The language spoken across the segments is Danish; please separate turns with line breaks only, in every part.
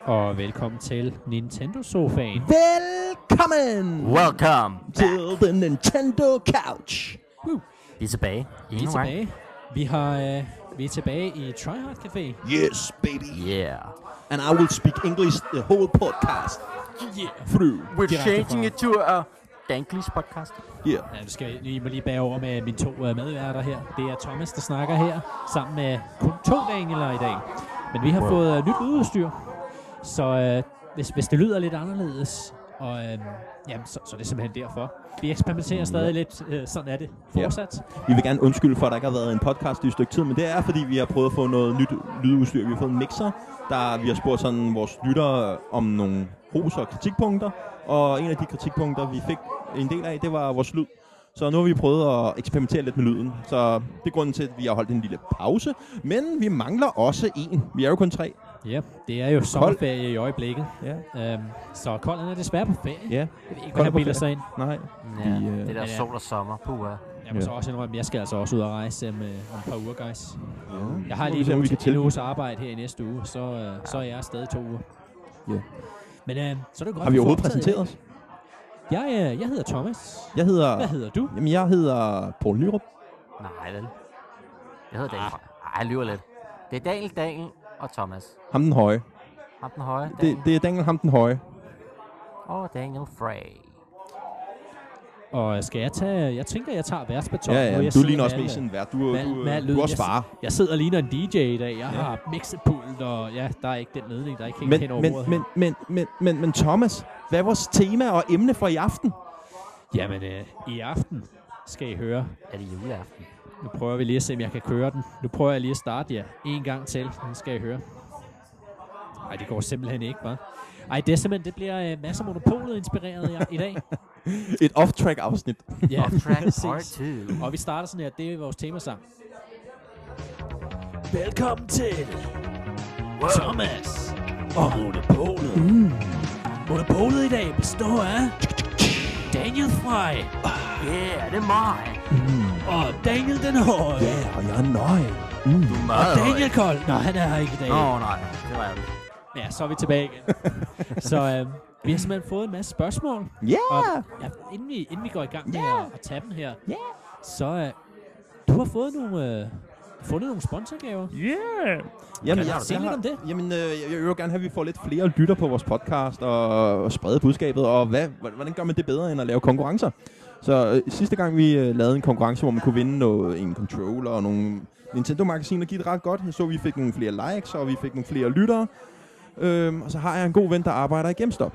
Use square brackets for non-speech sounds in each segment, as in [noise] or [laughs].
og velkommen til Nintendo Sofaen.
Mm-hmm. Velkommen
Welcome.
til The Nintendo Couch.
Vi er tilbage.
Vi er
Endnu en gang.
tilbage. Vi har øh, vi er tilbage i Tryhard Café.
Yes, baby.
Yeah.
And I will speak English the whole podcast
Yeah.
through.
We're
Direkte
changing
fra-
it to a Danglish podcast.
Yeah.
Ja, du skal lige, må lige bære over med mine to øh, medværter her. Det er Thomas, der snakker her, sammen med kun to daniler i dag. Men vi har wow.
Wow.
fået øh, nyt udstyr, så øh, hvis, hvis det lyder lidt anderledes, og, øh, jamen, så, så er det simpelthen derfor. Vi eksperimenterer stadig lidt, øh, sådan er det fortsat.
Vi vil gerne undskylde for, at der ikke har været en podcast i et stykke tid, men det er, fordi vi har prøvet at få noget nyt lydudstyr. Vi har fået en mixer, der vi har spurgt sådan vores lyttere om nogle ros og kritikpunkter, og en af de kritikpunkter, vi fik en del af, det var vores lyd. Så nu har vi prøvet at eksperimentere lidt med lyden, så det er grunden til, at vi har holdt en lille pause. Men vi mangler også en. Vi er jo kun tre.
Ja, det er jo sommerferie i øjeblikket,
Ja.
øhm, så Kolden er desværre på ferie.
Ja,
Jeg ved ikke,
Kold
hvad
er
han
på
bilder
ferie.
sig ind.
nej.
Ja,
Vi, øh,
det der
ja.
sol og sommer. Puha.
Jeg må
Ja.
så også indrømme, at jeg skal altså også ud og rejse om, øh, om et par uger, guys.
Ja.
Jeg har
Nu må
lige
vi se, om
en,
vi
uge,
kan
en
tilbyde.
uges arbejde her i næste uge, så, øh, så er jeg afsted i to uger.
Ja.
Men øh, så er det godt,
Har vi
får
overhovedet
optaget
præsenteret os?
i dag. Jeg, øh, jeg hedder Thomas.
Jeg hedder...
Hvad hedder du?
Jamen, jeg hedder Poul Nyrup.
Nej, vel. Jeg hedder Daniel.
Ah.
Ej, jeg lyver lidt. Det er Daniel, Daniel og Thomas.
Ham den høje.
Ham den høje.
Det,
Daniel.
det er Daniel ham den høje.
Og Daniel Frey.
Og øh, skal jeg tage... Jeg tænker, jeg tager værtsbeton.
Ja, ja,
jeg
du
sidder
ligner
med
også
alle-
mest en vært. Du,
med-
er- du,
med
er-
alt
du
lyd.
er også
Jeg
far.
Jeg sidder og ligner en DJ i dag. Jeg har mixepult, og ja, der er ikke den ledning, der ikke kan
Men,
hen over
men,
bordet.
men, men, men, men, men Thomas, hvad er vores tema og emne for i aften?
Jamen, øh, i aften skal I høre
Er det juleaften?
Nu prøver vi lige at se, om jeg kan køre den. Nu prøver jeg lige at starte jer en gang til. Den skal I høre. Nej, det går simpelthen ikke, hva'? Ej, det, er simpelthen, det bliver øh, masser af monopolet inspireret i, i dag.
Et off-track afsnit.
Ja,
Track part
præcis.
2.
Og vi starter sådan her. Det er vores temasang. Velkommen til Thomas og Monopolet. Mm. Monopolet i dag består af Daniel Fry
Yeah, det er mig.
og Daniel den Høje.
Ja, og jeg er nøje.
Du er meget høj.
Daniel Kold. Nej, han er her ikke i dag.
Nå, nej. Det var jeg.
Ja, så er vi tilbage
[laughs]
igen. så øh, vi har simpelthen fået en masse spørgsmål.
Ja!
Og, ja, inden, vi, inden vi går i gang med
Ja.
at, at tage dem her,
Ja.
så øh, du har fået nogle, øh, fundet nogle sponsorgaver.
Yeah! Jamen,
Kan du sige lidt
jeg har-
om det?
Jamen, øh, jeg, jeg vil jo gerne have, at vi får lidt flere lytter på vores podcast og, og sprede budskabet. Og hvad, hvordan gør man det bedre, end at lave konkurrencer? Så øh, sidste gang, vi øh, lavede en konkurrence, hvor man kunne vinde noget, en controller og nogle Nintendo-magasiner, gik det ret godt. Jeg så, vi fik nogle flere likes, og vi fik nogle flere lyttere. Øhm, og så har jeg en god ven, der arbejder i GameStop.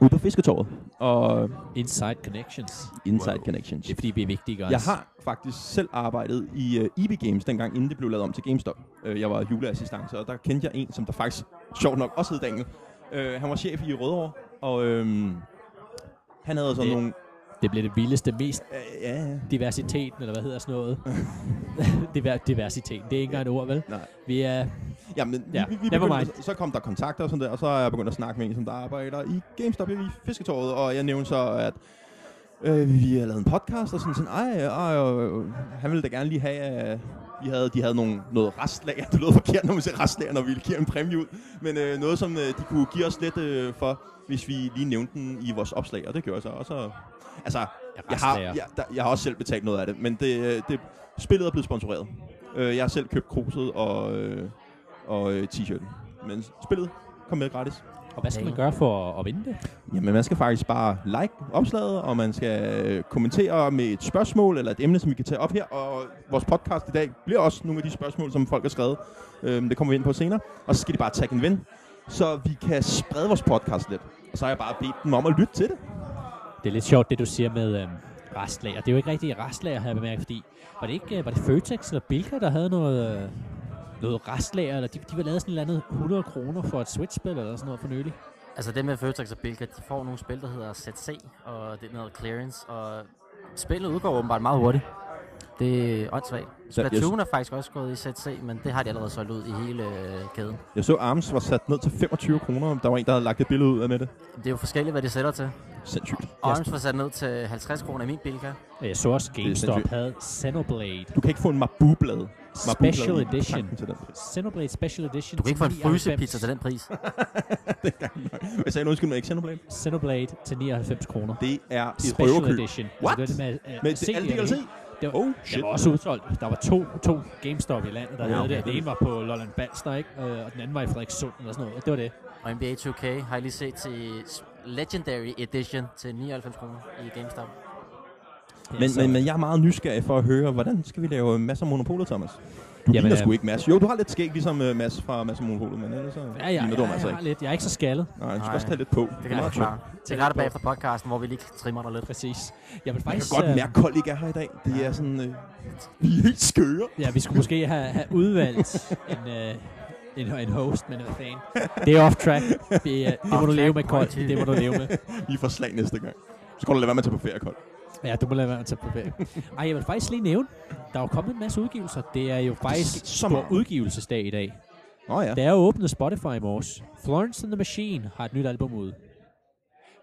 Ude på Fisketorvet. Og
Inside Connections.
Inside
Wow.
Connections.
Det er fordi, vi er vigtige, guys.
Jeg har faktisk selv arbejdet i uh, EB Games, dengang inden det blev lavet om til GameStop. Uh, jeg var juleassistance, og der kendte jeg en, som der faktisk, sjovt nok, også hed Daniel. Uh, han var chef i Rødovre, og uh, han havde sådan
Det-
nogle...
Det bliver det vildeste, mest
Uh, ja, ja.
diversiteten, eller hvad hedder sådan
[laughs]
noget? Diver- diversiteten, det er ikke engang et ord, vel?
Nej.
Vi er...
Ja, men vi,
Ja,
ja, vi, vi
never
begyndte,
mind.
så- så kom der kontakter og sådan der, og så er jeg begyndt at snakke med en, som der arbejder i GameStop i Fisketorvet, og jeg nævnte så, at øh, vi har lavet en podcast, og sådan sådan, ej, ej, øh, han ville da gerne lige have, at vi havde, de havde nogle, noget restlager, [laughs] det lød forkert, når man siger restlager, når vi giver en præmie ud, men øh, noget, som øh, de kunne give os lidt øh, for, hvis vi lige nævnte den i vores opslag, og det gjorde jeg så også. Altså, jeg har,
restlager.
jeg, der, jeg har også selv betalt noget af det, men det, øh, det, spillet er blevet sponsoreret. Øh, jeg har selv købt kruset og... Øh, og øh, t-shirten. Men spillet kom med gratis.
Og hvad skal man gøre for at, at vinde det?
Jamen, man skal faktisk bare like opslaget, og man skal øh, kommentere med et spørgsmål eller et emne, som vi kan tage op her. Og vores podcast i dag bliver også nogle af de spørgsmål, som folk har skrevet. Øhm, det kommer vi ind på senere. Og så skal de bare tagge en ven, så vi kan sprede vores podcast lidt. Og så har jeg bare bedt dem om at lytte til det.
Det er lidt sjovt, det du siger med øhm, restlager. Det er jo ikke rigtigt restlager, har jeg bemærket, fordi var det ikke øh, var det Føtex eller Bilka, der havde noget, øh, noget restlager, eller de, de var lavet sådan et eller andet 100 kroner for et Switch-spil eller sådan noget for nylig.
Altså det med Føtex og Bilka, de får nogle spil, der hedder ZC, og det er noget clearance, og spillet udgår åbenbart meget hurtigt. Det er åndssvagt. Splatoon er faktisk også gået i ZC, men det har de allerede solgt ud i hele øh, kæden.
Jeg så, Arms var sat ned til 25 kroner. Der var en, der havde lagt et billede ud af det.
Det er jo forskelligt, hvad de sætter til.
Sindssygt.
Arms var sat ned til 50 kroner i min Bilka.
Og jeg så også
er
GameStop
sindssygt.
havde Xenoblade.
Du kan ikke få en mabu-blad. Mabublade
Special
i
Edition.
tanken Til den [laughs] pris.
Xenoblade Special Edition.
Du kan ikke få en
99
frysepizza til den pris.
Hvad sagde du? Undskyld mig, ikke Xenoblade?
Xenoblade til 99 kroner.
Det er et
Special
røverkøb.
Edition.
What?
Altså, det var det med, uh,
Men det, alt det kan du se.
Det var,
Oh,
det
shit.
var også udsolgt. Der var to, to GameStop i landet, der
Ja,
ja, havde det.
okay.
Den ene var på Lolland Balster, ikke? Øh, og den anden var i Frederikssund eller sådan noget. Det var det.
Og NBA 2K har jeg lige set til s- Legendary Edition til 99 kroner i GameStop.
Ja,
Men,
så-
men, men jeg er meget nysgerrig for at høre, hvordan skal vi lave masser af monopoler, Thomas? Du
Jamen,
ligner
øh,
sgu ikke Mads. Jo, du har lidt skæg, ligesom uh, Mads fra Mads og Monopolet, men ellers så
Ja, ja,
ligner
ja,
du
ja,
ham altså
jeg, har
ikke.
lidt. jeg er ikke så skaldet.
Nej, du skal
Nej.
også tage lidt på.
Det kan jeg forklare. Det er
Tæt
ret
på.
bag fra podcasten, hvor vi lige trimmer dig lidt.
Præcis. Jeg vil
Jeg
faktisk...
kan godt
øh,
mærke, at kold ikke er her i dag. Det er sådan... Øh, vi er helt skøre.
Ja, vi skulle måske have, have udvalgt [laughs] en, øh, en, en host, men hvad
[laughs]
fanden. Det er off track. Det, øh, det må du
Off-track
leve med, Kold.
quality.
Det må du
[laughs]
leve med.
Vi får slag næste gang. Så kan du lade være med at tage på ferie, Kold.
Ja, du må lade være med at tage på ferie. Ej, jeg vil faktisk lige nævne, der er jo kommet en masse udgivelser. Det er jo
sket
faktisk
så
stor
meget.
udgivelsesdag i dag.
Nå ja.
Der er jo åbnet Spotify i morges. Florence and the Machine har et nyt album ude.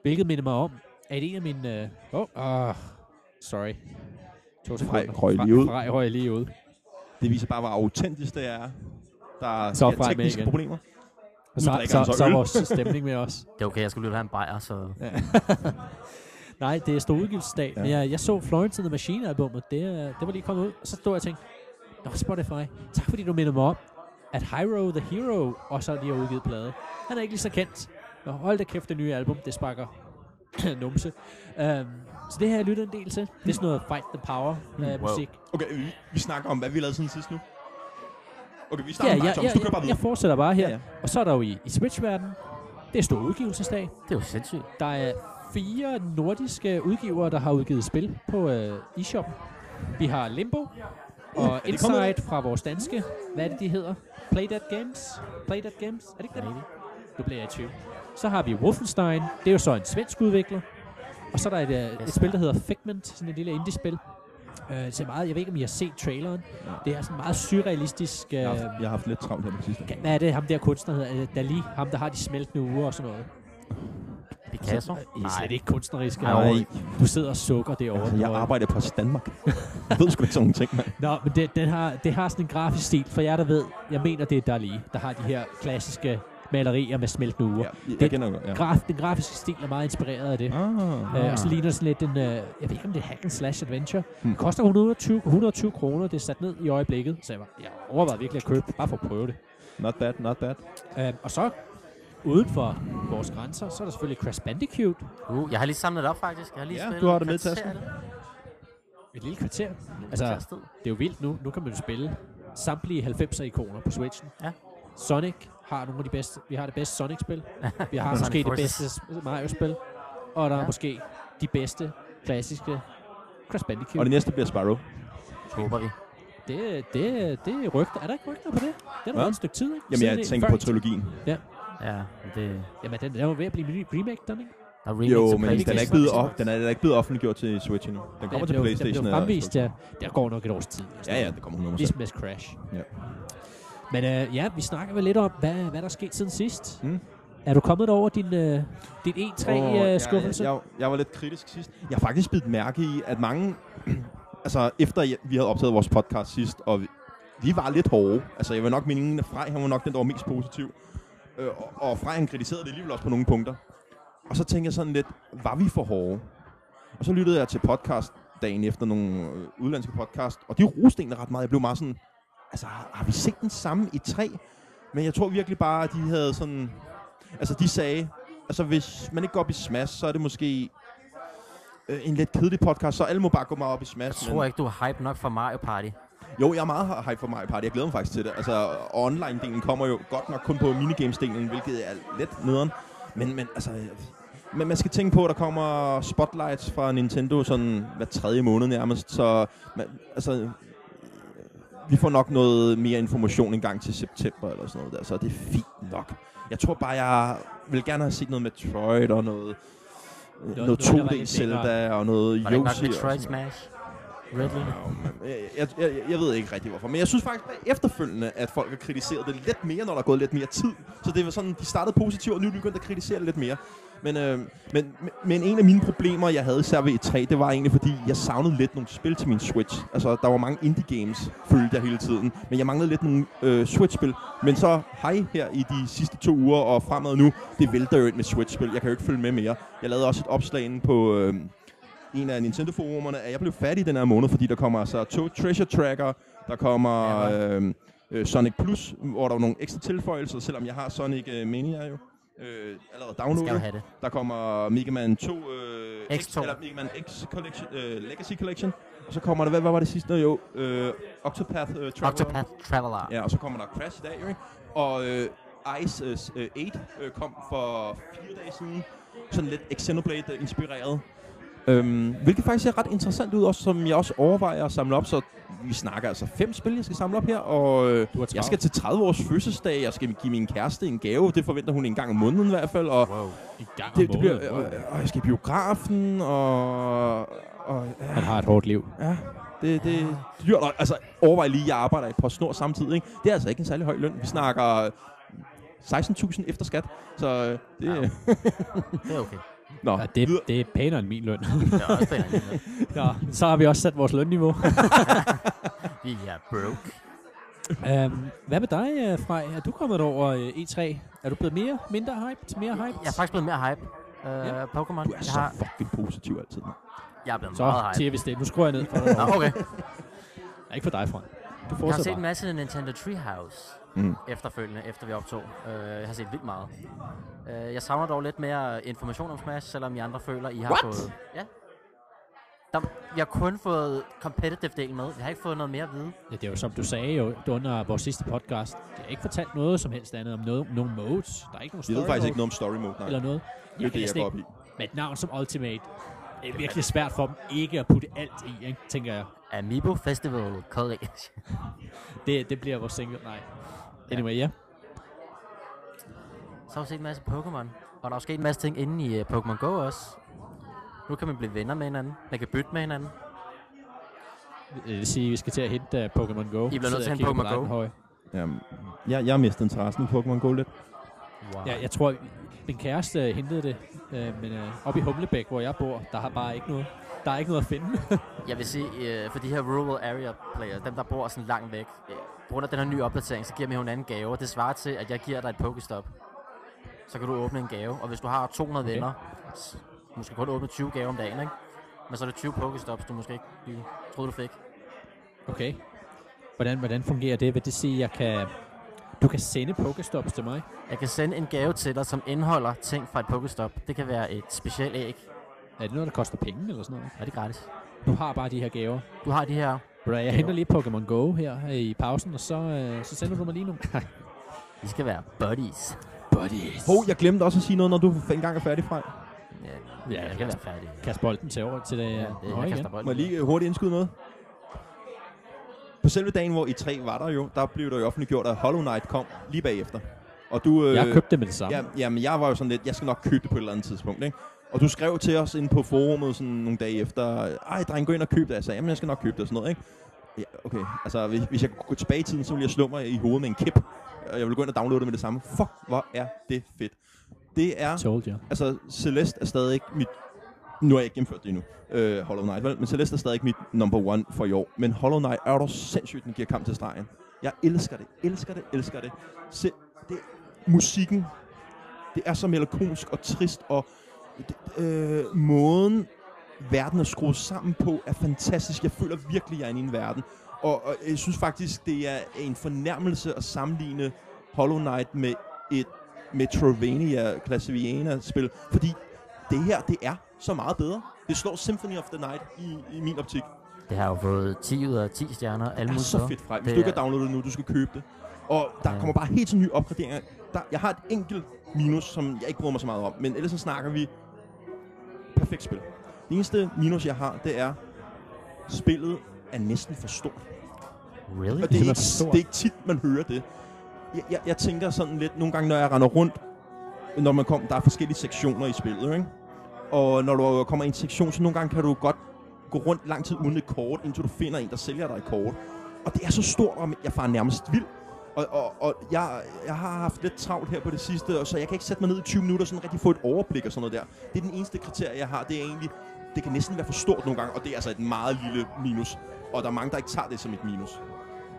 Hvilket minder mig om, at en af mine... Åh, øh, oh, uh, sorry. To sekunder.
røg lige ud.
Frej røg lige ud.
Det viser bare, hvor autentisk det er. Der er
Så
ja,
frem med
tekniske
igen.
problemer.
Og så,
drikker
så,
han
så,
så
så er
øl.
vores stemning med os.
Det er okay, jeg skulle lige have en bajer, så...
[laughs] Nej, det er stor udgivelsesdag. Ja. Men
Ja.
jeg, jeg så Florence and the Machine albumet. Det, øh, det var lige kommet ud. Og så stod jeg og tænkte, Nå, Spotify, tak fordi du minder mig om, at Hyro the Hero også lige har udgivet plade. Han er ikke lige så kendt. Nå, hold da kæft, det nye album, det sparker [clears throat] numse. Um, så det har jeg lyttet en del til. Det er sådan noget Fight the Power
Mm.
uh,
Wow.
musik.
Okay, vi, vi snakker om, hvad vi lavede siden sidst nu. Okay, vi starter
Ja,
med
jeg,
dig,
jeg,
Thomas. Du kører bare
jeg, jeg
videre.
fortsætter bare her.
Ja, ja.
Og så er der jo i, i Switch-verdenen, det er stor udgivelsesdag.
Det er jo sindssygt.
Der er fire nordiske udgivere, der har udgivet spil på øh, eShop. Vi har Limbo og
det kommet
Insight fra vores danske. Hvad er det, de hedder? Play That Games? Play That Games? Er det ikke det? Nu bliver jeg i tvivl. Så har vi Wolfenstein. Det er jo så en svensk udvikler. Og så er der et, øh, et
Yes.
spil, der hedder Figment. Sådan et lille indie-spil. Øh, det ser meget, jeg ved ikke, om I har set traileren.
Ja.
Det er sådan meget surrealistisk... Øh,
Jeg har, haft, jeg har haft lidt travlt her på sidste.
hvad er det, ham der kunstner hedder? Øh, Dali, ham der har de smeltende uger og sådan noget.
Picasso?
Så, øh, I er slet ikke kunstneriske.
Nej.
overhovedet. Du sidder og sukker derovre.
Altså, jeg
Nå,
arbejder på
[laughs]
Danmark. jeg ved sgu ikke sådan nogle ting, mand.
Nå, men det, den har, det har sådan en grafisk stil. For jer, der ved, jeg mener, det er Dali, der har de her klassiske malerier med smeltende uger.
Ja, jeg,
Det-
jeg kender godt, ja.
Ja. Graf, den grafiske stil er meget inspireret af det.
Ah.
Ja. Øh, og så ligner det sådan lidt en, øh, jeg ved ikke om det er hack and slash adventure.
Hmm.
Hmm. Koster 120, 120 kroner, det er sat ned i øjeblikket. Så jeg, var, jeg overvejede virkelig at købe, bare for at prøve det.
Not bad, not bad.
Øh, og så uden for vores grænser, så er der selvfølgelig Crash Bandicoot.
Uh, jeg har lige samlet det op, faktisk. Jeg har lige
Ja,
spillet
du har
et
det med i
kvarter
tasken.
af det.
Et lille kvarter.
Altså,
Altså, Det er jo vildt nu. Nu kan man jo spille samtlige 90'er-ikoner på Switchen.
Ja.
Sonic har nogle af de bedste. Vi har det bedste
[laughs]
Sonic-spil. Vi har
Sonic
måske det
Forces.
bedste Mario-spil. Og der ja. er
Ja.
måske de bedste klassiske Crash
Og
Bandicoot.
det
Det,
næste bliver Sparrow.
håber vi.
det, det, det er rygter. Er der ikke rygter på det? Det har der
Hvad?
været et stykke tid, ikke?
Jamen,
Siden
jeg
det-
tænker
før
på
i-
trilogien.
Ja, men det...
Jamen, den, den er jo ved at blive ny remake, den, ikke?
Der er remix
Jo,
til
men den er
PlayStation.
ikke blevet, op, den er, den er ikke blevet offentliggjort til Switch endnu. Den kommer
Den
til
blev- Den
Playstation.
blev
og-
fremvist, ja. Der går nok et års tid. eller sådan
Ja,
noget.
ja, det kommer 100%.
Ligesom med Crash.
Ja.
Men øh, ja, vi snakker vel lidt om, hvad, hvad der er sket siden sidst.
Mm.
Mm. Er du kommet over din, øh, din øh,
Åh,
E3-skuffelse?
Jeg, jeg, jeg var lidt kritisk sidst. Jeg har faktisk bidt mærke i, at mange... [clears throat] altså, efter jeg- vi havde optaget vores podcast sidst, og vi, de var lidt hårde. Altså, jeg vil nok mene, at Frej, han var nok den, der var mest positiv. Øh, og, og Frej, han kritiserede det alligevel også på nogle punkter. Og så tænkte jeg sådan lidt, var vi for hårde? Og så lyttede jeg til podcast dagen efter nogle øh, udlandske podcast, og de roste egentlig ret meget. Jeg blev meget sådan, altså, har har vi set den samme i tre? Men jeg tror virkelig bare, at de havde sådan... Altså, de sagde, altså hvis man ikke går op i Smash, så er det måske øh, en lidt kedelig podcast, så alle må bare gå meget op i
Jeg
Smash.
tror ikke, du er hype nok for Mario Party.
Jo, jeg er meget hype for Mario Party. Jeg glæder mig faktisk til det. Altså, og online-delen kommer jo godt nok kun på minigames-delen, hvilket er lidt nederen. Men, men altså... Men man skal tænke på, at der kommer spotlights fra Nintendo sådan hver tredje måned nærmest, så man, altså, vi får nok noget mere information en gang til september eller sådan noget der, så det er fint nok. Jeg tror bare, jeg vil gerne have set noget Metroid og noget, noget,
noget,
noget
der var
2D
lidt
Zelda
længere.
og noget Yoshi.
Var det ikke nok
og sådan
Metroid
noget.
Smash? Ridley?
Jeg, jeg, jeg, jeg ved ikke rigtig hvorfor, men jeg synes faktisk at efterfølgende, at folk har kritiseret det lidt mere, når der er gået lidt mere tid. Så det var sådan, de startede positivt, og nu er de begyndt at kritisere det lidt mere. Men, øh, men, men en af mine problemer, jeg havde især ved E3, det var egentlig, fordi jeg savnede lidt nogle spil til min Switch. Altså, der var mange indie-games, følte jeg hele tiden. Men jeg manglede lidt nogle øh, Switch-spil. Men så, hej her i de sidste to uger og fremad nu, det vælter jo ind med Switch-spil. Jeg kan jo ikke følge med mere. Jeg lavede også et opslag inde på... Øh, en af Nintendo-forumerne, at jeg blev fattig den her måned, fordi der kommer altså to Treasure Tracker, der kommer
Ja,
øh, øh, Sonic Plus, hvor der er nogle ekstra tilføjelser, selvom jeg har Sonic øh, Mania jo øh, allerede
Skal du
downloadet.
have det?
Der kommer Mega Man 2, øh,
X2.
eller Mega Man X Collection, øh, Legacy Collection, og så kommer der, hvad, hvad var det sidste? Jo, øh, Octopath øh, Traveler.
Octopath Traveler.
Ja, og så kommer der Crash i dag, jo, ikke? Og øh, Ice øh, s- øh, 8 øh, kom for fire dage siden, sådan lidt Xenoblade-inspireret. Øhm, hvilket faktisk ser ret interessant ud, også, som jeg også overvejer at samle op. Så vi snakker altså fem spil, jeg skal samle op her, og øh,
Du har travlt.
jeg skal til 30 års fødselsdag, jeg skal give min kæreste en gave, det forventer hun en gang om måneden i hvert fald, og
Wow.
I gang om
det, det bliver, øh,
måneden.
og, og jeg skal i biografen, og, og ja,
Han har et hårdt liv.
Ja, det, det er dyrt. Og Altså, overvej lige, jeg arbejder i PostNord samtidig. Ikke? Det er altså ikke en særlig høj løn. Vi snakker 16.000 efter skat. Så øh, det...
Ja. Det er okay.
Nå,
Ja, det,
videre.
det er pænere end min
[laughs]
løn.
Det er også pænt. alligevel.
Nå, så har vi også sat vores
[laughs]
lønniveau.
Vi er broke.
øhm, hvad med dig, øh, Frej? Er du kommet over øh, E3? Er du blevet mere, mindre hype til mere hype?
Jeg er faktisk blevet mere hype. Uh,
Ja.
Pokémon.
du er
Jeg,
så
har,
fucking positiv altid. mand.
jeg er blevet
Så
meget hype.
siger vi det. Nu skruer jeg ned for
[laughs]
dig.
Nå, okay.
Nej, Ikke for dig, Frej. Du
Jeg har set
fortsætter
en
bare.
masse Nintendo Treehouse
Mm.
mm. efterfølgende, efter vi optog. Uh, jeg har set vildt meget. Uh, jeg savner dog lidt mere information om Smash, selvom I andre føler, I har
What?
fået... Ja. Der, jeg har kun fået competitive-delen med. Jeg har ikke fået noget mere at vide.
Ja, det er jo som du sagde jo under vores sidste podcast. Jeg har ikke fortalt noget som helst andet om noget, nogen modes. Der er ikke nogen
Vi
story
ved faktisk
mode
ikke noget om story mode, nej.
Eller noget.
det er det, jeg
næsten
går
ikke-
op i.
Med et navn som Ultimate. Det er virkelig svært for dem ikke at putte alt i, ikke, tænker jeg.
Amiibo Festival College.
Det, det bliver vores single. Nej. Anyway, ja.
Så har vi set en masse Pokémon. Og der er jo sket en masse ting inde i øh, Pokémon Go også. Nu kan man blive venner med hinanden. Man kan bytte med hinanden.
Det vil sige, at vi skal til at hente øh, Pokémon Go.
I bliver nødt til at hente Pokémon Go.
Høj.
Jamen, jeg, jeg mistede interessen i Pokémon Go lidt.
Wow.
Ja, jeg tror, min kæreste øh, hentede det, øh, men øh, oppe i Humlebæk, hvor jeg bor, der har bare ikke noget. Der er ikke noget at finde.
Jeg vil sige, øh, for de her rural area players, dem der bor sådan langt væk, øh, på grund af den her nye opdatering, så giver mig hinanden gaver. Det svarer til, at jeg giver dig et Pokestop. Så kan du åbne en gave, og hvis du har 200
Okay.
okay. venner, s- måske kun åbne 20 gaver om dagen, ikke? Men så er det 20 Pokestops, du måske ikke lige troede, du fik.
okay. Hvordan, hvordan fungerer det? Vil det sige, at jeg kan, du kan sende Pokestops til mig?
Jeg kan sende en gave til dig, som indeholder ting fra et Pokestop. Det kan være et specielt æg.
Er det noget, der koster penge eller sådan noget?
Er det er gratis?
Du har bare de her gaver.
Du har de her
Bro, jeg henter lige Pokémon Go her øh, i pausen, og så, øh, så sender du mig lige nu.
De skal være buddies.
Buddies.
Hov, jeg glemte også at sige noget, når du engang er færdig fra.
Ja,
Ja,
ja jeg
ja.
skal være færdig.
Kast bolden til over til det,
Ja,
ja,
det,
det,
jeg
høje igen.
kaster bolden.
Må jeg lige øh, hurtigt indskyde noget? På selve dagen, hvor E3 var der jo, der blev der jo offentliggjort, at Hollow Knight kom lige bagefter. Og du, øh,
Jeg købte det med det samme.
Ja, jamen, jeg var jo sådan lidt, jeg skal nok købe det på et eller andet tidspunkt, ikke? Og du skrev til os inde på forumet sådan nogle dage efter, ej dreng, gå ind og køb det. Jeg sagde, jamen jeg skal nok købe det og sådan noget, ikke? Ja, okay. Altså, hvis, hvis jeg kunne gå tilbage i tiden, så ville jeg slå mig i hovedet med en kip. Og jeg ville gå ind og downloade det med det samme. Fuck, hvor er det fedt. Det er,
Told you.
altså Celeste er stadig ikke mit, nu har jeg ikke gennemført det endnu, øh, Hollow Knight, vel? men Celeste er stadig ikke mit number one for i år. Men Hollow Knight er jo dog sindssygt, den giver kamp til stregen. Jeg elsker det, elsker det, elsker det. Se, det musikken, det er så melankolsk og trist, og det, øh, måden verden er skruet sammen på er fantastisk. Jeg føler virkelig, jeg er inde i en verden. Og, og jeg synes faktisk, det er en fornærmelse at sammenligne Hollow Knight med et Metrovania Classiviana spil, fordi det her, det er så meget bedre. Det slår Symphony of the Night i, i min optik.
Det har jo fået 10 ud af 10 stjerner. Alle
Det er
mulige
så
steder.
fedt fra. Hvis
Det
du ikke
er-
har downloadet det nu, du skal købe det. Og der
Ja.
kommer bare helt til nye opgraderinger. Der, jeg har et enkelt minus, som jeg ikke bryder mig så meget om, men ellers så snakker vi perfekt spil. Det eneste minus, jeg har, det er, spillet er næsten for stort.
Really?
Og det er,
Simpelthen
ikke,
for stort.
det er ikke tit, man hører det. Jeg, jeg, jeg tænker sådan lidt, nogle gange, når jeg render rundt, når man kommer, der er forskellige sektioner i spillet, ikke? Og når du kommer i en sektion, så nogle gange kan du godt gå rundt lang tid uden et kort, indtil du finder en, der sælger dig et kort. Og det er så stort, og jeg farer nærmest vild. Og, og, og jeg, jeg har haft lidt travlt her på det sidste, og så jeg kan ikke sætte mig ned i 20 minutter og sådan rigtig få et overblik og sådan noget der. Det er den eneste kriterie, jeg har. Det er egentlig, det kan næsten være for stort nogle gange, og det er altså et meget lille minus. Og der er mange, der ikke tager det som et minus.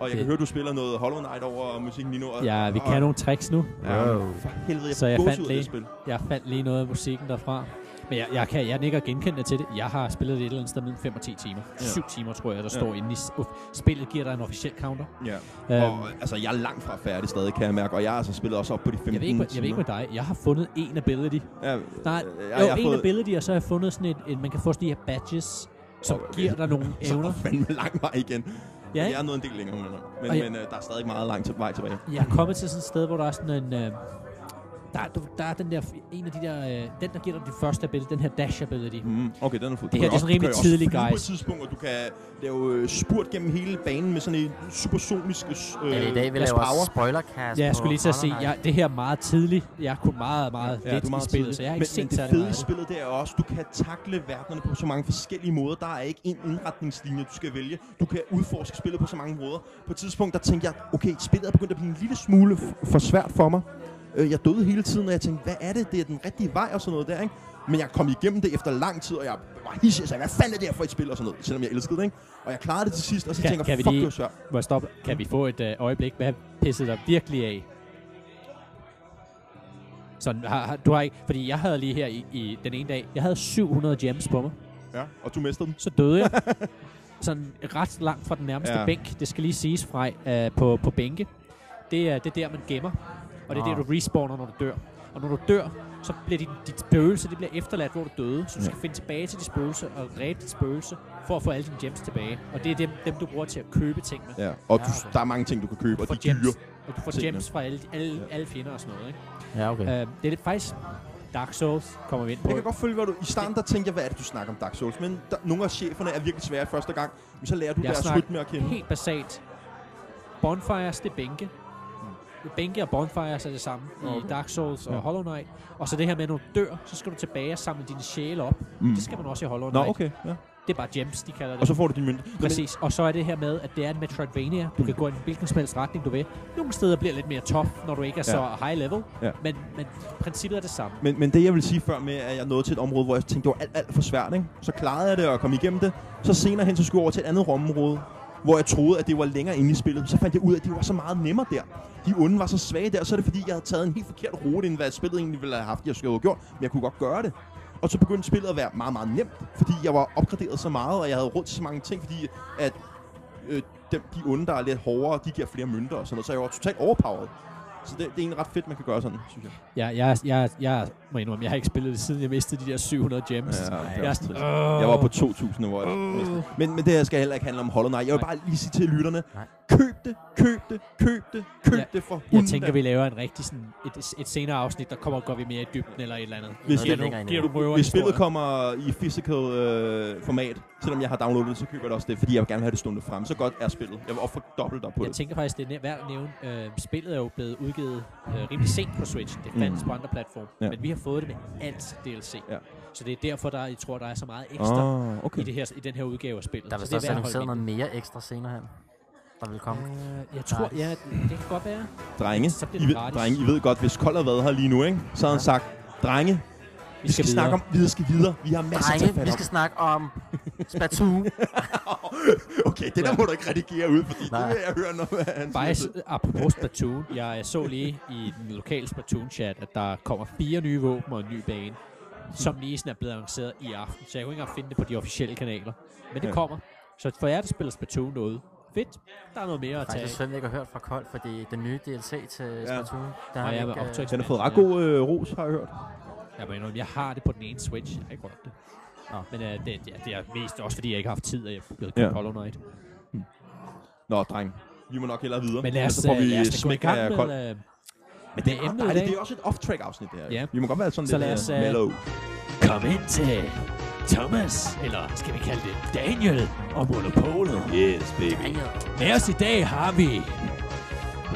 Og jeg kan
Det-
høre, du spiller noget Hollow Knight over musikken lige nu. Og,
Ja, vi
og,
kan nogle tricks nu.
Ja,
Wow.
for helvede, jeg,
Så jeg fandt
lige.
lige-
Det spil.
Jeg fandt lige noget af musikken derfra. Men jeg, jeg, kan, jeg nikker genkendende til det. Jeg har spillet det et eller andet sted mellem 5 og 10 timer.
Ja.
7 timer, tror jeg, der
Ja.
står inde i... s- Uff, spillet giver dig en officiel counter.
Ja.
Øhm,
Og altså, jeg er langt fra færdig stadig, kan jeg mærke. Og jeg har altså spillet også op på de 15
jeg, ved ikke, hvad- jeg ved ikke med dig. Jeg har fundet en ability.
Ja,
Nej,
øh,
jeg, jo,
har
en
fået-
fået... ability, og så har jeg fundet sådan et, et man kan få sådan de her badges, som
Okay.
okay. giver dig nogle
[laughs] [laughs] Så er der
evner.
fandme lang vej igen.
Ja,
Jeg
ikke?
er nået en del længere, men, men,
Og jeg-
men øh, der er stadig meget lang til- vej tilbage.
Jeg er kommet til sådan et sted, hvor der er sådan en... Øh, der, er, du- der er den der, en af de der, øh, den der giver dig din første ability, den her dash ability. Mm.
Mm, okay, den er fuld.
Det her, det er sådan rimelig tidlig,
på et
guys.
tidspunkt, og du kan lave øh, spurt gennem hele banen med sådan en supersonisk... Øh,
Eller i dag, vi
Lad os
laver
power.
også spoilercast
Ja, jeg
på
skulle lige til at se,
Hollow Knight.
jeg, det her er meget tidligt. Jeg kunne meget, meget ja,
du
lidt
er
i
meget
spillet,
tidlig.
så jeg har
men,
ikke set
men det
særlig
fede i
meget.
spillet, det er også, du kan takle verdenerne på så mange forskellige måder. Der er ikke én indretningslinje, du skal vælge. Du kan udforske spillet på så mange måder. På et tidspunkt, der tænkte jeg, okay, spillet er begyndt at blive en lille smule f- for svært for mig. Øh, Jeg døde hele tiden, og jeg tænkte, hvad er det? Det er den rigtige vej og sådan noget der, ikke? Men jeg kom igennem det efter lang tid, og jeg var hissig og sagde, hvad fanden er det her for et spil og sådan noget, selvom jeg elskede det, ikke? Og jeg klarede det til sidst, og så
Kan-
tænker
kan
jeg,
vi
fuck,
lige-
det var svært.
Må jeg stoppe? Kan vi få et øh, øjeblik? Hvad pissede dig virkelig af? Sådan, har, har, du har ikke... Fordi jeg havde lige her i, i den ene dag, jeg havde 700 gems på mig.
Ja, og du mistede den.
Så døde jeg. Sådan ret langt fra den nærmeste
Ja.
ja. bænk. Det skal lige siges fra øh, på, på bænke. Det er, det er der, man gemmer. Og det er
Nå.
der, du respawner, når du dør. Og når du dør, så bliver dit, dit spøgelse det bliver efterladt, hvor du døde. Så du skal finde tilbage til dit spøgelse og redde dit spøgelse for at få alle dine gems tilbage. Og det er dem, dem du bruger til at købe ting med.
Ja, og du,
Ja, okay.
der er mange ting, du kan købe, og
For
de er dyre.
gems. Og du får
tingene.
gems fra alle, alle,
Ja.
alle fjender og sådan noget. Ikke?
Ja, okay.
Øh, det er lidt, faktisk Dark Souls, kommer vi ind på.
Jeg kan godt følge, hvor du... I starten, der tænkte jeg, hvad er det, du snakker om Dark Souls? Men der, nogle af cheferne er virkelig svære første gang. Men så lærer du
Jeg
deres
snakker
rytme at kende.
helt basalt. Bonfires, det er bænke. Mm. Bænke og bonfires er det samme okay.
Okay.
i Dark Souls og
Ja.
Hollow Knight. Og så det her med, at når du dør, så skal du tilbage og samle dine sjæle op.
Mm.
Mm. Det skal man også i Hollow
Nå,
Knight.
okay. Ja.
Det er bare gems, de kalder det.
Og så får du din mønt.
Præcis. Og så er det her med, at det er en Metroidvania.
Mm.
Du kan gå i hvilken som helst retning, du vil. Nogle steder bliver lidt mere top, når du ikke er så high level.
Ja.
Men, men princippet er det samme.
Men, men det, jeg vil sige før med, at jeg nåede til et område, hvor jeg tænkte, det var alt, alt for svært, ikke? Så klarede jeg det og kom igennem det. Så senere hen, så skulle jeg over til et andet område, hvor jeg troede, at det var længere inde i spillet. Så fandt jeg ud af, at det var så meget nemmere der. De onde var så svage der, så er det fordi, jeg havde taget en helt forkert rute, end hvad spillet egentlig ville have haft, jeg skulle have gjort. Men jeg kunne godt gøre det. Og så begyndte spillet at være meget, meget nemt, fordi jeg var opgraderet så meget, og jeg havde råd til så mange ting, fordi at øh, dem, de onde, der er lidt hårdere, de giver flere mønter og sådan noget. Så jeg var totalt overpowered. Så det, det er egentlig ret fedt, man kan gøre sådan, synes jeg.
Jeg, jeg, jeg, jeg må indrømme, jeg har ikke spillet det, siden jeg mistede de der 700 gems.
det
Jeg er
også
sådan,
trist.
"Åh."
Jeg var på 2.000, hvor jeg mistede. Men, men det her skal heller ikke handle om Hollow Knight. Jeg vil
Nej.
bare lige sige til lytterne,
Nej.
køb det, køb det, køb det, køb
Ja,
det for
Jeg
hunden da.
tænker, vi laver en rigtig sådan et, et senere afsnit, der kommer går vi mere i dybden eller et eller andet.
Hvis,
Noget
giver
lidt
du,
længere endnu.
giver du røver
hvis spillet kommer i physical øh, format, selvom jeg har downloadet det, så køber jeg det også det, fordi jeg vil gerne have det stående frem. Så godt er spillet. Jeg vil ofre dobbelt op på
Jeg
det.
tænker faktisk, det er næ- værd at nævne. Øh, spillet er jo blevet udgivet øh, rimelig sent på Switch. Det fandtes mm.
Mm.
på andre platforme.
Ja.
Ja. Men vi har fået det med alt DLC.
Ja.
Så det er derfor, der, jeg tror, der er så meget ekstra oh,
Ah,
okay. i, det her, i den her udgave af spillet.
Der er
så
vist
det
også
værd at
annonceret
holde
noget mere ekstra senere hen, der vil komme.
med. Øh, jeg tror, ja, det kan godt være.
Drenge,
Så bliver
I
det
ved,
gratis.
drenge, I ved godt, hvis Kold har været her lige nu, ikke? så har han
Ja.
sagt, drenge, vi skal,
videre.
snakke om, vi skal videre. Vi har masser at tage
Drenge,
fat
vi
om.
skal snakke om
[laughs]
Splatoon.
Okay, det der må du ikke redigere ud, fordi det
Nej.
vil jeg høre noget af hans
Faktisk, apropos Splatoon, jeg så lige i den lokale Splatoon-chat, at der kommer fire nye våben og en ny bane, som lige sådan er blevet annonceret i aften, så jeg kunne ikke engang finde det på de officielle kanaler. Men det
Ja.
kommer. Så for jer, der spiller Splatoon derude, fedt, der er noget mere at tage.
Faktisk
af.
synd, vi ikke har hørt fra Kold, fordi den nye DLC til Splatoon, der
Og
har vi
jeg var
ikke... øh,
optaget
Den har fået ret god øh, ros, har jeg hørt.
Jeg, må indrømme, jeg har det på den ene Switch, jeg har ikke rørt det.
Nå.
Men øh, det, ja, det er mest også, fordi jeg ikke har haft tid, og jeg er blevet
Ja.
ja. Hollow Knight.
Nå, dreng. Vi må nok hellere videre.
Men lad os,
Ellers så får
øh,
vi
lad os da gå i
smæk af
gang
kold.
med... Øh,
Men det er,
med emnet
emnet,
i
det,
dag.
det er også et off-track afsnit, det her.
Ja.
Vi må godt være sådan
Så
lidt
lad os,
øh,
øh,
mellow.
Kom ind til Thomas, eller skal vi kalde det Daniel, og Monopolet.
Yes, baby.
Daniel.
Med os i dag har vi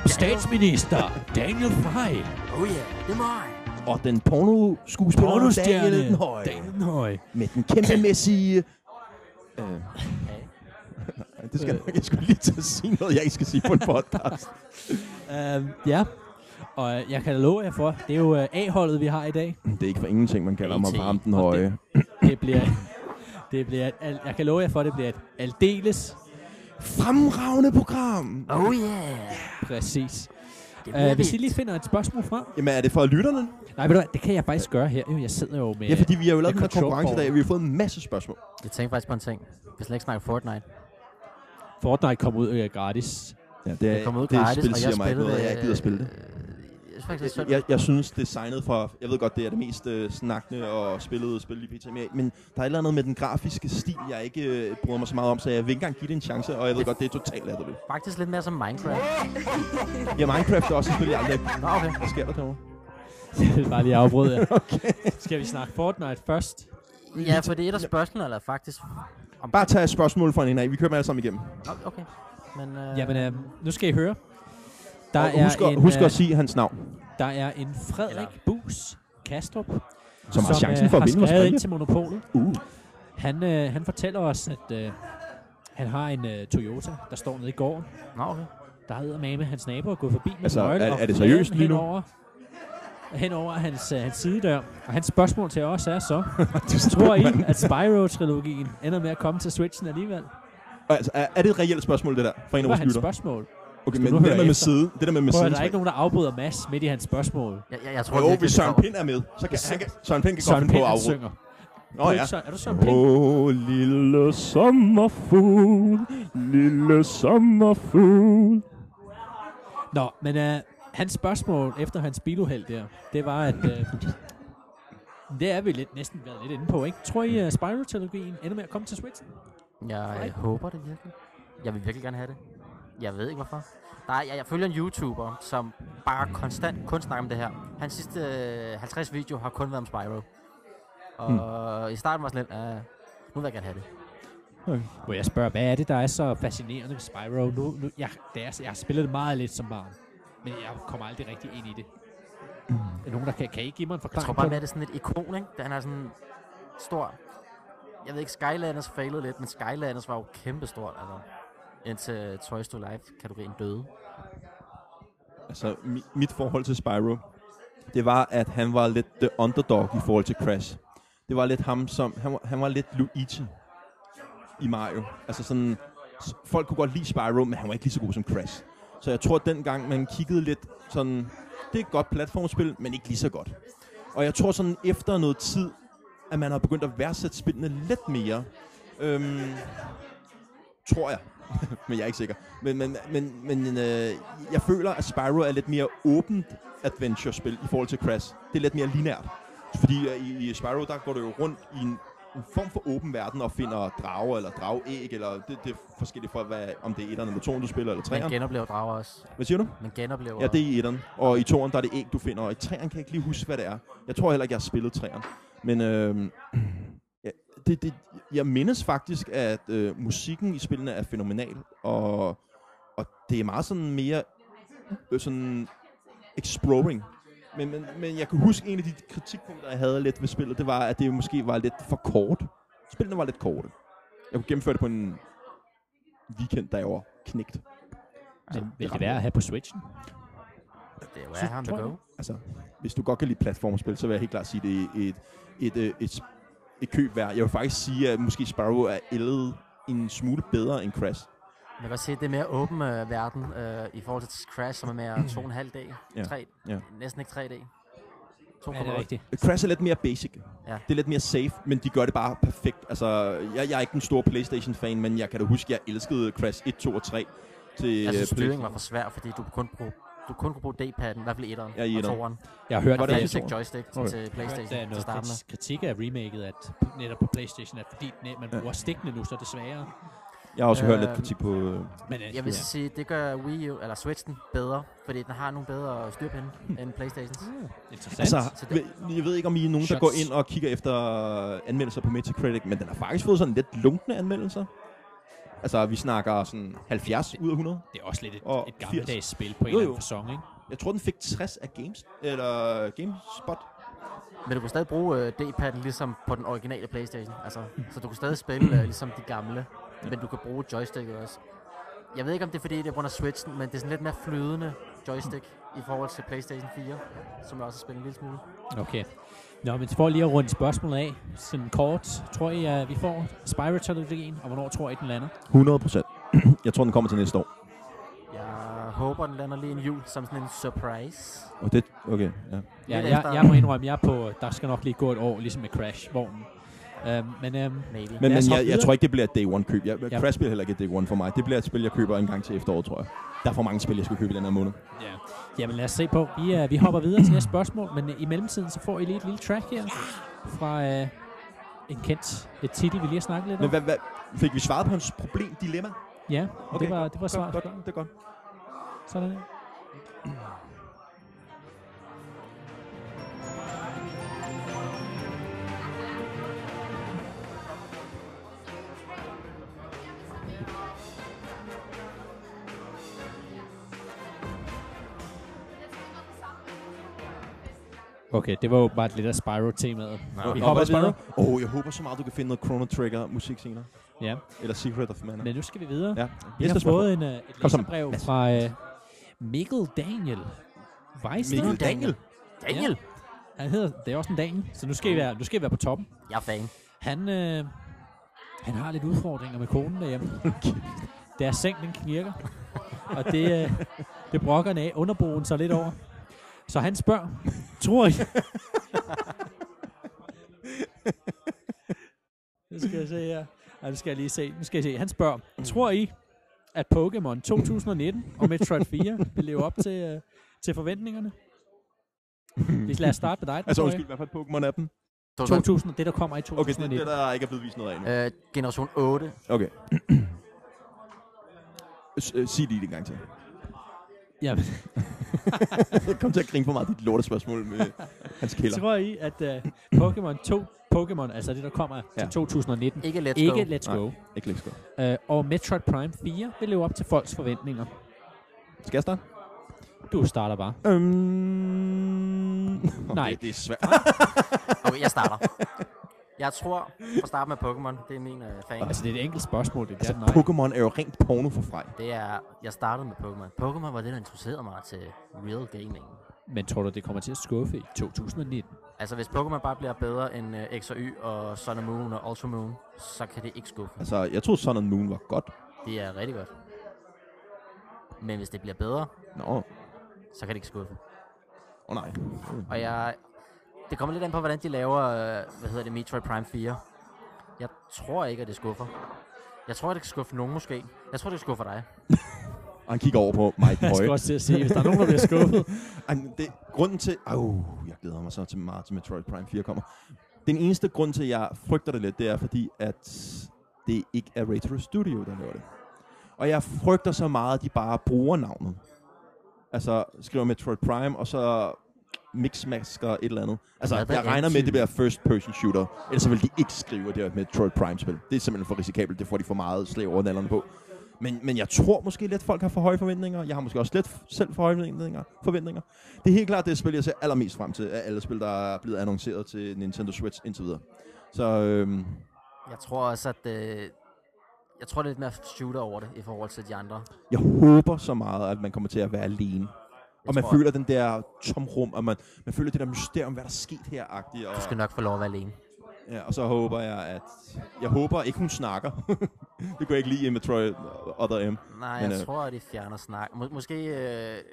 statsminister Daniel Frey,
Oh yeah, det er mig.
Og den pornoskuespiller
pornostjerne
Daniel den Høje.
Daniel Høj.
Med den kæmpemæssige... Øh,
Ja.
det skal jeg nok, jeg skulle lige til at sige noget, jeg ikke skal sige på en
[laughs]
podcast.
Uh, ja, og øh, jeg kan da love jer for, det er jo øh, A-holdet, vi har i dag.
det er ikke for ingenting, man kalder mig
AT,
varm den
og
høje.
Det bliver, [laughs] det bliver, et al- jeg kan love jer for, det bliver et aldeles
Fremragende program!
Oh yeah!
præcis.
Det bliver
Uh, hvis I
vildt.
lige finder et spørgsmål frem.
Jamen, er det for lytterne?
Nej, ved du hvad, det kan jeg faktisk gøre her. jo. Jeg sidder jo med...
Ja, fordi vi har jo lavet
med
den her konkurrence i
control
dag, og vi har fået en masse spørgsmål.
Jeg tænkte faktisk på en ting. Vi skal slet ikke snakke Fortnite.
Fortnite kom ud øh, gratis.
Ja, det,
Det kom ud
det
gratis,
spil
og jeg
siger mig ikke
spillede
noget, og jeg ikke gider
øh,
at spille det.
Øh, jeg synes faktisk, det er
Jeg,
synd.
jeg, jeg synes, designet for, jeg ved godt, det er det mest øh, snakkende og spillede spil i PT, men jeg- men der er et eller andet med den grafiske stil, jeg ikke øh, bryder mig så meget om, så jeg vil ikke engang give det en chance, og jeg ved godt, det er totalt latterligt.
Faktisk lidt mere som Minecraft.
Ja, Minecraft er også et spil, jeg aldrig
Nå, okay.
Hvad sker der derovre?
Jeg vil [laughs] bare lige afbryde
[laughs]
jer. okay. Skal vi snakke Fortnite først?
Ja, for det er et af spørgsmålene, eller faktisk... Om
Bare tag et spørgsmål fra en af, vi kører dem alle sammen igennem.
Nå, Okay. Men, øh,
Jamen, øh, nu skal I høre. Der
og husk,
er
at-
en,
husk
øh,
at sige hans navn,
Der er en Frederik
Eller-
Bus Kastrup,
som har chancen
øh,
for at
har
vinde vores
skrevet ind
præmie.
til Monopolet.
Uh. [laughs]
Han, øh, han fortæller os, at øh, han har en øh, Toyota, der står nede i gården.
Nå, okay.
Der hedder mame hans nabo og gået forbi med
Altså,
en nøgle
er-
og
er det
flade
seriøst
den
lige nu?
Henover, henover hans, øh, hans sidedør. Og hans spørgsmål til os er
[laughs]
så, tror I, at Spyro-trilogien ender med at komme til Switchen alligevel? Det
Altså, er, er det et reelt spørgsmål, det der, fra en
var
af vores
hans
lytter?
spørgsmål.
Okay,
Skal
men
du
det
høre
der med med
efter?
side, det der med med
Prøv at
siden,
der er ikke nogen, der afbryder Mads midt i hans spørgsmål.
Jeg, jeg, jeg tror
Jo,
virkelig,
hvis
det
Søren
kommer.
Pind er med, så kan han, kan- Søren Pind kan godt
Søren
finde på
Pind,
at
han
afråde.
synger.
Nå ja.
Er du Søren Pind?
Åh, oh, lille sommerfugl, lille sommerfugl.
Nå, men øh, hans spørgsmål efter hans biluheld der, det var, at... Øh, [laughs] det er vi lidt, næsten været lidt inde på, ikke? Tror I, at Spyro-trilogien ender med at komme til Switch?
Jeg
Nej.
øh, håber det virkelig. Jeg vil virkelig gerne have det. Jeg ved ikke hvorfor. Nej, jeg, jeg følger en YouTuber, som bare konstant kun snakker om det her. Hans sidste øh, 50 video har kun været om Spyro. Og i starten var jeg sådan lidt, øh, nu vil jeg gerne have det.
Må jeg spørge, hvad er det, der er så fascinerende ved Spyro? Nu, nu, jeg, det er, jeg har spillet det meget lidt som barn, men jeg kommer aldrig rigtig ind i det. Er der nogen, der kan, kan I give mig en
Jeg tror
forklaring
bare,
på
mere,
det?
det er sådan et ikon, ikke? Da Han er sådan stor. Jeg ved ikke, Skylanders failede lidt, men Skylanders var jo kæmpestort, altså. Indtil Toys to Life-kategorien døde.
Altså, mi- mit forhold til Spyro, det var, at han var lidt the underdog i forhold til Crash. Det var lidt ham som, han var, han var lidt Luigi i Mario. Altså sådan, s- folk kunne godt lide Spyro, men han var ikke lige så god som Crash. Så jeg tror, at dengang man kiggede lidt sådan, det er et godt platformspil, men ikke lige så godt. Og jeg tror sådan efter noget tid, at man har begyndt at værdsætte spillene lidt mere. Øhm, tror jeg. [laughs] men jeg er ikke sikker. Men, men, men, men øh, jeg føler, at Spyro er lidt mere åbent adventure-spil i forhold til Crash. Det er lidt mere lineært. Fordi øh, i, i Spyro, der går du jo rundt i en, en form for åben verden og finder drager eller dragæg, eller det, det er forskelligt fra, hvad, om det er etteren eller toeren, du spiller, eller
Man
treeren.
genoplever drager også.
Hvad siger du?
Man genoplever...
Ja, det er i etteren. Og i toeren, der er det æg, du finder. Og i treeren kan jeg ikke lige huske, hvad det er. Jeg tror heller ikke, jeg har spillet treeren. Men øh, [clears throat] ja, det, det, jeg mindes faktisk, at øh, musikken i spillene er fænomenal. Og, og det er meget sådan mere øh, sådan exploring. Men, men, men jeg kan huske, en af de kritikpunkter, jeg havde lidt ved spillet, det var, at det måske var lidt for kort. Spillene var lidt korte. Jeg kunne gennemføre det på en weekend, da jeg var knægt.
Men vil det være at have på Switchen?
Det er jo where ham to
tror jeg
go.
det.
altså, hvis du godt kan lide platformspil, så vil jeg helt klart sige, det er et, et, øh, et, et, et køb værd. Jeg vil faktisk sige, at måske Sparrow er ældet en smule bedre end Crash.
Man kan godt se, at det er mere åben øh, verden øh, i forhold til Crash, som er
[clears throat]
mere to og en halv dag.
Ja,
Tre,
ja.
Næsten ikke tre dag.
Ja, det er rigtigt.
Crash er lidt mere basic.
Ja.
Det er lidt mere safe, men de gør det bare perfekt. Altså, jeg, jeg er ikke den store Playstation-fan, men jeg kan da huske, at jeg elskede Crash 1, 2 og 3. Til øh, Play-
Jeg synes, Altså, styringen var for svær, fordi du kun kunne du kun kunne bruge D-padden, i hvert fald i etteren
Ja, i
og
etteren.
toeren.
Jeg har hørt,
Var
Og
det
det
at-
også i
joystick
toeren?
joystick til,
Okay.
til
Der
Playstation
er
til
noget
starten.
krits- kritik af remaket, at p- netop på Playstation, at fordi net, man
Ja.
bruger stikkene nu, så er det sværere.
Jeg har også øh, hørt
Øh,
lidt kritik på... øh,
Men øh,
Jeg vil sige, det gør Wii U, eller Switchen bedre, fordi den har nogle bedre styrpinde end Playstations.
Ah. interessant.
Altså,
Så det-
ved- jeg ved ikke, om I er nogen, der
Shots.
går ind og kigger efter øh, anmeldelser på Metacritic, men den har faktisk fået sådan lidt lunkende anmeldelser. Altså, vi snakker sådan 70 ud af 100.
det er også lidt et,
og
et gammeldags spil på en
Jo,
eller anden
jo.
fasong, ikke?
Jeg tror, den fik 60 af Games, eller GameSpot.
Men du kan stadig bruge øh, D-padden ligesom på den originale Playstation, altså, så du kan stadig spille øh, ligesom de gamle. Men du kan bruge joysticket også. Jeg ved ikke, om det er fordi, det er på grund af Switchen, men det er sådan lidt mere flydende joystick i forhold til PlayStation 4, som jeg også har spillet en lille smule.
Okay. Nå, men for lige at runde spørgsmålet af, sådan kort, tror I, at vi får Spyro-trilogien, og hvornår tror I, den lander?
100 procent. [clears throat] jeg tror, den kommer til næste år.
Jeg håber, den lander lige en jul som sådan en surprise.
Og det, okay, ja.
Ja,
Lidt
jeg,
efter.
jeg må indrømme, jeg er på, der skal nok lige gå et år, ligesom med Crash-vognen. Øhm, men øhm,
Maybe.
Men,
Lad
men
os hoppe
jeg, jeg
videre.
tror ikke, det bliver et day one køb. Jeg,
Ja.
Crash bliver heller ikke et day one for mig. Det bliver et spil, jeg køber en gang til efteråret, tror jeg. Der er for mange spil, jeg skal købe i den her måned.
ja. jamen lad os se på. Vi, øh, vi hopper videre til næste spørgsmål, men øh, i mellemtiden så får I lige et lille track her fra øh, en kendt et titel, vi lige har snakket lidt
Men
om.
hvad, hvad, fik vi svaret på hans problem, dilemma?
Ja,
Okay,
det var, det var
Godt,
svaret.
godt, det er godt.
Sådan der. Okay, det var jo bare lidt af Spyro-temaet.
Nå,
vi
nå,
hopper
hvad
videre.
videre. Åh, oh, jeg håber så meget, du kan finde noget Chrono Trigger musik senere.
Ja,
Eller Secret of Mana.
men nu skal vi videre.
Ja.
Vi har fået en, uh, et
Kom så,
læserbrev
Mads.
fra uh, Mikkel Daniel Weisner.
Mikkel Daniel.
Daniel! Ja.
Han hedder, det er også en Daniel, så nu skal I være, nu skal I være på toppen.
Jeg er fan.
Han, øh, han har lidt udfordringer med konen derhjemme. Deres seng, den knirker. Og det, øh, det brokker han af underboen så lidt over. Så han spørger, tror I... nu skal jeg se her. Ej, nu skal jeg lige se. Nu skal jeg se. Han spørger, tror I, at Pokémon 2019 og Metroid 4 vil leve op til, øh, til forventningerne? Hvis lad os starte med dig.
[laughs] Altså
Troy.
undskyld, hvad for et Pokémon-appen?
2000, det der kommer i
Okay, det, er
2019.
det der ikke er blevet vist noget af endnu.
Øh, generation 8.
Okay. [clears throat] S- øh, Sig lige det en gang til.
Jamen,
Kom til at grine for meget dit lortespørgsmål [laughs] med hans kælder.
[laughs] tror I, at uh, Pokémon 2, Pokémon, altså det der kommer ja.
Ja.
til 2019,
Ikke let's
ikke
go.
Let's Go,
Ikke længst godt.
uh, og Metroid Prime 4 vil leve op til folks forventninger.
Skal jeg starte?
Du starter bare.
Øhm... Okay,
Nej.
Det er svært.
Okay, jeg starter. Jeg tror, for at starte med Pokémon, det er min øh, fan.
Altså det er et enkelt spørgsmål, det der.
Altså,
Altså, nej.
Pokémon er jo rent porno for frej.
Det er, jeg startede med Pokémon. Pokémon var det, der interesserede mig til real gaming.
Men tror du, det kommer til at skuffe i 2019?
Altså, hvis Pokémon bare bliver bedre end øh, X og Y og Sun and Moon og Ultra Moon, så kan det ikke skuffe.
Altså, jeg troede Sun and Moon var godt.
Det er rigtig godt. Men hvis det bliver bedre,
Nå, åh
så kan det ikke skuffe.
oh, nej.
Og jeg... Det kommer lidt an på, hvordan de laver, øh, hvad hedder det, Metroid Prime 4. Jeg tror ikke, at det skuffer. Jeg tror, at det kan skuffe nogen måske. Jeg tror, det skuffer dig.
Og [laughs] han kigger over på mig
Jeg skal
Høje.
også til at sige, hvis der er nogen, der bliver skuffet.
Ej, men det, grunden til... Au, jeg glæder mig så til marts, Metroid Prime 4 kommer. Den eneste grund til, at jeg frygter det lidt, det er fordi, at det ikke er Retro Studio, der laver det. Og jeg frygter så meget, at de bare bruger navnet. Altså, skriver Metroid Prime, og så mixmasker et eller andet. Altså,
Hvad er
jeg regner med, at
antydet?
det bliver first person shooter. Ellers så vil de ikke skrive, at det er et Metroid Prime-spil. Det er simpelthen for risikabelt. Det får de for meget slag over nallerne på. Men, men jeg tror måske lidt, folk har for høje forventninger. Jeg har måske også lidt f- selv for høje forventninger. forventninger. Det er helt klart det spil, jeg ser allermest frem til af alle spil, der er blevet annonceret til Nintendo Switch indtil videre. Så øhm,
Jeg tror også, at... Øh, jeg tror, det er lidt mere shooter over det, i forhold til de andre.
jeg håber så meget, at man kommer til at være alene. Og man
tror-
føler den der tomrum, og man, man føler det der mysterium, hvad der er sket her-agtigt. Og,
Du skal nok få lov at være alene.
ja, og så håber jeg, at... Jeg håber ikke, hun snakker. [laughs] det kunne jeg ikke lide i Metroid Other M.
Nej,
Men,
jeg
øh,
tror, at de fjerner snak. Må- måske øh, lidt
ikke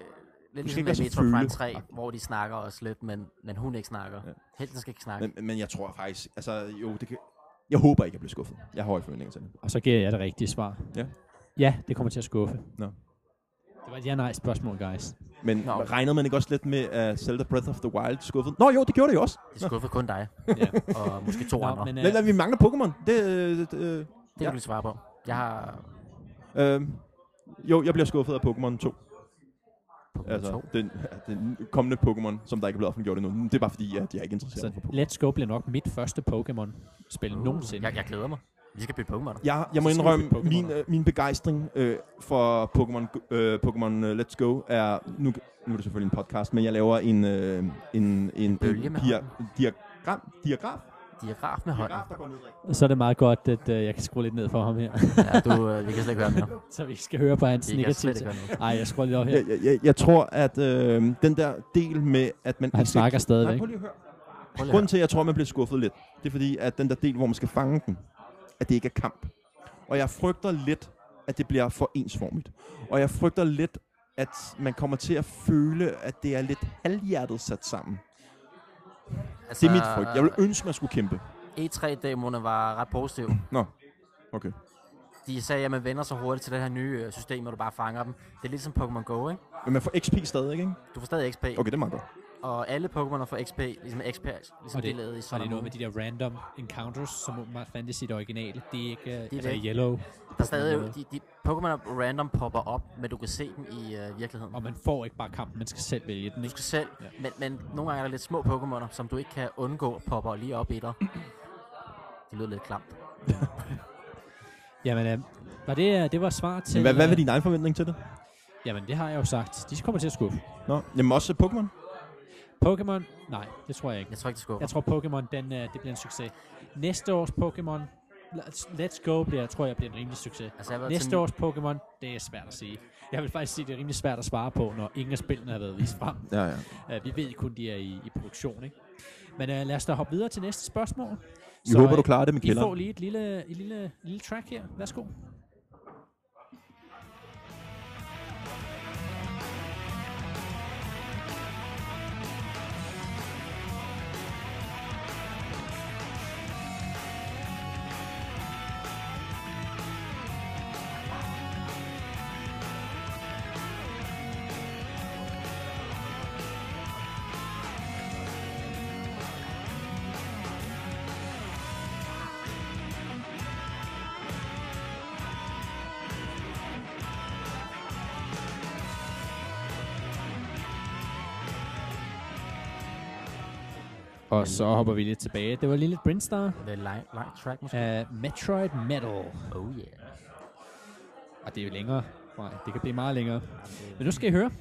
ligesom med
være så
Metroid Prime
føle-
3, hvor de snakker også lidt, men, men hun ikke snakker. Ja. Helten skal ikke snakke.
Men, men jeg tror faktisk... Altså, jo, det kan... Jeg håber ikke, jeg bliver skuffet. Jeg har høje forventninger til det.
Og så giver jeg det rigtige svar.
Ja.
Ja, det kommer til at skuffe.
Nå.
Det var et ja-nej spørgsmål, guys.
Men
Nå.
no. regnede man ikke også lidt med, at Zelda Breath of the Wild skuffede? Nå jo, det gjorde det jo også.
Det skuffer kun [laughs] dig,
Ja.
og måske to andre.
men,
Ja.
øh,
Lad, lad, vi mangler Pokémon. Det, øh, det, øh,
Det kan du svare på. Jeg har
øh, jo, jeg bliver skuffet af Pokémon 2.
Pokémon
Altså,
2.
den, [laughs] ja, den kommende Pokémon, som der ikke er blevet offentliggjort endnu. Det er bare fordi, at jeg er ikke interesseret
så
for Pokémon.
Let's Go bliver nok mit første Pokémon-spil
Uh,
nogensinde.
Jeg, jeg glæder mig. Vi skal bytte Pokémon.
Jeg, jeg må
Så skal
indrømme,
vi bytte Pokémon.
min, øh, min begejstring øh, for Pokémon øh, Pokémon øh, Let's Go er... Nu, nu er det selvfølgelig en podcast, men jeg laver en, øh, en, en,
bølge med
dia,
hånden.
diagram, diagraf
giraf med hånden.
der går nedad.
Så er det meget godt, at øh, jeg kan skrue lidt ned for ham her, [laughs]
Ja, du, øh, vi kan slet ikke
[laughs]
høre mere.
så vi ikke skal høre på hans
Vi kan slet
negative.
ikke høre mere.
Nej, jeg skruer lidt op her.
Jeg, jeg, jeg, jeg tror, at øh, den der del med, at man...
Han
ikke skal-
snakker
Nej,
stadigvæk.
prøv lige at høre.
Prøv lige
Grunden
at
til, at jeg tror, man bliver skuffet lidt, det er fordi, at den der del, hvor man skal fange den, at det ikke er kamp. Og jeg frygter lidt, at det bliver for ensformigt. Og jeg frygter lidt, at man kommer til at føle, at det er lidt halvhjertet sat sammen.
høre. altså,
Det er mit
Ah.
frygt. Jeg ville ønske, man skulle kæmpe.
E E3-demoerne var ret positive.
Nå, okay.
De sagde, at man vender sig hurtigt til det her nye øh, system, og du bare fanger dem. Det er lidt som Pokémon Go, ikke?
Men man får XP stadig, ikke?
Du får stadig XP, okay.
Okay, det er meget godt.
og alle Pokémoner får XP, ligesom XP, ligesom
Og
det,
det,
de lavede
og
i
det
Sun
er
and
noget med
Moon.
de der random encounters, som åbenbart fandtes i det originale. Det er ikke øh,
er
altså,
det.
yellow.
Der er stadig, de, de Pokémoner random popper op, men du kan se dem i øh, virkeligheden.
Og man får ikke bare kampen, man skal selv vælge den.
Du
Ikke?
skal selv,
Ja.
ja. men, men nogle gange er der lidt små Pokémoner, som du ikke kan undgå popper lige op i dig. Det lyder lidt klamt.
Jamen, øh, var det, øh, det var svar til...
Men hvad, hvad var
øh,
din egen forventning til det?
Jamen, det har jeg jo sagt. De kommer til at skuffe.
Nå, jamen også Pokémon.
Pokémon? Nej, det tror jeg ikke.
Jeg tror ikke, det skuffer.
Jeg tror, Pokémon, den, øh, det bliver en succes. Næste års Pokémon, Let's- Let's Go, bliver, tror jeg, bliver en rimelig succes.
Altså, jeg har været
Næste
til-
års Pokémon, det er svært at sige. Jeg vil faktisk sige, det er rimelig svært at svare på, når ingen af spillene har været vist frem.
Ja, ja.
Uh, vi ved kun, de er i, i produktion, ikke? Men uh, lad os da hoppe videre til næste spørgsmål.
Vi håber, du
øh,
klarer det med
I får
kælderen.
lige et lille, et lille, lille track her. Værsgo. Og så hopper vi lidt tilbage. Det var lille Brinstar
Det er en lang, lang track, måske.
af Metroid Metal.
Oh yeah.
Og det er jo længere. Nej, det kan blive meget længere. Men nu skal I høre.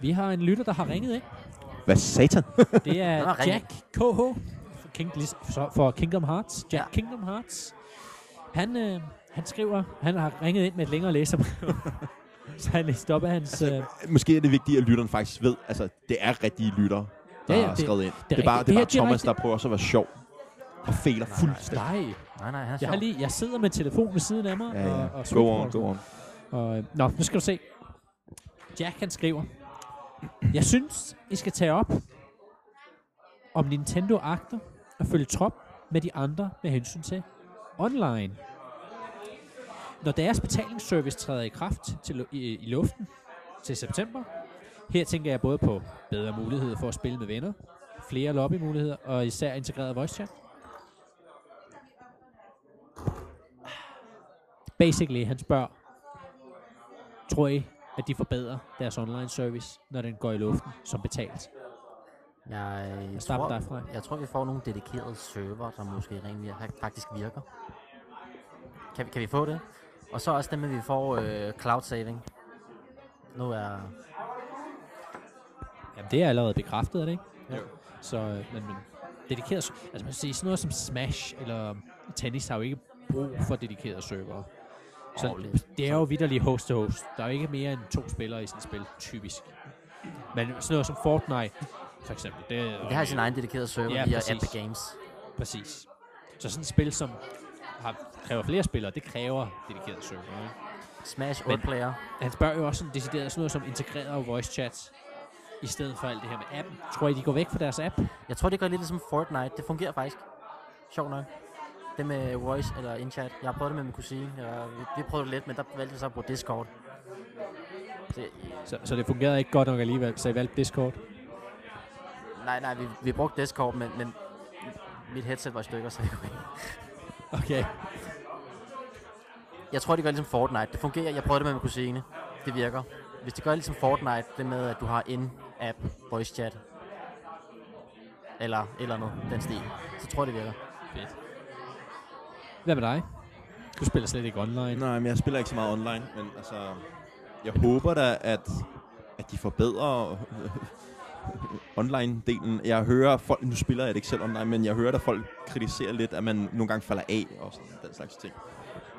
Vi har en lytter, der har ringet ind.
Hvad satan?
Det
Han
er
har ringet.
Jack KH for King, for- for Kingdom Hearts. Jack
Ja.
Kingdom Hearts. Han, øh, han skriver, han har ringet ind med et længere
[laughs]
læserbrev. så han læste op af hans... Øh,
Måske er det vigtigt, at lytteren faktisk ved, altså det er rigtige lyttere,
Ja,
der ja,
ja,
ja, har
det-
skrevet ind.
det er
Det, er bare,
rigtigt.
det er bare
Det her
Thomas,
direkte-
der prøver også at være sjov og fejler fuldstændig.
nej,
Nej, nej, han er
jeg
sjov.
har lige, jeg sidder med telefonen ved siden af mig.
Ja, ja.
Og, og
Go on, go on.
Og, øh, nå, nu skal du se. Jack han skriver, Jeg synes, I skal tage op, om Nintendo agter at følge trop med de andre med hensyn til online. Når deres betalingsservice træder i kraft til, lu- i, i luften til september, her tænker jeg både på bedre muligheder for at spille med venner, flere lobbymuligheder og især integreret voice chat. Basically, han spørger, tror I, at de forbedrer deres online service, når den går i luften som betalt?
Jeg,
Jeg starter
tror,
derfra.
jeg tror, vi får nogle dedikerede server, der måske rent vir- faktisk virker. Kan, vi- kan vi få det? Og så også det med, at vi får øh, cloud saving. Nu er...
Jamen, det er allerede bekræftet, er det ikke? Jo. Så, øh, men, men dedikeret, s- altså man kan sige, sådan noget som Smash eller tennis har jo ikke brug for dedikerede servere. Så
Åh,
det, det er jo vidderligt host to host. Der er jo ikke mere end to spillere i sådan et spil, typisk. Men sådan noget som Fortnite, for eksempel, det, er-
Det har sin egen dedikerede server
Ja,
ja, via
præcis.
Epic Games.
Præcis. Så sådan et spil, som har, kræver flere spillere, det kræver dedikerede servere. Ikke?
Smash
Men-
8 player.
Han spørger jo også om decideret sådan noget som integreret voice chat, i stedet for alt det her med appen. Tror I, de går væk fra deres app?
Jeg tror, det gør lidt ligesom Fortnite. Det fungerer faktisk. Sjovt nok. Det med voice eller inchat. Jeg har prøvet det med min kusine. Jeg, vi, vi prøvede det lidt, men der valgte jeg så at bruge Discord. Så,
Så, så det fungerede ikke godt nok alligevel, så I valgte Discord.
nej, nej, vi, vi brugte Discord, men, men mit headset var i stykker, så jeg kunne ikke.
Okay.
Jeg tror, det gør ligesom Fortnite. Det fungerer. Jeg prøvede det med min kusine. Det virker. Hvis det gør ligesom Fortnite, det med, at du har in-app voice chat, eller et eller andet, den stil, så tror jeg, det virker.
Fedt. Hvad med dig? Du spiller slet ikke online.
Nej, men jeg spiller ikke så meget online, men altså, jeg håber da, at, at de forbedrer [laughs] online-delen. Jeg hører folk, nu spiller jeg det ikke selv online, men jeg hører, at folk kritiserer lidt, at man nogle gange falder af og sådan, den slags ting.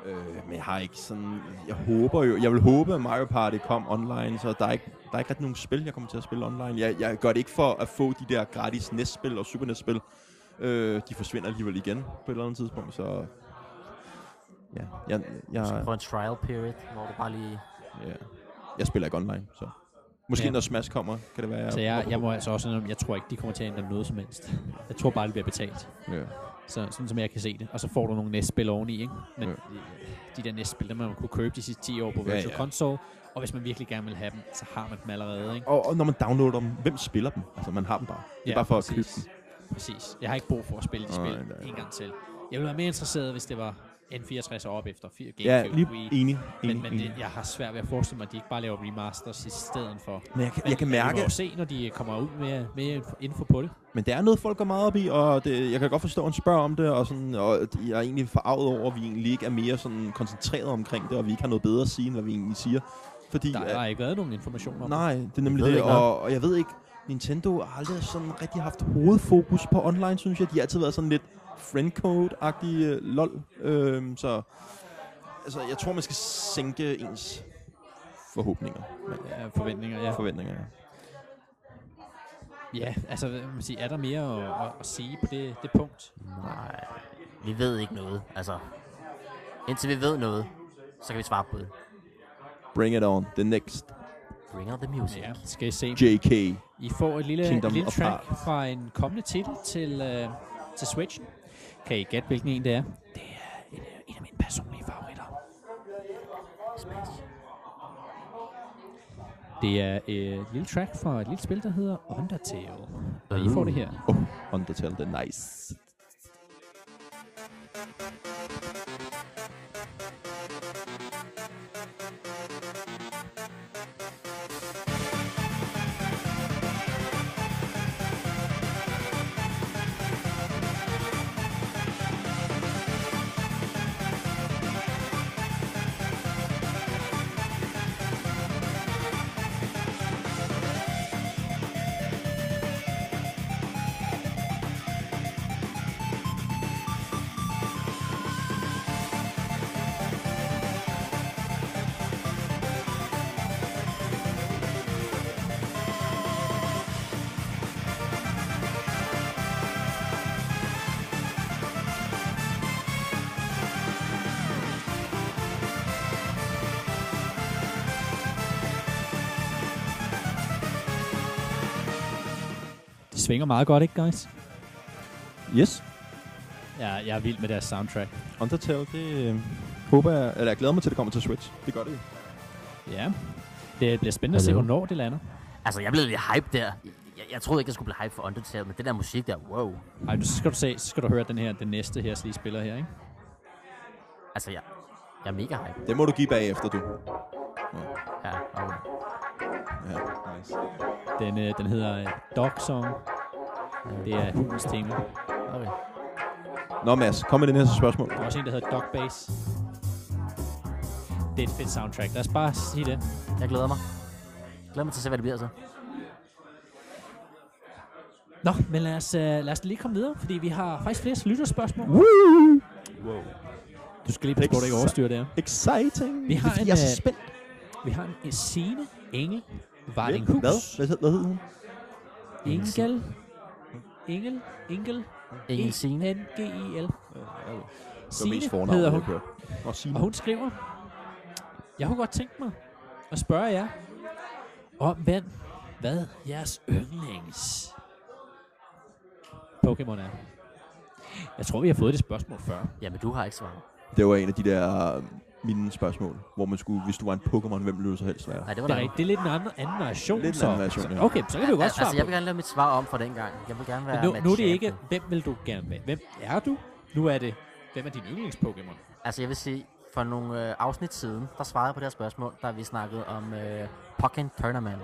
Øh, men jeg har ikke sådan... Jeg håber jo... Jeg vil håbe, at Mario Party kom online, så der er ikke, der er ikke rigtig nogen spil, jeg kommer til at spille online. Jeg, jeg gør det ikke for at få de der gratis NES-spil og Super NES-spil. Øh, de forsvinder alligevel igen på et eller andet tidspunkt, så... Ja, jeg,
Du skal
jeg,
prøve en trial period, hvor du bare lige...
ja. jeg spiller ikke online, så... Måske
Ja.
ja. når Smash kommer, kan det være...
Så jeg,
hopper
jeg
på.
må altså også indrømme, jeg tror ikke, de kommer til at ændre noget som helst. Jeg tror bare, det bliver betalt.
Ja.
Så, sådan som jeg kan se det. Og så får du nogle næstspil oveni, ikke? Men
Ja.
de der E næstspil, der man kunne købe de sidste 10 år på
Ja,
Virtual
ja.
Console. Og hvis man virkelig gerne vil have dem, så har man dem allerede, ikke?
Og, og når man downloader dem, hvem spiller dem? Altså, man har dem bare. Det er
Ja,
bare for at købe
præcis.
dem.
Præcis. Jeg har ikke brug for at spille de
Nej,
spil
nej, nej.
en gang til. Jeg ville være mere interesseret, hvis det var N64 og op efter 4 GameCube.
Ja, lige
Wii.
enig. enig,
Men, men
enig.
det, jeg har svært ved at forestille mig, at de ikke bare laver remasters i stedet for.
Men jeg kan,
Men
jeg kan
Vi
mærke,
må jo se, når de kommer ud med, med info- info på det.
men det er noget, folk går meget op i, og det, jeg kan godt forstå, at han spørger om det, og, sådan, og jeg er egentlig forarvet over, at vi egentlig ikke er mere sådan koncentreret omkring det, og vi ikke har noget bedre at sige, end hvad vi egentlig siger. Fordi,
Der
at-
har ikke været nogen information om det.
nej, det er nemlig
ved
det,
ikke noget.
og, og jeg ved ikke, Nintendo har aldrig sådan rigtig haft hovedfokus på online, synes jeg. De har altid været sådan lidt friendcode-agtige øh, lol, øhm, så altså, jeg tror, man skal sænke ens forhåbninger, men,
Ja, forventninger, ja.
forventninger. ja.
Ja, altså, hvad kan man sige, er der mere at, at, at sige på det, det punkt?
Nej, vi ved ikke noget. Altså, indtil vi ved noget, så kan vi svare på det.
Bring it on, the next
Bring out the music.
Ja, skal I se.
JK.
I får et lille,
Kingdom
et lille
of
track
Hearts.
fra en kommende titel til, øh, til Switchen. Kan I gætte, hvilken en det er? Det er en, øh, en af mine personlige favoritter. Det er øh, et lille track fra et lille spil, der hedder Undertale. Og I får det her.
Oh, Undertale, det er nice.
Det svinger meget godt, ikke guys?
Yes,
Ja, jeg er vild med deres soundtrack.
Undertale, det øh, håber jeg, eller jeg glæder mig til, at det kommer til Switch. Det gør det jo.
Ja. Det bliver spændende at se,
Hallo.
hvornår det lander.
Altså, jeg blev lidt hype der. Jeg, jeg troede ikke, jeg skulle blive hype for Undertale, men det der musik der, wow.
Ej, du- så skal du se, så skal du høre den her, den næste her, som lige spiller her, ikke?
Altså, jeg, jeg er mega hype.
Det må du give bagefter, du.
Ja, og
Ja, nice.
Den, øh, den hedder øh, Dog Song. Det er hundens tema. Der
okay.
Nå Mads, kom med det næste spørgsmål.
er også en, der hedder Dog Bass. Det er et fedt soundtrack. Lad os bare sige det.
Jeg glæder mig. Jeg glæder mig til at se, hvad det bliver så.
Nå, men lad os, øh, lad os lige komme videre, fordi vi har faktisk flere lytterspørgsmål. Du skal lige passe på, at du ikke overstyrer det her.
Exciting.
Vi har
Det er fordi,
en,
jeg er så
øh,
spændt.
Vi har en en Signe Engel
Hvad? Hvad,
Vardinghus.
hed- hvad
Øh,
hed hun?
Engel. Engel. Engel. E
Ingen scene.
E-N-G-E-L.
var
Signe
mest
hedder
fornavnet,
hun.
jeg hørte. Og Signe.
Og hun skriver, jeg kunne godt tænke mig at spørge jer om, hvem, hvad jeres yndlings Pokémon er. Jeg tror, vi har fået det spørgsmål før.
Jamen, du har ikke svaret.
Det var en af de der øh, mine spørgsmål, hvor man skulle, hvis du var en Pokémon, hvem ville du så helst være?
Nej, det var
Det er,
der.
rigtigt, det er lidt en anden, anden variation.
Lidt en
så.
anden variation, ja.
så, Okay, så kan vi jo godt svare
Altså, jeg
på
vil gerne lave mit svar om for dengang. Jeg vil gerne være
det. nu, nu er det
matchet.
ikke, hvem vil du gerne være? Hvem er du? Nu er det, hvem er din yndlings-Pokémon?
Altså, jeg vil sige, for nogle øh, afsnit siden, der svarede jeg på det her spørgsmål, da vi snakkede om øh, Pokken Tournament.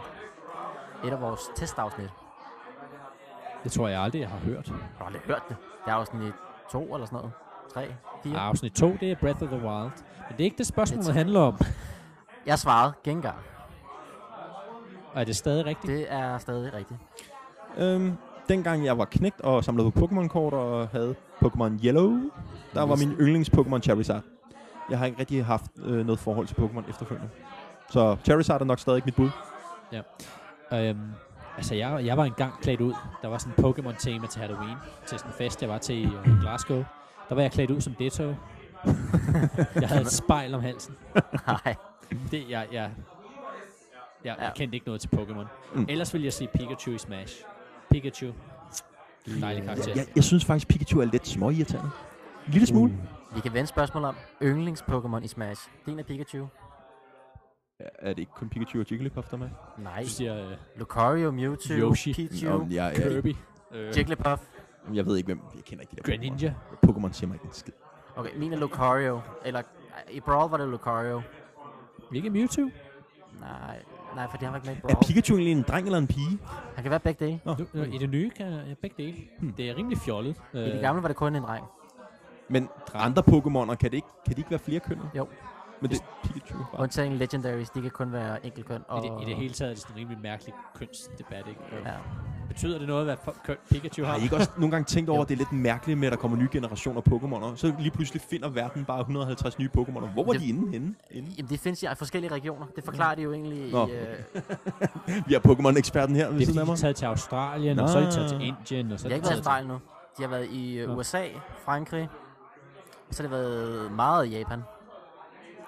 Et af vores testafsnit.
Det tror jeg aldrig, jeg har hørt.
Jeg har aldrig hørt det. Det er afsnit 2 eller sådan noget. 3, 4.
Ja. Afsnit 2, det er Breath of the Wild. Men det er ikke det, spørgsmålet
Det
handler om.
Jeg svarede Gengar.
Og er det stadig rigtigt?
Det er stadig rigtigt.
Øhm, dengang jeg var knægt og samlede på Pokémon-kort og havde Pokémon Yellow, der var min yndlings-Pokémon Charizard. Jeg har ikke rigtig haft øh, noget forhold til Pokémon efterfølgende. Så Charizard er nok stadig mit bud.
Øhm, altså, jeg, jeg var engang klædt ud. Der var sådan en Pokémon-tema til Halloween, til sådan en fest, jeg var til i øh, Glasgow. Der var jeg klædt ud som
[laughs]
Ditto. jeg havde et spejl om halsen.
[laughs] Nej.
Det, jeg, jeg, jeg,
Ja.
jeg kendte ikke noget til Pokémon.
Mm.
Mm. Ellers ville jeg sige Pikachu i Smash. Pikachu. Dejlig karakter.
Jeg, jeg, jeg synes faktisk, Pikachu er lidt småirriterende. En lille smule. Mm.
Vi kan vende spørgsmål om yndlings-Pokémon i Smash. Din er Pikachu?
Er det ikke kun Pikachu og Jigglypuff, der er med?
Nej.
Du siger øh,
Lucario, Mewtwo,
Yoshi.
Pichu,
Nå, jeg, jeg,
Kirby. Øh,
Jigglypuff.
jeg ved ikke, hvem... Jeg kender ikke de der
Greninja.
Pokémon. Pokémon siger mig ikke en skid.
Okay, min er Lucario. Eller øh, i Brawl var det Lucario.
Hvilke Mewtwo?
Nej, nej, for det har jeg ikke med i
Er
Brawl.
Pikachu egentlig en dreng eller en pige?
Han kan være begge dele.
Nå.
Du, øh, I det nye kan jeg begge dele. Hmm. Det er rimelig fjollet. øh,
I det gamle var det kun en dreng.
Men andre Pokémoner, kan, det ikke, kan de ikke være flere køn?
Jo.
Men det er Pikachu. Bare.
Undtagen Legendaries, de kan kun være enkeltkøn.
I
Og...
det, I det hele taget er det sådan en rimelig mærkelig kønsdebat, ikke? Ja.
Ja.
Betyder det noget, hvad for- køn Pikachu har?
Har I ikke også nogle gange
[laughs]
tænkt over, at det er lidt mærkeligt med, at der kommer nye generationer af Pokémoner? Så lige pludselig finder verden bare 150 nye Pokémoner. Hvor var
Det-
de inde henne? Inde?
Jamen, det findes i forskellige regioner. Det forklarer de jo egentlig
Nå.
i... Øh...
Vi har Pokémon-eksperten her ved
Det er
siden
fordi, de
af mig.
er taget til Australien, og så er de taget til
Nå.
Indien, og så
De
er de
har ikke været
taget
i
til...
Australien nu. De har været i øh,
Nå.
USA, Frankrig. Og så har det været meget i Japan.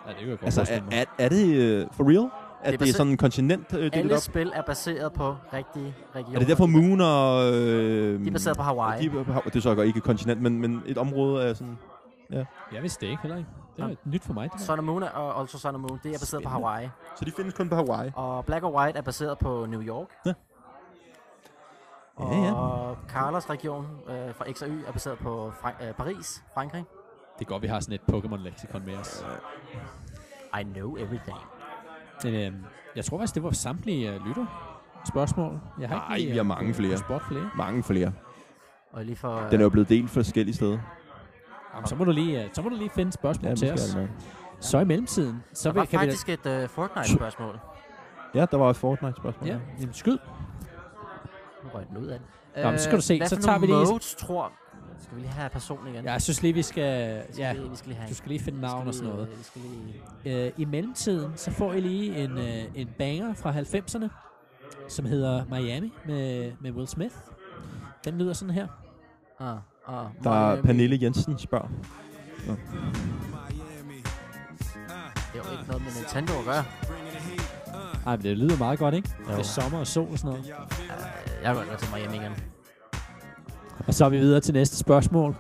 Ja, det kan jeg godt
Altså,
forestille mig.
er, er, er det øh, for real? At
er
det er
baseret-
sådan en kontinent, øh, delt
Alle
op?
spil er baseret på rigtige regioner.
Er det derfor Moon og... Øh,
De er baseret på Hawaii.
De er på Hav- det er så ikke et kontinent, men, men et område af sådan...
Jeg vidste det ikke heller ikke. Det
Nå.
var nyt for mig. Det der.
Sun and Moon og Ultra Sun and Moon, det er baseret på
Spændende.
Hawaii.
Så de findes kun på Hawaii.
Og Black og White er baseret på New York.
Ja.
Og
Ja, ja.
Carlos region øh, fra X og Y er baseret på Frank- øh, Paris, Frankrig.
Det er godt, vi har sådan et Pokémon-leksikon med os.
I know everything.
Men, øhm, jeg tror faktisk, det var samtlige øh, lytter spørgsmål. Jeg har
Nej,
ikke lige,
vi har mange flere.
Spot flere.
Mange flere.
Og lige for...
Den er jo blevet delt forskellige steder.
Jamen, så, må du lige, øh, så må du lige finde spørgsmål ja, til
måske
os.
er det
Så i mellemtiden, så
der var
vil, kan vi...
faktisk et øh, Fortnite-spørgsmål.
nok. Ja, der var et Fortnite-spørgsmål.
Ja, jamen, skyd.
Nu røg den ud af den. Øh,
Nå, men så skal du se,
hvad
så
for
tager vi
nogle
lige-
modes, tror... Skal vi lige have personen igen?
Ja, jeg synes lige, vi skal...
Vi skal,
Ja,
lige, vi skal lige have
du
en.
skal lige finde
Vi skal
navn og sådan
lige,
noget.
øh, Vi skal lige...
Øh, I mellemtiden, så får I lige en, øh, en banger fra 90'erne, som hedder Miami med, med Will Smith. Den lyder sådan her.
Ah, ah,
Der er Pernille Jensen spørger.
Det er jo ikke noget med Nintendo at gøre.
Ej, men det lyder meget godt, ikke?
Jo.
Det er sommer og sol og sådan noget.
Jeg vil godt til Miami igen.
Og så er vi videre til næste spørgsmål.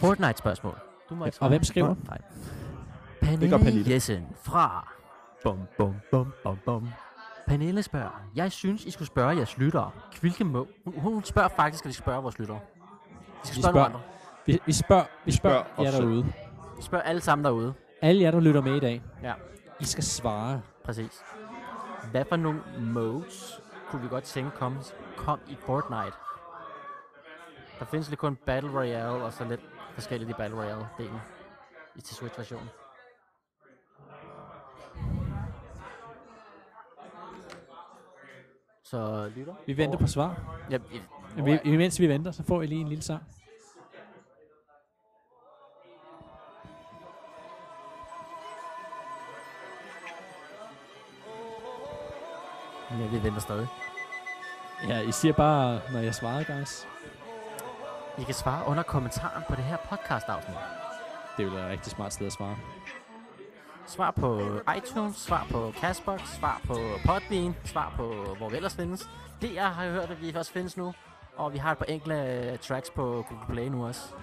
Fortnite-spørgsmål. Du må ikke
Og
svare.
hvem skriver?
Nej.
gør
Pernille
Pernille.
Jessen fra... Bum, bum, bum, bum, bum. Pernille spørger, jeg synes, I skulle spørge jeres lyttere. Hvilke må... Hun, hun spørger faktisk, at vi skal spørge vores lyttere. Vi skal
Vi
spørge nogle
spørger-
andre.
Vi, vi spørger, vi spørger,
spørger
spørger jer
os selv.
derude.
Vi spørger alle sammen derude.
Alle jer, der lytter med i dag.
Ja.
I skal svare.
Præcis. Hvad for nogle modes kunne vi godt tænke kom, kom i Fortnite? Der findes lidt kun Battle Royale, og så lidt forskelligt i Battle Royale-delen. I til Switch-versionen. Så lytter.
Vi venter på svar.
Ja, i,
Vi, imens vi venter, så får I lige en lille sang.
ja, vi venter stadig.
Ja, I siger bare, når jeg svarer, guys.
I kan svare under kommentaren på det her podcast-afsnit.
Det ville være et rigtig smart sted at svare.
Svar på iTunes, svar på Castbox, svar på Podbean, svar på hvor vi ellers findes. DR har jeg hørt, at vi først findes nu, og vi har et par enkle øh, tracks på Google Play nu også.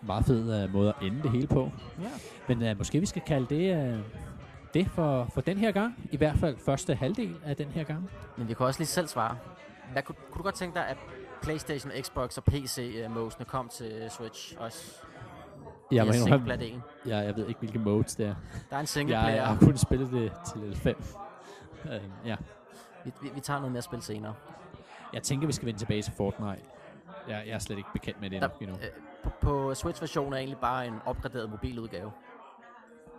Meget fed uh, måde at ende det hele på.
Ja.
Men uh, måske vi skal kalde det uh, det for, for den her gang. I hvert fald første halvdel af den her gang.
Men vi kan også lige selv svare. Hvad, kunne, kunne du godt tænke dig, at Playstation, Xbox og PC øh, modesene kom til Switch også?
Jeg, må
Via
indrømme,
singleplayer-delen.
jeg, jeg ved ikke, hvilke modes det er.
Der
Jeg,
er en
jeg
singleplayer.
har kun spillet det til level 5. uh, ja.
Vi, vi, vi tager noget mere spil senere.
Jeg tænker, vi skal vende tilbage til Fortnite. Jeg, jeg er slet ikke bekendt med det
Der,
endnu. endnu.
øh, på, på Switch-versionen er egentlig bare en opgraderet mobiludgave.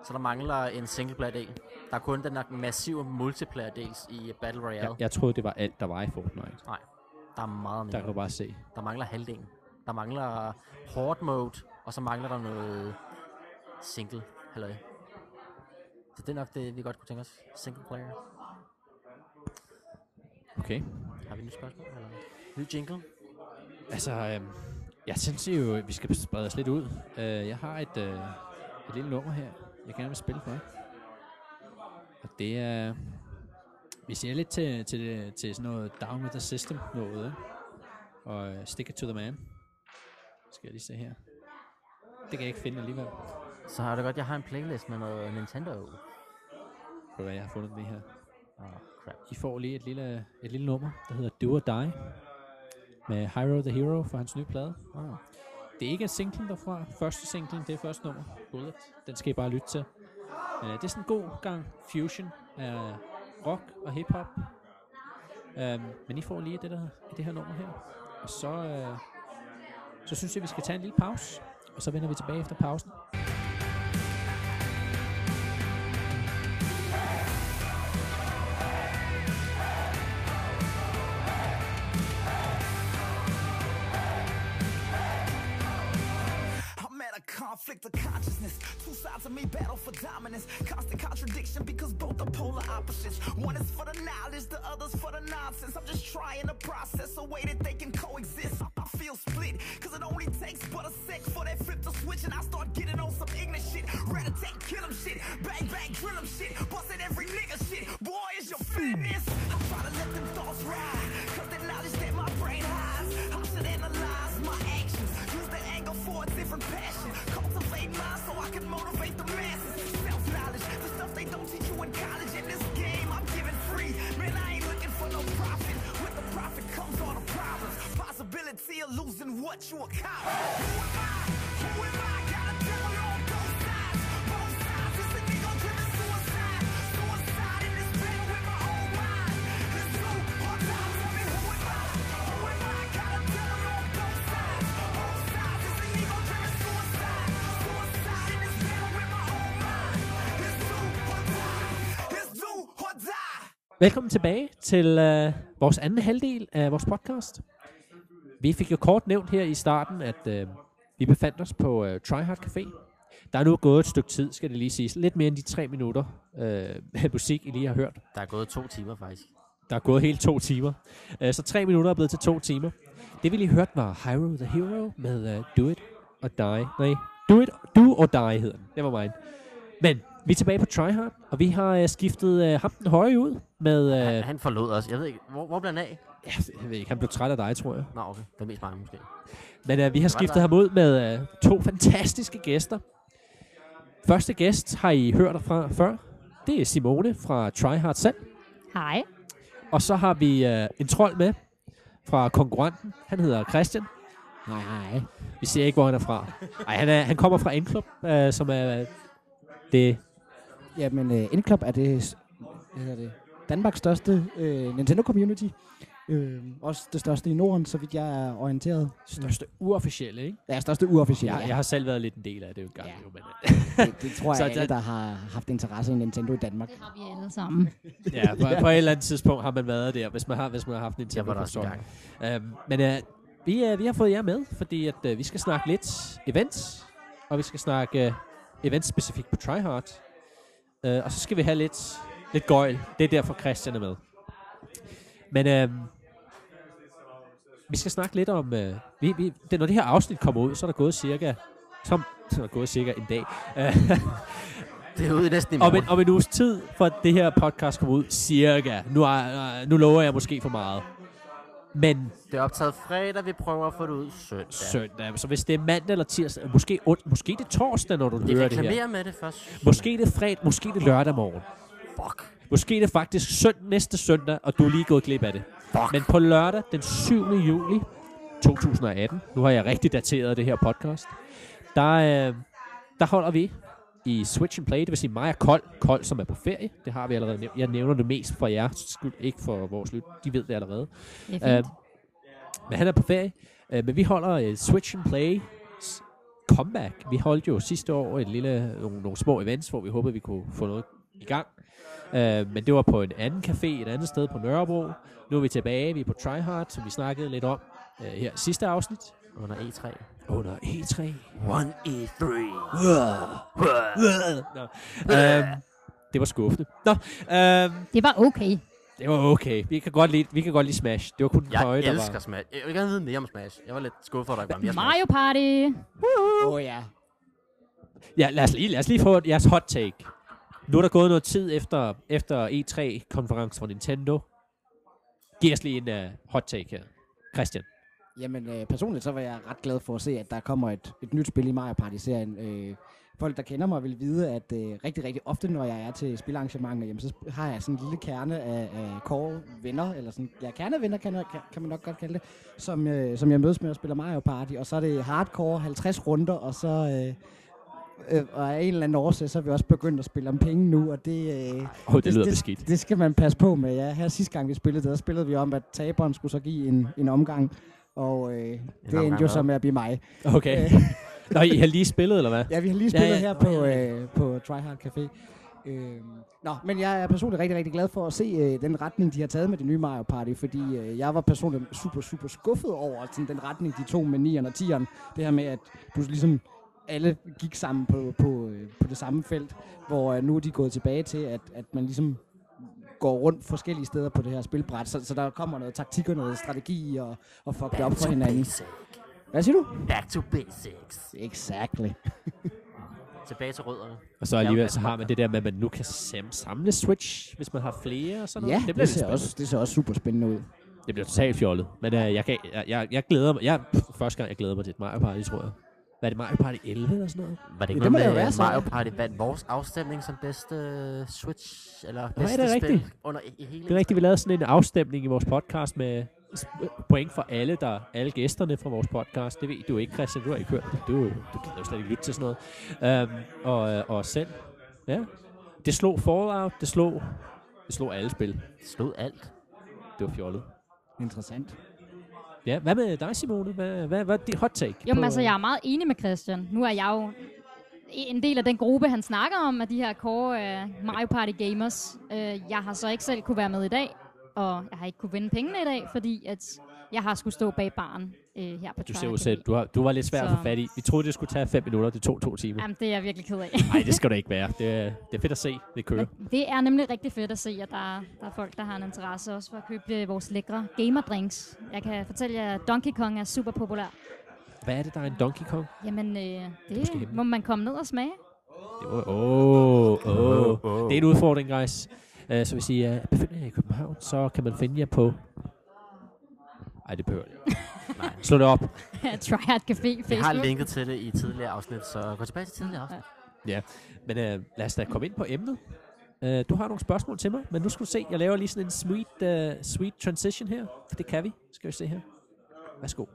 Så der mangler en singleplayer-del. Der Der er kun den der massive multiplayer dels i Battle Royale.
Jeg, jeg troede, det var alt, der var i Fortnite.
Nej, der er meget mere.
Der kan du bare se.
Der mangler halvdelen. Der mangler hard mode, og så mangler der noget single. Halløj. Så det er nok det, vi godt kunne tænke os. Single player.
Okay.
Har vi et nyt spørgsmål? Eller ny jingle?
Altså, øhm, jeg synes jo, at vi skal sprede os lidt ud. Øh, jeg har et, øh, et lille nummer her, jeg gerne vil spille for jer. Og det er... Vi ser lidt til, til, til sådan noget Down with the System noget, ikke? Og øh, Stick it to the man. Skal jeg lige se her. Det kan jeg ikke finde alligevel.
Så har det godt, jeg har en playlist med noget Nintendo.
Prøv at høre, jeg har fundet den lige her.
Åh, oh, crap.
I får lige et lille, et lille nummer, der hedder Do or Die. Med Hyro the Hero fra hans nye plade.
Oh.
Det er ikke singlen derfra. Første singlen, det er første nummer. Bullet. Den skal I bare lytte til. Men øh, det er sådan en god gang fusion af rock og hiphop. Um, men I får lige det, der, det her nummer her. Og så, øh, så synes jeg, vi skal tage en lille pause. Og så vender vi tilbage efter pausen.
I'm at a conflict of consciousness. Two sides of me battle for dominance. Constant contradiction because both are polar opposites. One is for the knowledge, the other's for the nonsense. I'm just trying to process a way that they can coexist. I- I feel split because it only takes but a sec for that flip to switch. And I start getting on some ignorant shit. Rat attack, kill 'em shit. Bang, bang, drill 'em shit. Busting every nigga shit. Boy, is your fitness. I try to let them thoughts ride because the knowledge that my brain hides. I should analyze my actions. Use the anger for a different passion. Cultivate mine so I can motivate the masses. Self knowledge, the stuff they don't teach you in college. In this game, I'm giving free. Man, I ain't looking for no profit. With the profit comes all the problems. Possibility of losing what you accomplish. Who am I? Who am I? Got a devil on both sides. Both sides. It's an ego-driven suicide. Suicide in this bed with my own mind. It's so hard to tell me who am I? Who am I? Got a devil on both sides. Both sides. It's an ego-driven suicide. Suicide in this bed with my own mind. It's do or die. It's do or die.
Velkommen tilbage til øh, vores anden halvdel af vores podcast. Vi fik jo kort nævnt her i starten, at øh, vi befandt os på øh, Try Hard Café. Der er nu gået et stykke tid, skal det lige siges. Lidt mere end de tre minutter øh, af musik, I lige har hørt.
Der er gået to timer faktisk.
Der er gået hele to timer. Øh, så tre minutter er blevet til to timer. Det vi lige hørte var Hyro the Hero med uh, Do It or Die. Nej, Do It Do or Die hedder den. Det var mig. Men vi er tilbage på Tryhard, og vi har uh, skiftet uh, ham den høje ud med... Uh,
Han, han forlod os. Jeg ved ikke, hvor, hvor blev han af?
ja, jeg ved ikke, han blev træt af dig, tror jeg.
Nå, okay. Det er mest mig måske.
Men øh, vi har
var
skiftet
der.
ham ud med øh, to fantastiske gæster. Første gæst har I hørt fra før. Det er Simone fra Tryhard selv.
Hej.
Og så har vi øh, en trold med fra konkurrenten. Han hedder Christian. Nej, nej. Vi ser ikke, hvor han er fra. Nej, han, er, han kommer fra N-Club, øh, som er øh, det...
Jamen, øh, N-Club er det, s- hvad hedder det, Danmarks største øh, Nintendo-community. Øh, også det største i Norden, så vidt jeg er orienteret.
Største uofficielle, ikke?
Ja, største uofficielle.
Jeg, jeg har selv været lidt en del af det jo engang.
Ja.
Jo, men,
Det, det tror
Så
jeg, alle,
der-
der har haft interesse i Nintendo i Danmark.
Det har vi alle sammen.
øh, Ja, på, på et eller andet tidspunkt har man været der, hvis man har, hvis man har haft en
Jeg var der også en gang.
Øhm, men øh, vi, øh, vi har fået jer med, fordi at, øh, vi skal snakke lidt events, og vi skal snakke øh, events specifikt på TryHard. Øh, og så skal vi have lidt, lidt gøjl. Det er derfor Christian er med. Men øh, vi skal snakke lidt om... Øh, vi, vi, det, når det her afsnit kommer ud, så er der gået cirka... Som, [laughs] så er der gået cirka en dag. Øh, [laughs]
Det er ude næsten i
om
morgen.
en, om en uges tid, for at det her podcast kommer ud, cirka. Nu, er, øh, nu lover jeg måske for meget. Men
Det er optaget fredag, vi prøver at få det ud søndag.
søndag. Så hvis det er mandag eller tirsdag, måske, ond, måske det er torsdag, når du
Vi
hører det her.
reklamerer med det først. søndag.
Måske det er fredag, måske det er lørdag morgen.
Fuck.
Måske det er faktisk sønd, næste søndag, og du er lige gået glip af det.
Fuck.
Men på lørdag den 7. juli 2018, nu har jeg rigtig dateret det her podcast, der, øh, der holder vi i Switch and Play, det vil sige mig og Kold, Kold som er på ferie, det har vi allerede nævnt. Jeg nævner det mest for jer, skyld, ikke for vores lyt, de ved det allerede.
Det er
Øh,
fint.
Øhm, men han er på ferie. Øh, men vi holder øh, Switch and Play comeback. Vi holdt jo sidste år et lille, nogle, nogle små events, hvor vi håbede, vi kunne få noget i gang. Øh, men det var på en anden café et andet sted på Nørrebro. Nu er vi tilbage, vi er på Tryhard, som vi snakkede lidt om øh, her i sidste afsnit.
Under E E3.
Under E E3.
1E3.
Nå. Øhm, det var skuffende. Nå, øhm,
Det var okay.
det var okay. Vi kan godt lide, vi kan godt lide Smash. Det var kun den
Jeg
høje, der var...
elsker Smash. Jeg vil gerne vide mere om Smash. Jeg var lidt skuffet for, at der ikke var mere Smash.
Mario Party.
Åh oh, ja.
Ja, lad os lige, lad os lige få et- jeres hot take. Nu er der gået noget tid efter, efter E E3-konferencen fra Nintendo. Giv os lige en uh, hot take her. Christian.
Jamen øh, personligt så var jeg ret glad for at se, at der kommer et, et nyt spil i Mario Party-serien. Øh, folk, der kender mig, vil vide, at øh, rigtig, rigtig ofte, når jeg er til spilarrangementer, jamen, så sp- har jeg sådan en lille kerne af, af core venner, eller sådan, ja, kernevenner kan, jeg- kan, kan man nok godt kalde det, som, øh, som jeg mødes med og spiller Mario Party, og så er det hardcore 50 runder, og så... Øh, øh, og af en eller anden årsag, så er vi også begyndt at spille om penge nu, og det, øh,
Åh, oh, det,
Det-
lyder
det-
beskidt.
det skal man passe på med. Ja, her sidste gang vi spillede det, der spillede vi om, at taberen skulle så give en, en omgang. Og øh, det
omgang
endte jo
hvad?
så med at blive mig.
Okay. [laughs] Nå, I har lige spillet, eller hvad?
Ja, vi har lige
Ja,
spillet ja,
ja.
ja. her på, øh, på Tryhard Café. Øh, nå, men jeg er personligt rigtig, rigtig glad for at se øh, den retning, de har taget med det nye Mario Party, fordi øh, jeg var personligt super, super skuffet over sådan, den retning, de tog med 9'eren og 10'eren. Det her med, at du ligesom alle gik sammen på, på, øh, på det samme felt, hvor øh, nu er de gået tilbage til, at, at man ligesom går rundt forskellige steder på det her spilbræt, så, så der kommer noget taktik og noget strategi og, og fuck det op
Back
for
to
hinanden.
basic.
Hvad siger du?
Back to basics.
Exactly.
Tilbage til rødderne.
Og så alligevel, så har man det der med, at man nu kan sam- samle Switch, hvis man har flere og sådan noget.
Ja,
bliver
det, det,
lidt
ser
spændende.
også, det ser også super spændende ud.
Det bliver totalt fjollet. Men uh, jeg, kan, jeg, jeg, jeg, glæder mig. Jeg, pff, første gang, jeg glæder mig til et Mario Party, tror jeg. Hvad er det, Mario Party 11 eller sådan noget?
Var det
Ja,
ikke
det
ja,
må
noget
det jo
med
være,
at
så.
Mario Party vandt vores afstemning som bedste øh, Switch, eller
det
bedste spil
rigtigt?
under i, i hele
Det er rigtigt, vi lavede sådan en afstemning i vores podcast med s- point for alle, der alle gæsterne fra vores podcast. Det ved du ikke, Christian. Du har ikke hørt det. Du, du kan jo slet ikke lytte til sådan noget. Um, og, øh, og os selv. Ja. Det slog Fallout. Det slog, det slog alle spil.
Slod alt.
Det var fjollet.
Interessant.
Ja, hvad med dig, Simone? Hvad, hvad, hvad er dit hot take?
Jo, men
på-
altså, jeg er meget enig med Christian. Nu er jeg jo en del af den gruppe, han snakker om, af de her core uh, Mario Party gamers. Uh, jeg har så ikke selv kunne være med i dag, og jeg har ikke kunne vinde pengene i dag, fordi at jeg har skulle stå bag baren uh, her på
Du
Trial
ser ud
Café.
selv. Du, har, du var lidt svær at
Så-
få fat i. Vi troede, det skulle tage 5 minutter. Det tog to timer.
Jamen, det er jeg virkelig ked af.
Nej, det skal det ikke være. Det, er- det er fedt at se. Det kører.
Men det er nemlig rigtig fedt at se, at der, er- der er folk, der har en interesse også for at købe øh, vores lækre gamerdrinks. Jeg kan fortælle jer, at Donkey Kong er super populær.
Hvad er det, der er en Donkey Kong?
Jamen, øh,
skal
det
hente.
må man komme ned og smage. [laughs]
Det var- Åh, åh. Det er en udfordring, guys. Uh, så hvis I uh, befinder jer i København, så kan man finde jer på... Ej, det behøver jeg ikke. Nej. Slå det op.
Tryhard Café
Vi har
Facebook.
linket til det i tidligere afsnit, så gå tilbage til tidligere afsnit.
Men uh, lad os da komme ind på emnet. Uh, du har nogle spørgsmål til mig, men nu skal du se. Jeg laver lige sådan en sweet, uh, sweet transition her. For det kan vi. Skal vi se her. Værsgo.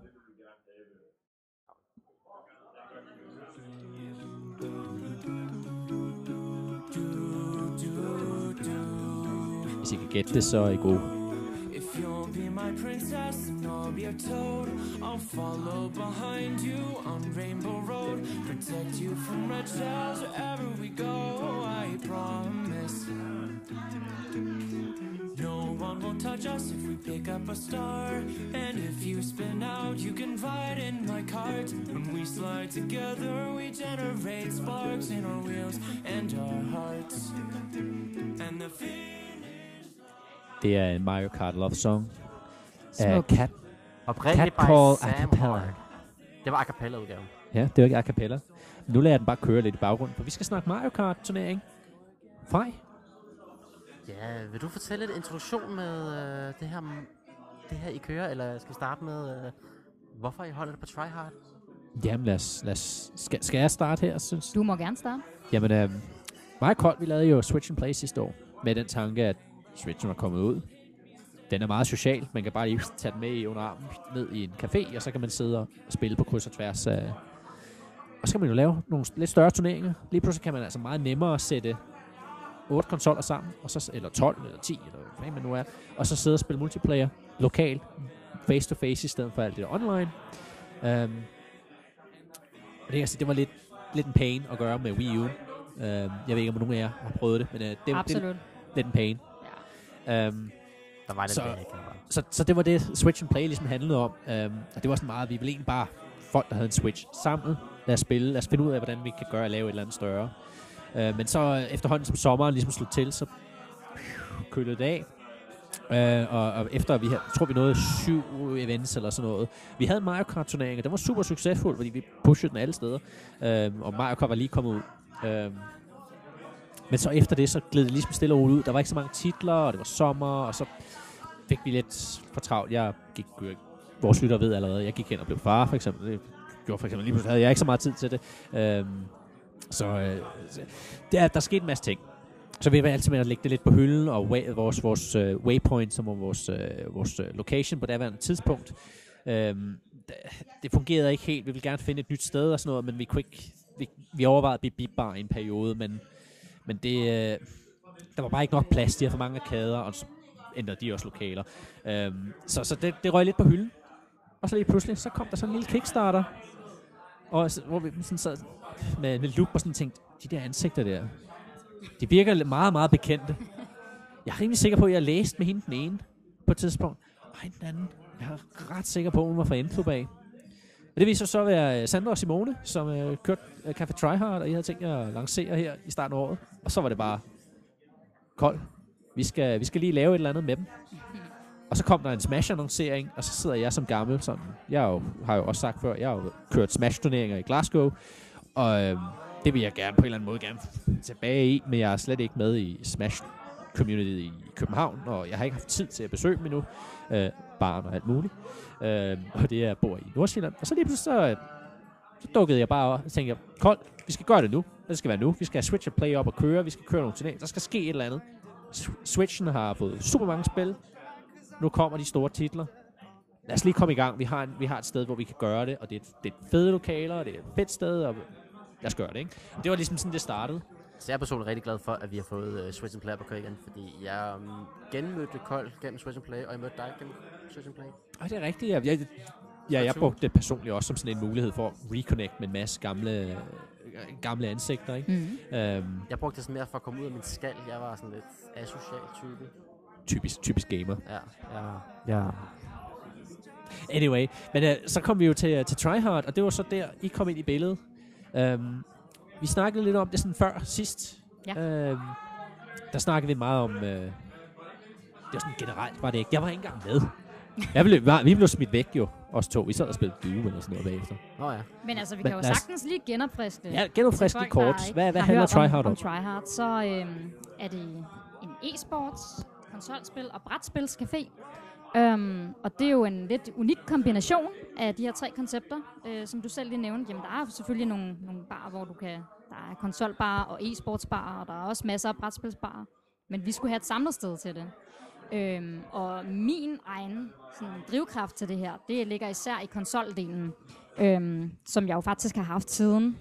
Hvis I kan gætte det, så er I gode.
If you'll be my princess and I'll be your toad, I'll follow behind you on Rainbow Road. Protect you from red shells wherever we go, I promise. No one will touch us if we pick up a star. And if you spin out, you can ride in my cart. When we slide together, we generate sparks in our wheels and our hearts. And the
Det er en Mario Kart love song. Af
Smukt.
Cat.
Oprindeligt
Cat
by
Call a
Sam
cappella.
Hart. Det var a cappella udgaven.
Ja, det var ikke a cappella. Men Nu lader jeg den bare køre lidt i baggrunden, for vi skal snakke Mario Kart turnering. Frej?
Ja, vil du fortælle lidt introduktion med øh, det her det her I kører, eller skal vi starte med øh, hvorfor I holder det på tryhard?
Jamen lad os, lad os skal, skal jeg starte her, synes
Du må gerne starte.
Jamen, øh, meget koldt. Vi lavede jo Switch and Play sidste år, med den tanke, at Switchen var kommet ud. Den er meget social. Man kan bare lige [laughs] tage den med i under armen, ned i en café, og så kan man sidde og spille på kryds og tværs. Øh. Og så kan man jo lave nogle lidt større turneringer. Lige pludselig kan man altså meget nemmere sætte otte konsoller sammen, og så, eller 12, eller 10, eller hvad man nu er, og så sidde og spille multiplayer lokalt, face-to-face, i stedet for alt det der online. Øhm, Um, og det, kan jeg sige, det var lidt, lidt en pain at gøre med Wii U, Øh, jeg ved ikke, om nogen af jer har prøvet det, men øh, det, det,
Absolut.
det er den pain. Um,
Ja.
Øhm,
Der var lidt
Så-
så... ikke?
så, så det var det, Switch and Play ligesom handlede om. Øhm, og det var sådan meget, vi ville egentlig bare folk, der havde en Switch sammen. Lad os spille, lad os finde ud af, hvordan vi kan gøre at lave et eller andet større. Øh, men så øh, efterhånden, som sommeren ligesom slog til, så kølede det af. Øh, og, og, efter vi havde, tror vi nåede syv events eller sådan noget. Vi havde Mario Kart turnering, og den var super succesfuld, fordi vi pushede den alle steder. Øh, og Mario Kart var lige kommet ud. Øh, men så efter det, så gled det ligesom stille og roligt ud. Der var ikke så mange titler, og det var sommer, og så fik vi lidt for travlt. Jeg gik, øh, vores lytter ved allerede, jeg gik hen og blev far, for eksempel. Det gjorde for eksempel lige pludselig, havde jeg ikke så meget tid til det. Øhm, så øh, så- der, der skete en masse ting. Så vi var altid med at lægge det lidt på hylden, og wa- vores, vores øh, waypoint, som var vores, øh, vores øh, location på daværende tidspunkt, øhm, d- det fungerede ikke helt. Vi ville gerne finde et nyt sted og sådan noget, men vi kunne ikke, vi, vi overvejede Bip Bip Bar i en periode, men, men det, øh, der var bare ikke nok plads. De havde for mange arkader, og så ændrede de også lokaler. Øhm, så så det, det røg lidt på hylden. Og så lige pludselig, så kom der sådan en lille kickstarter, og så, hvor vi sådan sad med, med lup og sådan tænkte, de der ansigter der, de virker lidt- meget, meget bekendte. Jeg er rimelig sikker på, at jeg læste med hende den ene på et tidspunkt. Ej, den anden. Jeg er ret sikker på, at hun var fra Endklub af. Og det viser sig så at være øh, Sandra og Simone, som øh, kørte øh, Café Tryhard, og I havde tænkt jer at lancere her i starten af året. Og så var det bare kold. Vi skal, vi skal lige lave et eller andet med dem. Og så kom der en Smash-annoncering, og så sidder jeg som gammel. Sådan, jeg er jo, har jo også sagt før, jeg har jo kørt Smash-turneringer i Glasgow, og øh, det vil jeg gerne på en eller anden måde gerne f- tilbage i, men jeg er slet ikke med i Smash community i København, og jeg har ikke haft tid til at besøge dem endnu. Øh, barn og alt muligt. Øh, og det er, jeg bor i Nordsjælland. Og så lige pludselig, så, øh, så dukkede jeg bare op og tænkte, kold, vi skal gøre det nu. Og det skal være nu. Vi skal have Switch and Play op og køre. Vi skal køre nogle turneringer. Der skal ske et eller andet. Sw- Switchen har fået super mange spil. Nu kommer de store titler. Lad os lige komme i gang. Vi har, en, vi har et sted, hvor vi kan gøre det, og det er, det er fede lokaler, og det er et fedt sted, og lad os gøre det, ikke? Det var ligesom sådan, det startede.
Så jeg er personligt rigtig glad for, at vi har fået uh, Switch and Play op at køre igen, fordi jeg um, genmødte Kold gennem Switch and Play, og jeg mødte dig gennem Switch and Play.
Ej, det er rigtigt. Jeg, jeg, ja, jeg brugte det personligt også som sådan en mulighed for at reconnect med en masse gamle, øh, gamle ansigter, ikke?
Mm.
Øhm,
Jeg brugte det sådan mere for at komme ud af min skal. Jeg var sådan lidt asocial type.
typisk, typisk gamer.
Ja, ja, ja.
Anyway, men øh, så kom vi jo til, til Tryhard, og det var så der, I kom ind i billedet. Øhm, vi snakkede lidt om det sådan før, sidst.
Ja.
Øhm, der snakkede vi meget om... Øh, det var sådan generelt, var det ikke. Jeg var ikke engang
[laughs]
med. Jeg blev, var, vi blev smidt væk jo, os to. Vi sad og spillede Doom eller sådan noget bagefter.
Nå ja.
Men altså, vi
Men
kan jo
lad os-
sagtens lige genopfriske det.
Ja, genopfrisk lige
Til Altså, folk,
kort.
der ikke
Hvad, hvad
har
handler
hørt om-
Tryhard om?
om? Tryhard, så øhm, er det en e-sports, konsolspil og brætspilscafé. Øhm, og det er jo en lidt unik kombination af de her tre koncepter, øh, som du selv lige nævnte. Jamen, der er selvfølgelig nogle, nogle barer, hvor du kan... Der er konsolbarer og e-sportsbarer, og der er også masser af brætspilsbarer. Men vi skulle have et samlet sted til det. Øhm, og min egen sådan, drivkraft til det her, det ligger især i konsoldelen, øhm, som jeg jo faktisk har haft siden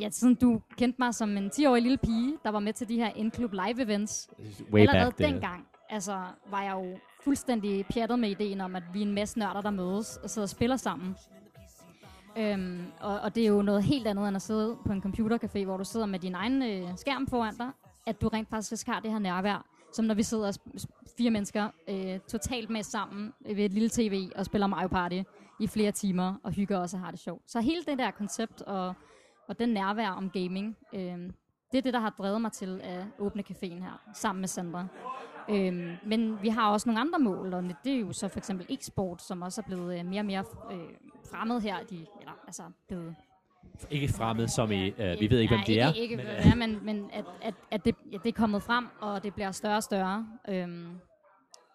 ja, siden du kendte mig som en 10-årig lille pige, der var med til de her N-Club Live-events.
Way
Allerede
back, øh, det-
dengang, altså, var jeg jo fuldstændig pjattet med ideen om, at vi er en masse nørder, der mødes og sidder og spiller sammen. Øhm, og, og det er jo noget helt andet, end at sidde på en computercafé, hvor du sidder med din egen øh, skærm foran dig, at du rent faktisk har det her nærvær, som når vi sidder sp- sp- fire mennesker øh, totalt med sammen ved et lille tv og spiller Mario Party i flere timer og hygger os og har det sjovt. Så hele det der koncept og og den nærvær om gaming, øh, det er det, der har drevet mig til at åbne caféen her, sammen med Sandra. Øhm, men vi har også nogle andre mål, og det er jo så for eksempel e-sport, som også er blevet øh, mere og mere øh, fremmed her. De, eller, altså, blevet,
Ikke fremmed som i... Øh, vi ved ikke, hvem det er.
Ikke, ikke,
men,
hvem
øh,
det er, men, men at, at, at det, ja, det er kommet frem, og det bliver større og større. Øhm,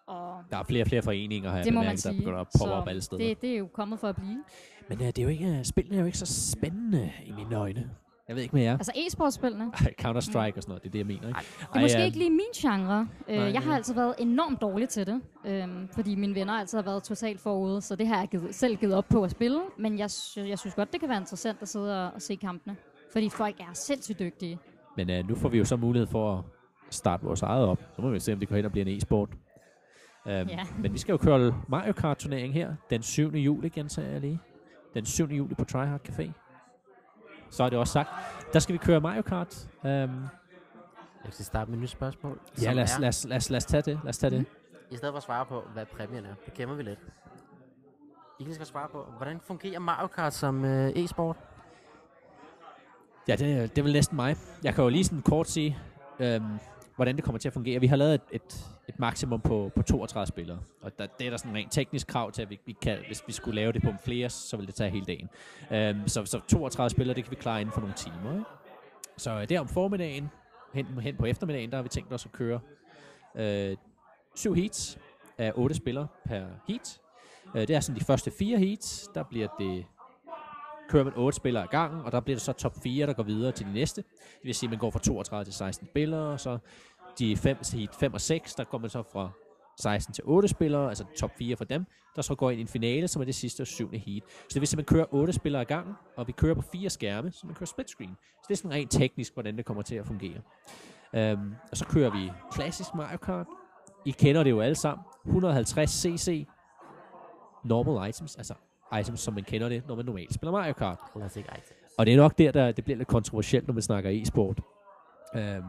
og
der er flere og flere foreninger, har jeg
det må man
bemærket, der
sige.
begynder at poppe
Så
op alle steder.
Det, det er jo kommet for at blive.
Men øh, det er jo ikke, øh, spillene er jo ikke så spændende i mine øjne. Jeg ved ikke med jer.
Altså e-sportspillene,
[laughs] Ej, Counter-Strike og sådan noget, det er det, jeg mener. Ikke?
Det er måske ikke lige min genre. Øh,
nej,
jeg har
nej.
altid været enormt dårlig til det, øhm, fordi mine venner altid har været totalt forude, så det har jeg givet, selv givet op på at spille, men jeg, sy- jeg synes godt, det kan være interessant at sidde og, og se kampene, fordi folk er sindssygt dygtige.
Men øh, nu får vi jo så mulighed for at starte vores eget op. Så må vi se, om det går hen og bliver en e-sport. Um,
Ja.
Men vi skal jo køre Mario Kart-turnering her den 7. juli, gentager jeg lige. Den 7. juli på Tryhard Café. så er det også sagt. Der skal vi køre Mario Kart. Øhm,
Jeg skal starte med et nyt spørgsmål.
ja,
som
lad os,
er-
lad, os, lad, os, lad os tage det. Lad os tage det.
I stedet for at svare på, hvad præmien er, det gemmer vi lidt. I kan lige så godt svare på, hvordan fungerer Mario Kart som øh, e-sport?
Ja, det, er- det er vel næsten mig. Jeg kan jo lige sådan kort sige, øhm, hvordan det kommer til at fungere. Vi har lavet et, et, et maksimum på, på 32 spillere, og der, det er der sådan rent teknisk krav til, at vi, vi kan, hvis vi skulle lave det på flere, så ville det tage hele dagen. Øhm, så, så 32 spillere, det kan vi klare inden for nogle timer. Ikke? Så øh, der om formiddagen, hen, hen på eftermiddagen, der har vi tænkt os at køre øh, syv heats af otte spillere per heat. Øh, det er sådan de første fire heats, der bliver det kører man 8 spillere ad gangen, og der bliver det så top 4, der går videre til de næste. Det vil sige, at man går fra 32 til 16 spillere, og så de 5, heat 5 og 6, der går man så fra 16 til 8 spillere, altså top 4 for dem, der så går ind i en finale, som er det sidste og syvende heat. Så det vil sige, at man kører 8 spillere ad gangen, og vi kører på fire skærme, så man kører split screen. Så det er sådan rent teknisk, hvordan det kommer til at fungere. Øhm, og så kører vi klassisk Mario Kart. I kender det jo alle sammen. 150 cc normal items, altså items, som man kender det, når man normalt spiller Mario Kart.
Lad os ikke ej til.
Og det er nok der, der det bliver lidt kontroversielt, når man snakker e-sport. Øhm,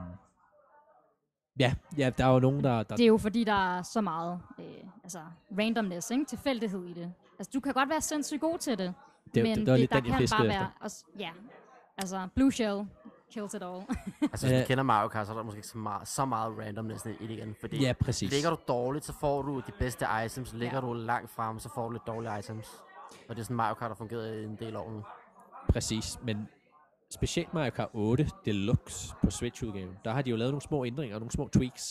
ja, ja, der er jo nogen, der... der
Det er jo fordi, der er så meget øh, altså, randomness, ikke? tilfældighed i det. Altså, du kan godt være sindssygt god til det,
det,
men
det, det, var lidt
der
den, jeg
kan
fiskede
bare
efter.
være... Også, ja, altså Blue Shell kills it all.
Altså, hvis
Øh.
du kender Mario Kart, så er der måske ikke så meget, så meget randomness i det igen, fordi
Ja, præcis.
ligger du dårligt, så får du de bedste items, ligger du langt frem, så får du lidt dårlige items. Og det er sådan, Mario Kart har fungeret i en del år nu.
Præcis, men specielt Mario Kart 8 Deluxe på Switch-udgaven, der har de jo lavet nogle små ændringer og nogle små tweaks.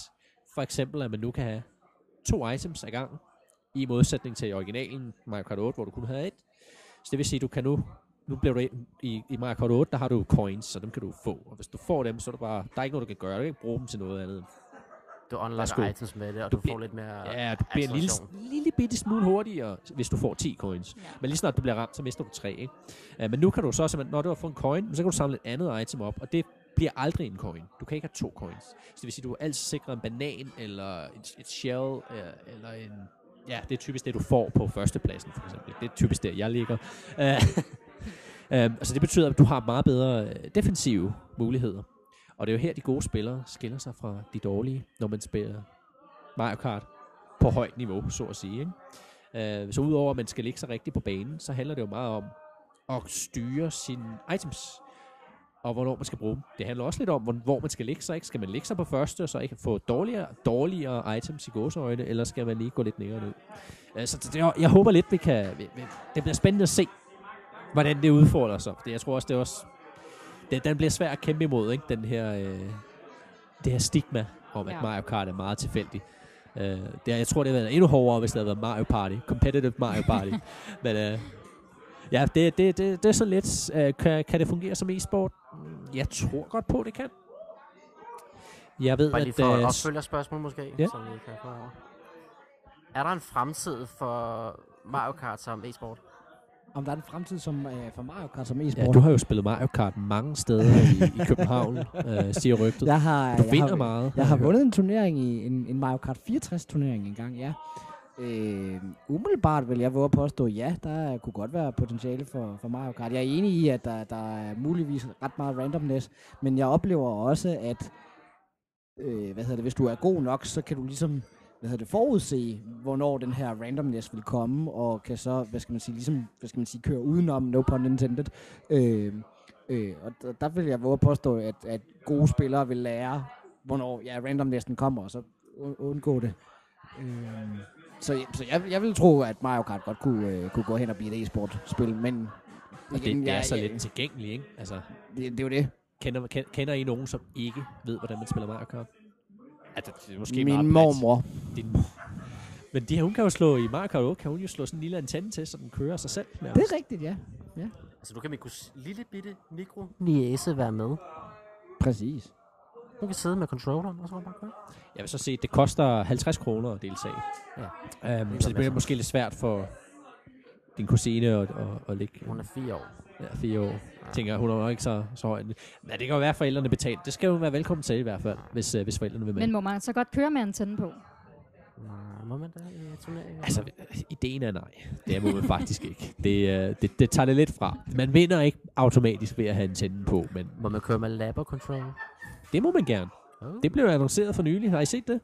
For eksempel, at man nu kan have to items ad gangen, i modsætning til i originalen Mario Kart 8, hvor du kun havde et. Så det vil sige, at du kan nu, nu bliver du i- i, i Mario Kart 8, der har du coins, så dem kan du få. Og hvis du får dem, så er det bare, der er ikke noget, du kan gøre, du kan ikke bruge dem til noget andet.
Du unlocker
Værsgo.
items med det, og
Du
du, du
bliver-
får lidt mere
Ja, du bliver en lille,
acceleration.
lille bitte smule hurtigere, hvis du får 10 coins.
Ja.
Men lige snart du bliver ramt, så mister du 3. Ikke? Uh, men nu kan du så simpelthen, når du har fået en coin, så kan du samle et andet item op, og det bliver aldrig en coin. Du kan ikke have to coins. Så det vil sige, du er altid sikret en banan, eller et, et shell, øh, eller en... Ja, det er typisk det, du får på førstepladsen, for eksempel. Det er typisk der, jeg ligger. [laughs] Uh, um, altså det betyder, at du har meget bedre øh, defensive muligheder. Og det er jo her, de gode spillere skiller sig fra de dårlige, når man spiller Mario Kart på højt niveau, så at sige. Ikke? Øh, så udover at man skal ligge sig rigtigt på banen, så handler det jo meget om at styre sine items, og hvornår man skal bruge dem. Det handler også lidt om, hvor- hvor man skal ligge sig. Ikke? Skal man ligge sig på første, og så ikke få dårligere, dårligere items i gåseøjne, eller skal man lige gå lidt længere ned? Øh, så det, er- jeg håber lidt, vi kan... vi- vi- Det bliver spændende at se, hvordan det udfordrer sig. Det, jeg tror også, det er også... Den, den bliver svær at kæmpe imod, ikke? Den her, øh, det her stigma om, at
Ja.
Mario Kart er meget tilfældig. Øh, det, er- jeg tror, det havde været endnu hårdere, hvis det havde været Mario Party. Competitive Mario Party. Men øh, ja, det, det, det, det er så lidt. Øh, kan, kan det fungere som e-sport? Mm, Jeg tror godt på, det kan. Jeg ved,
Bare lige
at...
for et
øh,
opfølgerspørgsmål måske,
Ja.
ja. som vi kan få over. Er der en fremtid for Mario Kart som e-sport?
Om der er en fremtid som, øh, for Mario Kart som e-sport?
Ja, du har jo spillet Mario Kart mange steder i, [laughs] i
[laughs]
København, øh, siger rygtet.
jeg har,
Du
jeg
vinder
har,
meget.
Jeg har
hørt.
vundet en turnering i en, en Mario Kart 64 turnering engang, ja. Øh, umiddelbart vil jeg våge at påstå, ja, der kunne godt være potentiale for, for Mario Kart. Jeg er enig i, at der, der er muligvis ret meget randomness, men jeg oplever også, at øh, hvad hedder det, hvis du er god nok, så kan du ligesom hvad hedder det, forudse, hvornår den her randomness vil komme, og kan så, hvad skal man sige, ligesom, hvad skal man sige, køre udenom, no pun intended. Øh, øh, og der, der vil jeg våge at påstå, at, at gode spillere vil lære, hvornår ja, randomnessen kommer, og så u- undgå det. Øh, så jeg- så jeg, jeg vil tro, at Mario Kart godt kunne, øh, kunne gå hen og blive et e-sport-spil, men...
Og det, det er så lidt tilgængeligt, ikke? Altså,
Det, det er jo det.
kender, ken- kender I nogen, som ikke ved, hvordan man spiller Mario Kart? Altså, det er måske meget
Min
bredt.
mormor.
Din mor. Men det her, hun kan jo slå i Mario Kart 8, kan hun jo slå sådan en lille antenne til, så den kører sig selv. nærmest.
Det er rigtigt, ja.
Altså, du kan mikros, lille bitte mikro niæse være med.
Præcis.
Du kan sidde med controlleren, og så kan du bare køre.
Jeg vil så sige, at det koster 50 kroner at deltage. Ja. Øhm, så det bliver
masser.
måske lidt svært for din kusine at, at, at ligge
Hun er fire år.
ja, fire år. Jeg tænker, hun er nok ikke så, så høj. en- Men det kan jo være, at forældrene betaler. Det skal hun være velkommen til i hvert fald, hvis, øh, hvis forældrene vil med.
men må man så godt køre med antennen på?
Nej. Nå, må man da øh, i turneringen?
Altså, ideen er nej. Det må man faktisk ikke. Det, øh, det, det tager det lidt fra. Man vinder ikke automatisk ved at have antennen på, men
Må man køre med labber control?
det må man gerne.
Oh.
Det blev annonceret for nylig. Har I set det?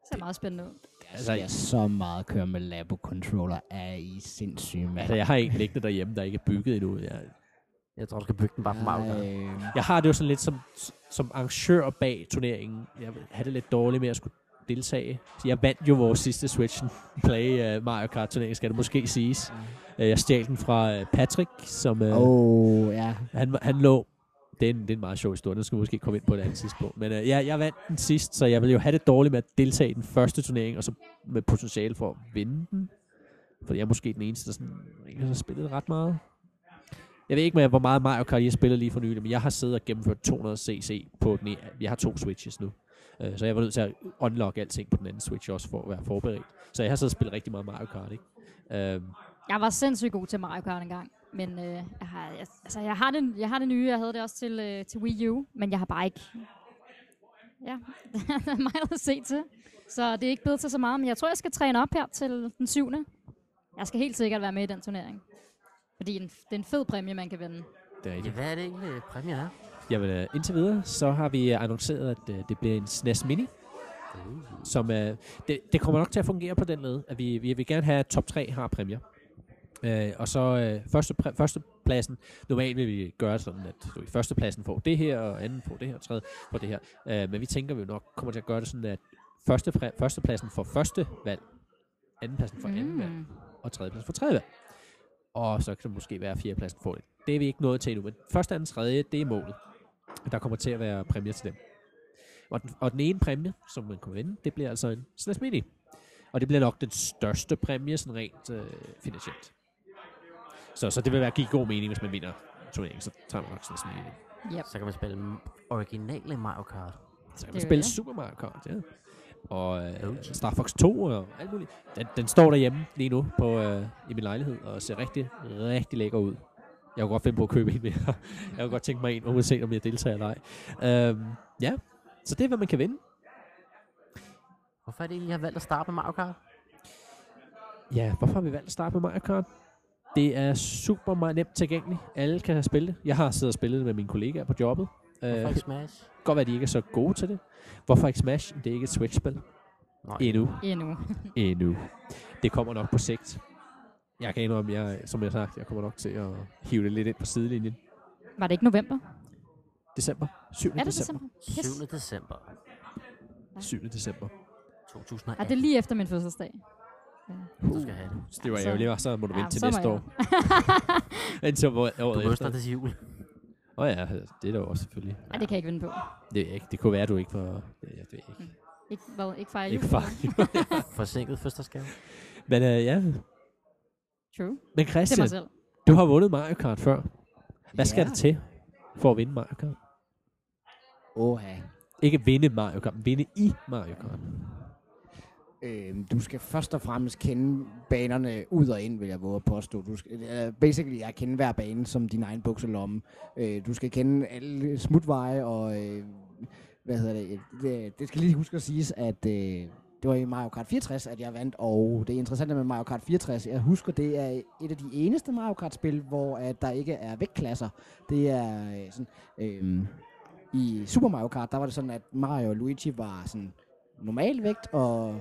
Det ser meget spændende ud.
Altså,
Jeg så meget køre med labo-controller. Er I sindssyge, mand?
altså jeg har en liggende derhjemme, der ikke er bygget endnu. Jeg,
Jeg tror, du skal bygge den bare for meget.
Ej,
Mario Kart.
Øhm,
jeg har det jo sådan lidt som, som arrangør bag turneringen. Jeg havde det lidt dårligt med at skulle deltage. Så jeg vandt jo vores sidste Switch [laughs] Play uh, Mario Kart turnering, skal det måske siges. Uh, jeg stjal den fra uh, Patrick, som uh,
Åh, ja.
Han, var- han lå... Det er, en, det er en meget sjov historie. Den skal vi måske komme ind på et andet tidspunkt. Men øh, ja, jeg vandt den sidst, så jeg ville jo have det dårligt med at deltage i den første turnering, og så med potentiale for at vinde den. For jeg er måske den eneste, der sådan, ikke har spillet ret meget. Jeg ved ikke, med, hvor meget Mario Kart jeg spiller lige for nylig, men jeg har siddet og gennemført 200 cc på den ene. Jeg har to switches nu. Øh, Så jeg var nødt til at unlock alting på den anden switch også for at være forberedt. Så jeg har siddet og spillet rigtig meget Mario Kart, ikke? Øhm,
Jeg var sindssygt god til Mario Kart engang, men øh, jeg, har, jeg, altså, jeg, har det, jeg har det nye, jeg havde det også til, øh, til Wii U, men jeg har bare ikke... Ja, [laughs] der er meget at se til. Så det er ikke blevet til så meget, men jeg tror, jeg skal træne op her til den syvende. Jeg skal helt sikkert være med i den turnering. Fordi en, det er en fed præmie, man kan vinde.
det er
Øh, Ja, hvad er det egentlig, præmien er?
Jamen, øh, indtil videre, så har vi øh, annonceret, at øh, det bliver en SNES Mini. Som, øh, det, det kommer nok til at fungere på den måde, at vi, vi vil gerne have, at top 3 har præmier. Øh, og så øh, første, præ, førstepladsen, normalt vil vi gøre sådan, at du i førstepladsen får det her, og anden får det her, og tredje får det her. Øh, men vi tænker, at vi nok kommer til at gøre det sådan, at første, præ, førstepladsen får første valg, andenpladsen får anden valg,
Mm.
og tredjepladsen for tredje valg. Og så kan det måske være, at fjerdepladsen får det. Det er vi ikke nået til endnu, men første, anden, tredje, det er målet. Der kommer til at være præmier til dem. Og den, og den ene præmie, som man kunne vinde, det bliver altså en SNES Mini. Og det bliver nok den største præmie, sådan rent øh, finansielt. Så, så det vil være give god mening, hvis man vinder turneringen, så tager man nok SNES Mini.
Yep.
Så kan man spille originale Mario Kart.
Så kan
Det
man
er
spille
det.
Super Mario Kart, ja. Og øh,
OG.
Star Fox 2 og alt muligt. Den, den står derhjemme lige nu på, øh, i min lejlighed og ser rigtig, rigtig lækker ud. Jeg kunne godt finde på at købe en mere. [laughs] jeg kunne godt tænke mig en, uanset om jeg deltager eller ej. Øhm, ja, så det er, hvad man kan vinde.
Hvorfor er det egentlig, jeg har valgt at starte med Mario Kart?
Ja, hvorfor har vi valgt at starte med Mario Kart? Det er super meget nemt tilgængeligt. Alle kan spille det. Jeg har siddet og spillet det med mine kollegaer på jobbet. Øh,
Hvorfor
[laughs] godt
ikke Smash?
være, at de ikke er så gode til det. Hvorfor ikke Smash? Det er ikke et Switch-spil.
Nej.
Endnu.
Endnu.
endnu. Det kommer nok på sigt. Jeg kan indrømme, jeg, som jeg har sagt, jeg kommer nok til at hive det lidt ind på sidelinjen.
Var det ikke november?
December. 7.
Er det
december.
december? Yes.
7. december
december?
7. december.
2018.
Er det er lige efter min fødselsdag?
Du skal have det.
Så det var
Altså, Ja, så-
ærgerligt, hva'? så må du vente til
så må
næste
jeg.
[laughs] år. Indtil året,
Du
året
ryster
efter.
det til jul.
Åh oh, ja, det er der jo også selvfølgelig.
[laughs] Ej, det kan jeg ikke vinde på.
Det, ved jeg ikke. det kunne være, at du ikke var... Jeg ved ikke.
Mm. Ikke, hvad, ikke fejre
Ikke
jul.
far.
Forsinket fødselsdagsgave.
[laughs] Men øh, ja.
True.
Men
Det er
Christian,
mig selv.
du har vundet Mario Kart før. Hvad skal
Ja.
det til for at vinde Mario Kart?
Åha.
Ikke vinde Mario Kart, men vinde i Mario Kart.
Øhm, du skal først og fremmest kende banerne ud og ind, vil jeg våge at påstå. Du skal, øh, basically, jeg kender hver bane som din egen bukselomme. Øh, du skal kende alle smutveje, og øh, hvad hedder det, det? Det skal lige huske at siges, at øh, det var i Mario Kart 64, at jeg vandt, og det interessante med Mario Kart 64, jeg husker, det er et af de eneste Mario Kart-spil, hvor at der ikke er vægtklasser. Det er øh, sådan... Øh, i Super Mario Kart, der var det sådan, at Mario og Luigi var sådan normal vægt, og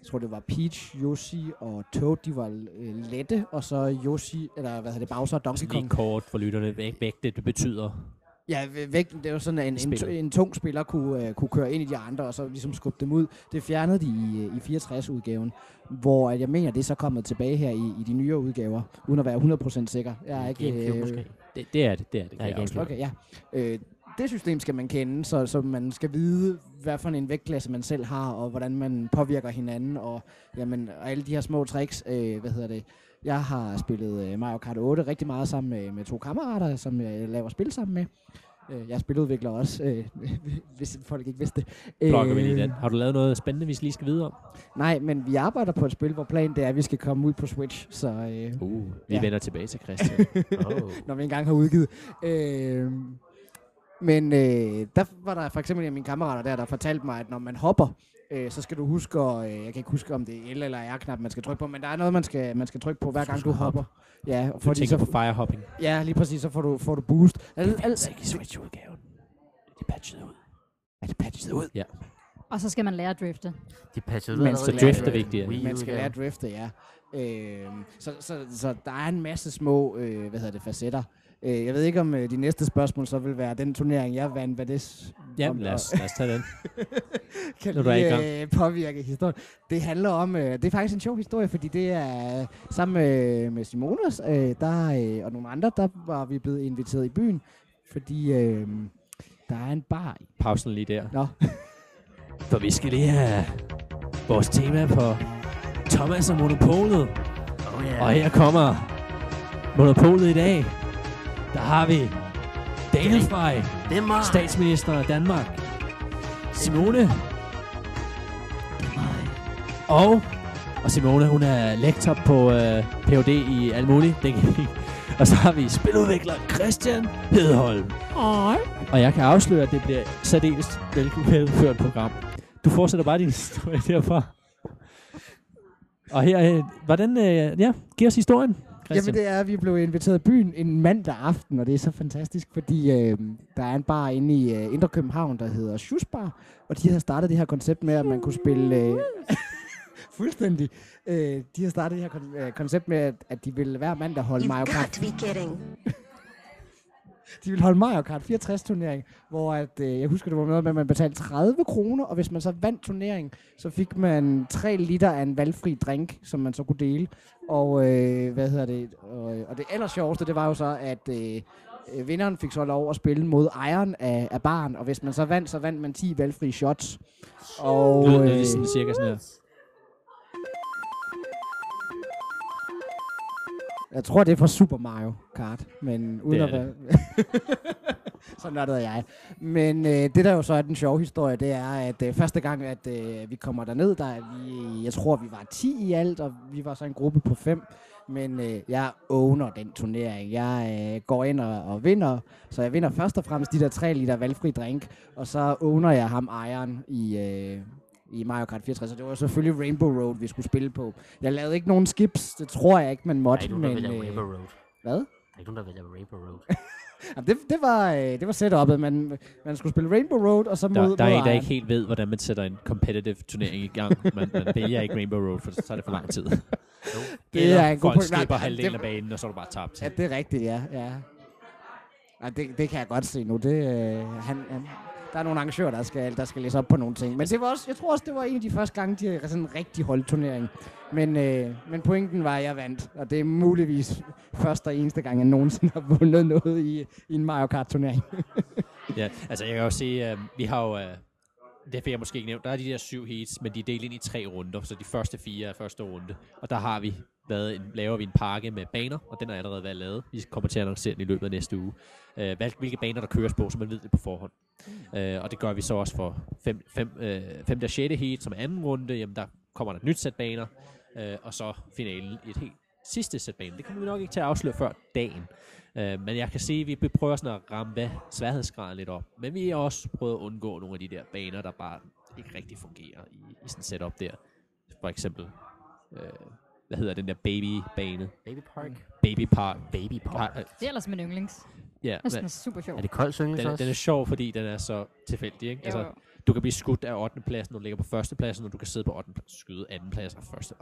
jeg tror, det var Peach, Yoshi og Toad, de var øh, lette, og så Yoshi, eller hvad hedder det, Bowser og Donkey
Sådan lige
Kong.
kort for lytterne. Væk, væk det, det betyder.
Ja, væ- vægten, det var sådan, at en, en,
Spillet.
tu- en tung spiller kunne, øh, kunne køre ind i de andre, og så ligesom skubbe dem ud. Det fjernede de i, øh, i 64-udgaven, hvor at jeg mener, det er så kommet tilbage her i, i de nyere udgaver, uden at være 100% sikker. Jeg er ikke,
GameCube
øh,
måske.
Det, det er det, det er det.
Ja,
kan jeg
igen.
afsløre.
Okay, ja. Øh, det system skal man kende, så, så man skal vide, hvad for en vægtklasse man selv har, og hvordan man påvirker hinanden, og, jamen, og alle de her små tricks, øh, hvad hedder det. Jeg har spillet øh, Mario Kart 8 rigtig meget sammen med, med to kammerater, som jeg laver spil sammen med. Øh, jeg er spiludvikler også, øh, [laughs] hvis folk ikke vidste det. Øh,
Blokker vi lige den. Har du lavet noget spændende, vi lige skal vide om?
Nej, men vi arbejder på et spil, hvor planen det er, at vi skal komme ud på Switch, så... Øh,
Uh, vi
Ja.
[laughs] vender tilbage til Christian.
Oh.
når vi engang har udgivet. Øh, Men øh, der var der for eksempel en af mine kammerater der, der fortalte mig, at når man hopper, øh, så skal du huske, og, øh, jeg kan ikke huske, om det er L eller R-knap, man skal trykke på, men der er noget, man skal, man skal trykke på, hver gang du hopper. Ja, og
Du
fordi
tænker
så,
på firehopping.
ja, lige præcis, så får du, får du boost. Al, al,
ikke i Switch-udgaven. Det patchede ud.
er det patchet ud?
Og så skal man lære at drifte.
De patchede
Men
ud
så
drift er
øh,
vigtigere.
Wii
Man skal lære
udgaven.
at drifte, ja. Øh, så, så, så der er en masse små, øh, hvad hedder det, facetter. Øh, jeg ved ikke, om øh, de næste spørgsmål så vil være den turnering, jeg vandt, hvad det s-
Ja,
om-
lad os, lad os tage den.
kan
Nu er du i gang.
lige øh, påvirke historien. Det handler om, øh, det er faktisk en sjov historie, fordi det er øh, sammen med, med Simonas øh, der, øh, og nogle andre, der var vi blevet inviteret i byen, fordi øh, der er en bar. i-
Pausen lige der.
Nå,
For vi skal lige have vores tema på Thomas og Monopolet.
Oh, yeah.
Og her kommer Monopolet i dag. Der har vi Danefaj,
Det er mig.
statsminister af Danmark. Simone. Og, og Simone, hun er lektor på øh, Ph.D. i alt muligt. Det kan- [laughs] og så har vi spiludvikler Christian Hedholm. Og jeg kan afsløre, at det bliver særdeles vel- velført program. Du fortsætter bare din historie derfra. Og her, øh, hvordan, øh, ja, giv os historien, Christian.
Jamen det er, at vi blev inviteret i byen en mandag aften, og det er så fantastisk, fordi øh, der er en bar inde i øh, Indre København, der hedder Schusbar, og de har startet det her koncept med, at man kunne spille... Øh, [laughs] fuldstændig. Øh, de har startet det her kon- øh, koncept med, at, at de ville hver mandag holde Mario Kart
be kidding.
[laughs] de ville holde Mario Kart 64 turnering, hvor at, øh, jeg husker, det var noget med, at man betalte 30 kroner, og hvis man så vandt turneringen, så fik man 3 liter af en valgfri drink, som man så kunne dele. Og, øh, hvad hedder det? Og, øh, og det aller sjoveste, det var jo så, at øh, øh, vinderen fik så lov at spille mod ejeren af, af baren, og hvis man så vandt, så vandt man 10 valgfri shots. Og,
Lyden er
øh,
lige sådan cirka sådan her.
jeg tror, det er fra Super Mario Kart, men uden
er
at være... [laughs] så nørdede jeg. Men øh, det der jo så er den sjove historie, det er, at øh, første gang, at øh, vi kommer derned, der er vi, jeg tror, vi var 10 i alt, og vi var så en gruppe på 5. Men øh, jeg owner den turnering. Jeg øh, går ind og, og vinder, så jeg vinder først og fremmest de der 3 liter valgfri drink, og så owner jeg ham ejeren i... Øh, i Mario Kart 64, og det var selvfølgelig Rainbow Road, vi skulle spille på. Jeg lavede ikke nogen skips, det tror jeg ikke, man
Der er
måtte.
ikke nogen, der
men,
vælger
øh,
Rainbow Road.
hvad?
Der er ikke nogen, der vælger Rainbow Road.
Jamen, det, det, var, øh, det var setup'et. Man, man skulle spille Rainbow Road, og så mod
Der, der er en,
mod
der
ejeren.
ikke helt ved, hvordan man sætter en competitive turnering i gang. Man, man vælger ikke Rainbow Road, for så tager det for lang tid.
[laughs] Det
Eller
er en god
folk
point. Nej,
skipper
det-
halvdelen af banen, og så er du bare tabt.
Ja, det er rigtigt, ja. ja. Nej, det, det kan jeg godt se nu. Det, øh, han, han, der er nogle arrangører, der skal, der skal læse op på nogle ting. Men det var også, jeg tror også, det var en af de første gange, de havde sådan en rigtig holdturnering. Men, øh, men pointen var, at jeg vandt. Og det er muligvis første og eneste gang, jeg nogensinde har vundet noget i, i en Mario Kart-turnering.
Ja, altså jeg kan jo se, øh, vi har jo, øh, det fik jeg måske ikke nævnt, der er de der syv heats, men de er delt ind i tre runder, så de første fire er første runde. Og der har vi lavet en, laver vi en pakke med baner, og den har allerede været lavet. Vi kommer til at annoncere den i løbet af næste uge. Øh, hvad, hvilke baner der køres på, så man ved det på forhånd. Øh, og det gør vi så også for 5. Fem, øh, femte og 6. heat, som er anden runde. Jamen der kommer der et nyt sæt baner, øh, og så finalen i et helt sidste sæt baner. Det kommer vi nok ikke til at afsløre før dagen. Øh, men jeg kan se, at vi prøver sådan at ramme hvad, sværhedsgraden lidt op. Men vi har også prøvet at undgå nogle af de der baner, der bare ikke rigtig fungerer i, i sådan et setup der. For eksempel, øh, hvad hedder den der babybane?
Baby Park.
Baby Park.
Baby
Par,
Park.
øh,
Det er ellers min yndlings.
ja,
Jeg synes, den
den,
er super sjov.
Er det kold syngelse
er-
også?
den er sjov, fordi den er så tilfældig. Ikke?
Jo,
Altså,
jo.
du kan blive skudt af 8. pladsen, når du ligger på første pladsen, og du kan sidde på 8. pladsen, skyde anden plads og første.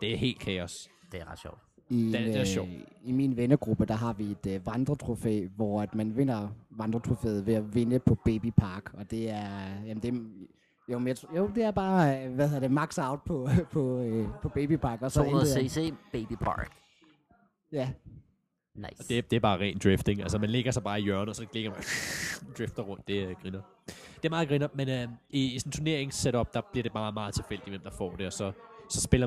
Det er helt kaos.
Det er ret sjovt.
I,
Den-
en,
den er
øh,
sjov.
I min vennegruppe, der har vi et øh, vandretrofæ, hvor at man vinder vandretrofæet ved at vinde på Baby Park. Og det er, jamen det er, jo, men jeg, tr- jo, det er bare, øh, hvad hedder det, max out på, [laughs] på, øh, på Baby Park. Og så intet
200
andet.
cc, Baby Park.
Ja,
Nice.
Og det, det er bare ren drifting. Altså, man ligger sig bare i hjørnet, og så ligger man [laughs] drifter rundt. Det er griner. Det er meget griner, men øh, i, i sådan en turneringssetup, der bliver det meget, meget tilfældigt, hvem der får det, og så, så spiller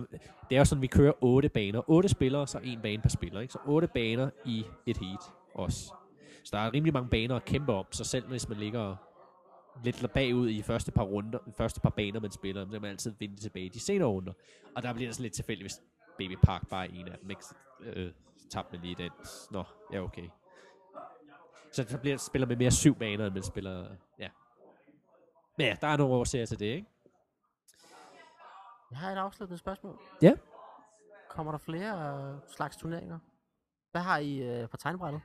Det er jo sådan, vi kører otte baner. Otte spillere, så en bane per spiller, ikke? Så otte baner i et heat også. Så der er rimelig mange baner at kæmpe om, så selv hvis man ligger lidt bagud i første par runder, første par baner, man spiller, så kan man altid vinde tilbage i de senere runder. Og der bliver det sådan lidt tilfældigt, hvis Baby Park bare er en af dem, ikke? Så, øh, tabte man lige den. Nå, ja okay. Så så bliver, spiller man mere syv baner, end man spiller... Ja. Men ja, der er nogle årsager til det, ikke?
Jeg har et afsluttende spørgsmål.
Ja.
Kommer der flere øh, slags turneringer? Hvad har I øh, på tegnbrættet?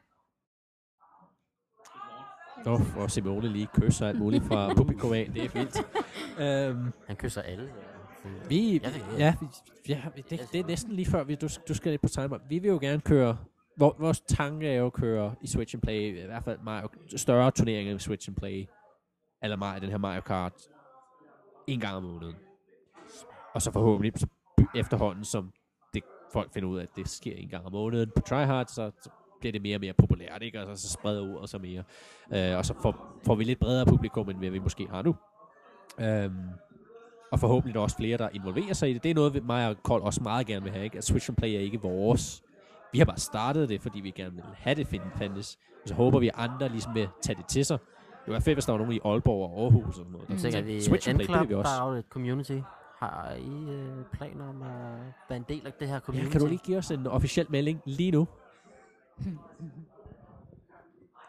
Oh, og Simone lige kysser alt muligt fra publikum af. Det er vildt. øhm,
Han kysser alle. øh,
vi,
Jeg ved ikke.
ja, vi, ja vi- det, det, er næsten lige før, vi, du, du skal lidt på timer. Vi vil jo gerne køre, vor, vores tanke er jo at køre i Switch and Play, i hvert fald Mario, større turneringer end Switch and Play, eller Mario, den her Mario Kart, en gang om måneden. Og så forhåbentlig så by- efterhånden, som det, folk finder ud af, at det sker en gang om måneden på tryhard, så, så bliver det mere og mere populært, ikke? og så, så spreder ordet sig mere. Øh, og så får, får vi lidt bredere publikum, end hvad vi måske har nu. Øhm, og forhåbentlig er der også flere, der involverer sig i det. Det er noget, vi- mig og Kold også meget gerne vil have. Ikke? At Switch and Play er ikke vores. Vi har bare startet det, fordi vi gerne vil have det find- fandtes. Og så håber vi, at andre ligesom vil tage det til sig. Det var fedt, hvis der var nogen i Aalborg og Aarhus og sådan noget. Der
Mm.
Nu
tænker,
tænker vi,
Switch
Switch
and Play, det vil
N-Club,
vi
der
også.
er jo et community. Har I øh, planer om at være en del af det her community?
Ja, kan du lige give os en officiel melding lige nu?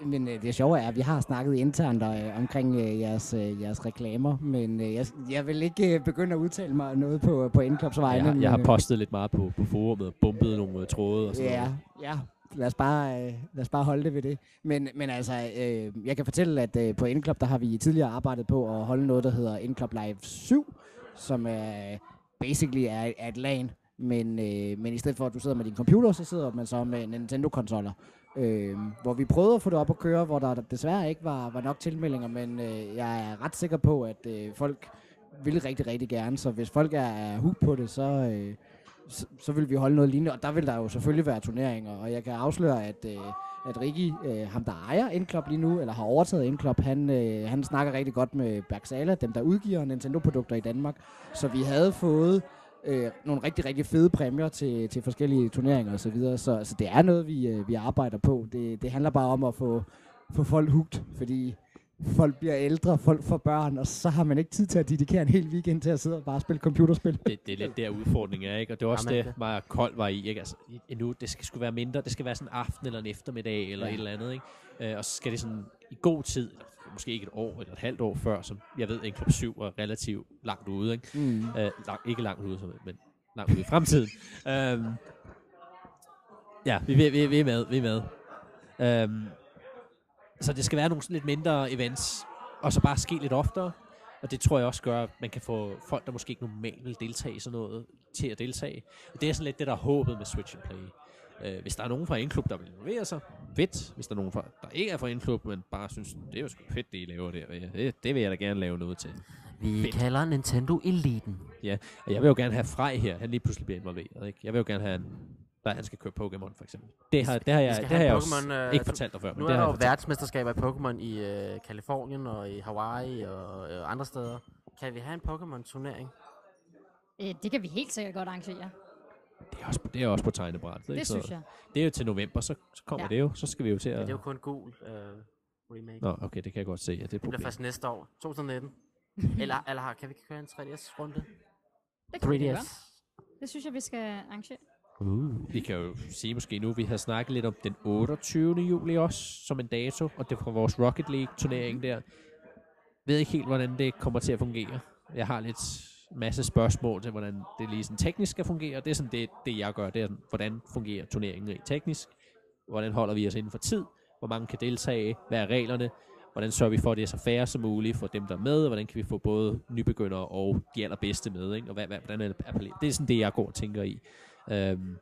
Men øh, det sjove er, at vi har snakket internt øh, omkring øh, jeres, øh, jeres reklamer, men øh, jeg, jeg vil ikke øh, begynde at udtale mig noget på, på Indklops
Jeg,
vegne.
har- jeg
men,
har
øh,
postet lidt meget på, på forumet og bumpet nogle øh, tråde og sådan
Ja,
noget.
ja. Lad os, bare, øh, lad os bare holde det ved det. Men, men altså, øh, jeg kan fortælle, at øh, på Indklub, der har vi tidligere arbejdet på at holde noget, der hedder Indklub Live 7, som øh, basically er, er et LAN. Men, øh, men i stedet for, at du sidder med din computer, så sidder man så med Nintendo-konsoller. Øh, hvor vi prøvede at få det op at køre, hvor der desværre ikke var, var nok tilmeldinger, men øh, jeg er ret sikker på, at øh, folk vil rigtig, rigtig gerne. Så hvis folk er, er hooked på det, så... Øh, så, så vil vi holde noget lignende, og der vil der jo selvfølgelig være turneringer, og jeg kan afsløre, at, øh, at Rikki, øh, ham der ejer Endklub lige nu, eller har overtaget Endklub, han, øh, han snakker rigtig godt med Bergsala, dem der udgiver Nintendo-produkter i Danmark, så vi havde fået øh, nogle rigtig, rigtig fede præmier til, til forskellige turneringer osv., så, videre. så, så det er noget, vi, øh, vi arbejder på. Det, det handler bare om at få, få folk hugt, fordi folk bliver ældre, folk får børn, og så har man ikke tid til at dedikere en hel weekend til at sidde og bare spille computerspil.
Det, det er lidt der udfordringen er, ikke? Og det var også
Jamen,
det,
det-
meget kold var i, ikke? Altså, i- endnu, det skal sgu være mindre, det skal være sådan en aften eller en eftermiddag eller
Ja.
et eller andet, ikke? Øh, og så skal det sådan i god tid, eller måske ikke et år eller et halvt år før, som jeg ved, en klub 7 er relativt langt ude, ikke?
Mm.
Øh, lang, ikke langt ude, som- men langt ude i fremtiden. øhm, ja, vi, vi, vi, vi er med, vi er med. Øhm, så det skal være nogle sådan lidt mindre events, og så bare ske lidt oftere. Og det tror jeg også gør, at man kan få folk, der måske ikke normalt vil deltage i sådan noget, til at deltage. Og det er sådan lidt det, der er håbet med Switch and Play. Øh, hvis der er nogen fra en klub, der vil involvere sig, fedt. Hvis der er nogen, fra, der ikke er fra en klub, men bare synes, det er jo sgu fedt, det I laver der. Det, det vil jeg da gerne lave noget til.
Vi
Fedt.
kalder Nintendo Eliten.
Ja, og jeg vil jo gerne have Frej her. Han lige pludselig bliver involveret, ikke? Jeg vil jo gerne have, han, der, han skal køre Pokémon, for eksempel. Det har, det har jeg,
skal
det
have
har jeg
Pokémon,
også
øh,
ikke
du-
fortalt dig før. men
Nu
det
er
har
der
jeg
jo
fortalt.
verdensmesterskaber i Pokémon i øh, Kalifornien og i Hawaii og øh, andre steder. Kan vi have en Pokémon-turnering?
Øh, det kan vi helt sikkert godt arrangere.
Det er også, det er også på tegnebrættet. ikke?
Det
Så
synes jeg.
Det er jo til november, så, så kommer
Ja.
det jo. Så skal vi jo til
Men
at...
det er jo kun gul øh, remake.
Nå, okay, det kan jeg godt se. Ja, det er et
Det bliver
problem.
først næste år, 2019. eller, eller har- kan vi ikke køre en 3DS-runde?
[laughs] Det kan vi da
3DS.
godt. Det synes jeg, vi skal arrangere.
Uh. Vi kan jo sige måske nu, vi har snakket lidt om den 28. juli også, som en dato, og det er fra vores Rocket League-turnering der. ved ikke helt, hvordan det kommer til at fungere. Jeg har lidt masse spørgsmål til, hvordan det lige sådan teknisk skal fungere. Det er sådan det, det jeg gør, det er sådan, hvordan fungerer turneringen rent teknisk? Hvordan holder vi os inden for tid? Hvor mange kan deltage? Hvad er reglerne? Hvordan sørger vi for, at det er så færre som muligt for dem, der er med? Hvordan kan vi få både nybegyndere og de allerbedste med? Ikke? Og hvad, hvad, hvordan er det appelleret? Det er sådan det, jeg går og tænker i. Øhm,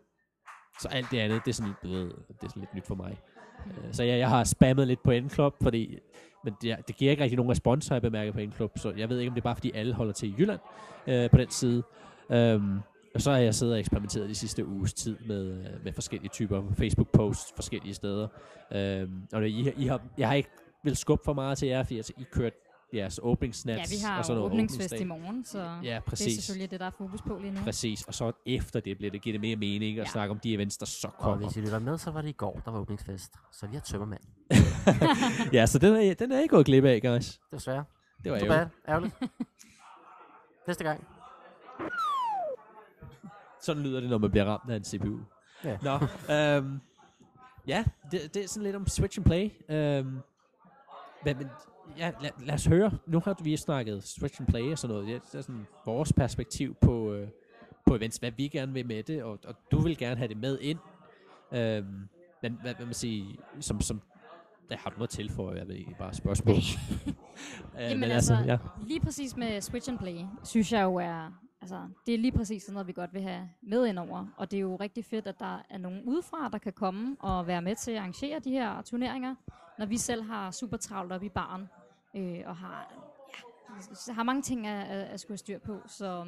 så alt det andet, det er sådan lidt, du ved, det er sådan lidt nyt for mig. Øh, Så jeg, jeg har spammet lidt på N-Club, fordi men det, er- det giver ikke rigtig nogen respons, har jeg bemærket på en klub, så jeg ved ikke, om det er bare, fordi alle holder til i Jylland øh, på den side. Øhm, og så har jeg siddet og eksperimenteret de sidste uges tid med, øh, med forskellige typer Facebook-posts forskellige steder. Øhm, og det, I, har- I har, jeg har ikke vil skubbe for meget til jer, fordi altså, I kørte jeres åbningsnats
Ja, vi har
og sådan
jo
noget
åbningsfest i
åbningsdag.
morgen, så
Ja,
det er
præcis.
selvfølgelig det, der er fokus på lige nu.
Præcis, og så efter det bliver det, giver det mere mening at
Mm. Ja.
snakke om de events, der så
Og
kommer.
hvis I lytter med, så var det i går, der var åbningsfest. Så vi har tømmermand.
ja, så den er, den er I gået glip af, guys.
Desværre.
Det var
Too
jo.
bad. Ærgerligt. Næste gang.
Sådan lyder det, når man bliver ramt af en CPU.
Ja.
Nå, øhm, Ja, det, det er sådan lidt om Switch and Play. Øhm, men, men ja, lad, lad os høre. Nu har vi snakket Switch and Play og sådan noget. Ja, Det er sådan vores perspektiv på, øh, på events, hvad vi gerne vil med det, og, og du vil gerne have det med ind. Øhm, men hvad vil man sige, som, som der har du noget til for, jeg ved ikke, bare
[laughs]
spørgsmål. øh,
Jamen altså, ja. lige præcis med Switch and Play, synes jeg jo er, altså, det er lige præcis sådan noget, vi godt vil have med indover. Og det er jo rigtig fedt, at der er nogen udefra, der kan komme og være med til at arrangere de her turneringer, når vi selv har super travlt op i baren, øh, og har, ja, s- har mange ting at, at, at skulle have styr på. Så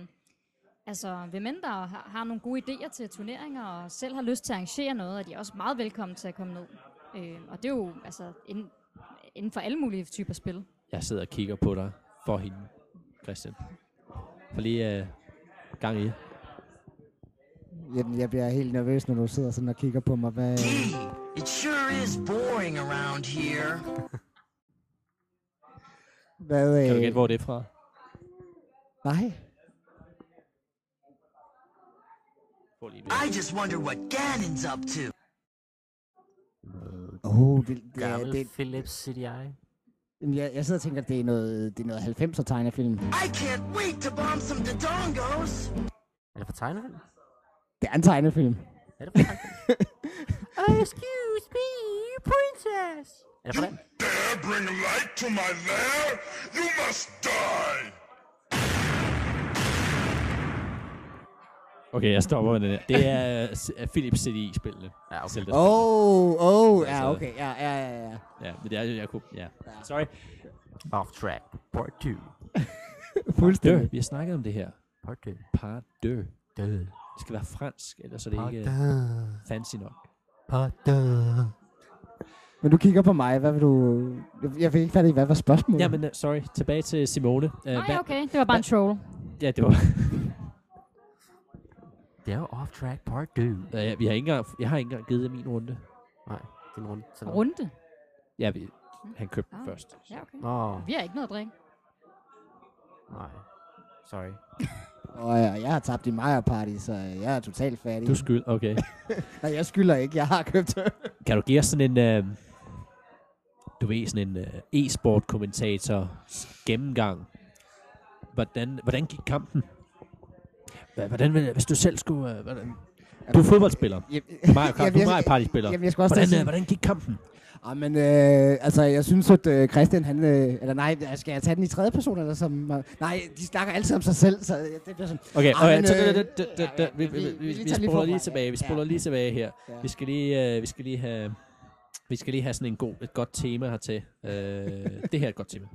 altså, hvem end der har, har nogle gode idéer til turneringer, og selv har lyst til at arrangere noget, er de også meget velkommen til at komme ned. Øh, og det er jo altså, inden, inden for alle mulige typer spil.
Jeg sidder og kigger på dig for hende, Christian. For lige øh, gang i.
Jeg, jeg bliver helt nervøs, når du sidder sådan og kigger på mig. Hvad,
It sure is boring around here.
hvad,
Kan du
øh,
gætte, hvor det er fra?
Nej.
Prøv lige
I just wonder what Ganon's up to.
Åh, oh, det, det, er-
Gammel
det,
Philips CDI.
jamen, jeg, jeg sidder og tænker, at det er noget, det er noget 90'er tegnefilm.
I can't wait to bomb some Dodongos.
Er det fra
[laughs]
tegnefilm?
Det er en tegnefilm.
Er det fra tegnefilm? oh, excuse me, princess! Er det fra den?
dare bring light to my lair, you must die!
Okay, jeg stopper med den her. Det er øh, s- er Philips CDI-spillene.
Ja, okay.
Zelda-spillene.
Åh, åh,
Altså-
ja, okay, ja, ja, ja, ja.
Ja, men det er, jeg kunne, ja. Sorry.
Off track. Part 2.
Dø.
Fuldstændig.
Vi har snakket om det her.
Part 2.
Par dø.
Død.
Det skal være fransk, ellers er det ikke øh, fancy nok.
Part 2.
Men du kigger på mig, hvad vil du... Jeg- Jeg fik ikke fat i, hvad var spørgsmålet?
Ja, men uh, sorry. Tilbage til Simone. Uh,
Nej, okay. Det var bare en troll.
Ja, det var... [laughs]
Det er jo off track. Part 2.
Uh, ja, vi har ikke engang, jeg har ikke engang givet jer min runde.
Nej, din runde. Sådan.
Runde.
Ja, vi, han købte den
Ah.
først.
Ja, okay.
Nå,
Vi har ikke noget at drikke.
nej. Sorry.
Og jeg, jeg har tabt i Mario Party, så jeg er totalt fattig.
Du skyld, okay.
Nej, jeg skylder ikke, jeg har købt
kan du give os sådan en... Uh, du ved, sådan en uh, e-sport-kommentator gennemgang. Hvordan, hvordan gik kampen? Hva- Hvordan, vil- hvis du selv skulle... Uh, hvordan? Du er fodboldspiller.
[laughs]
Mario, Kart, du er Mario Party-spiller.
Jamen, jeg skulle også til at
Hvordan, øh,
sige-
hvordan gik kampen?
Ah, men øh, altså, jeg synes, at øh, Christian, han... Øh, eller nej, skal jeg tage den i tredje person, eller som... Øh, nej, de snakker altid om sig selv, så øh, det bliver sådan...
Okay,
Ah,
okay,
men,
så
øh,
det- det- det- det-
ja, ja,
det- vi-
vi- vi-
vi-
vi
vi- vi
tager lige
spoler lige
forfra.
tilbage, vi
Ja.
spoler lige tilbage her.
Ja.
Vi skal lige, øh, vi skal lige have, vi skal lige have sådan en god, et godt tema hertil.
[laughs]
Øh, det her er et godt tema.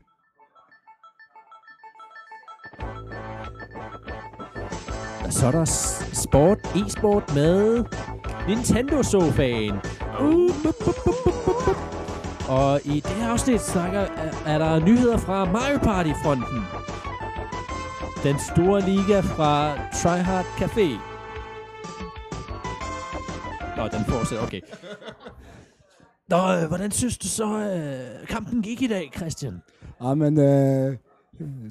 Og så er der s- sport, e-sport med Nintendo Sofaen. Uh, bup, bup, bup, bup, bup, bup. Og i det her afsnit snakker, er, er der nyheder fra Mario Party-fronten. Den store liga fra Tryhard Café. Nå, den fortsætter, okay. Nå, øh, hvordan synes du så, øh, kampen gik i dag, Christian?
Jamen, øh,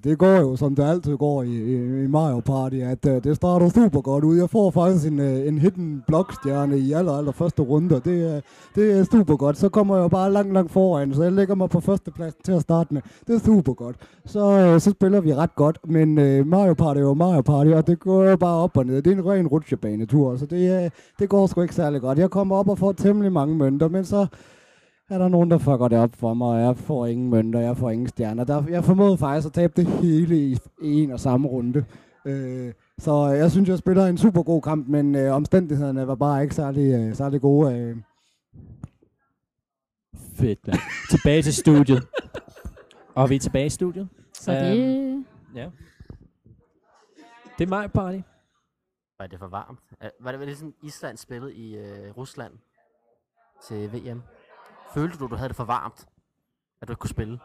det går jo, som det altid går i, i, i Mario Party, at øh, det starter super godt ud. Jeg får faktisk en, øh, en hidden blokstjerne i aller, aller første runde, og det, øh, det er super godt. Så kommer jeg jo bare langt, langt foran, så jeg lægger mig på førstepladsen til at starte med. Det er super godt. Så, øh, så spiller vi ret godt, men øh, Mario Party er jo Mario Party, og det går jo bare op og ned. Det er en ren rutsjebanetur, så det, øh, det går sgu ikke særlig godt. Jeg kommer op og får temmelig mange mønter, men så er der nogen, der fucker det op for mig, og jeg får ingen mønter, jeg får ingen stjerner. Der, jeg formåede faktisk at tabe det hele i en og samme runde. Øh, så jeg synes, jeg spiller en super god kamp, men øh, omstændighederne var bare ikke særlig, øh, særlig gode. Øh.
Fedt, mand. Tilbage til studiet. Og vi er tilbage i studiet.
Så
Øhm.
det...
Ja. Det er Mario Party.
Var det for varmt? Er- Var det, var det sådan, Island spillede i øh, Rusland til VM? Følte du, du havde det for varmt? At du ikke kunne spille?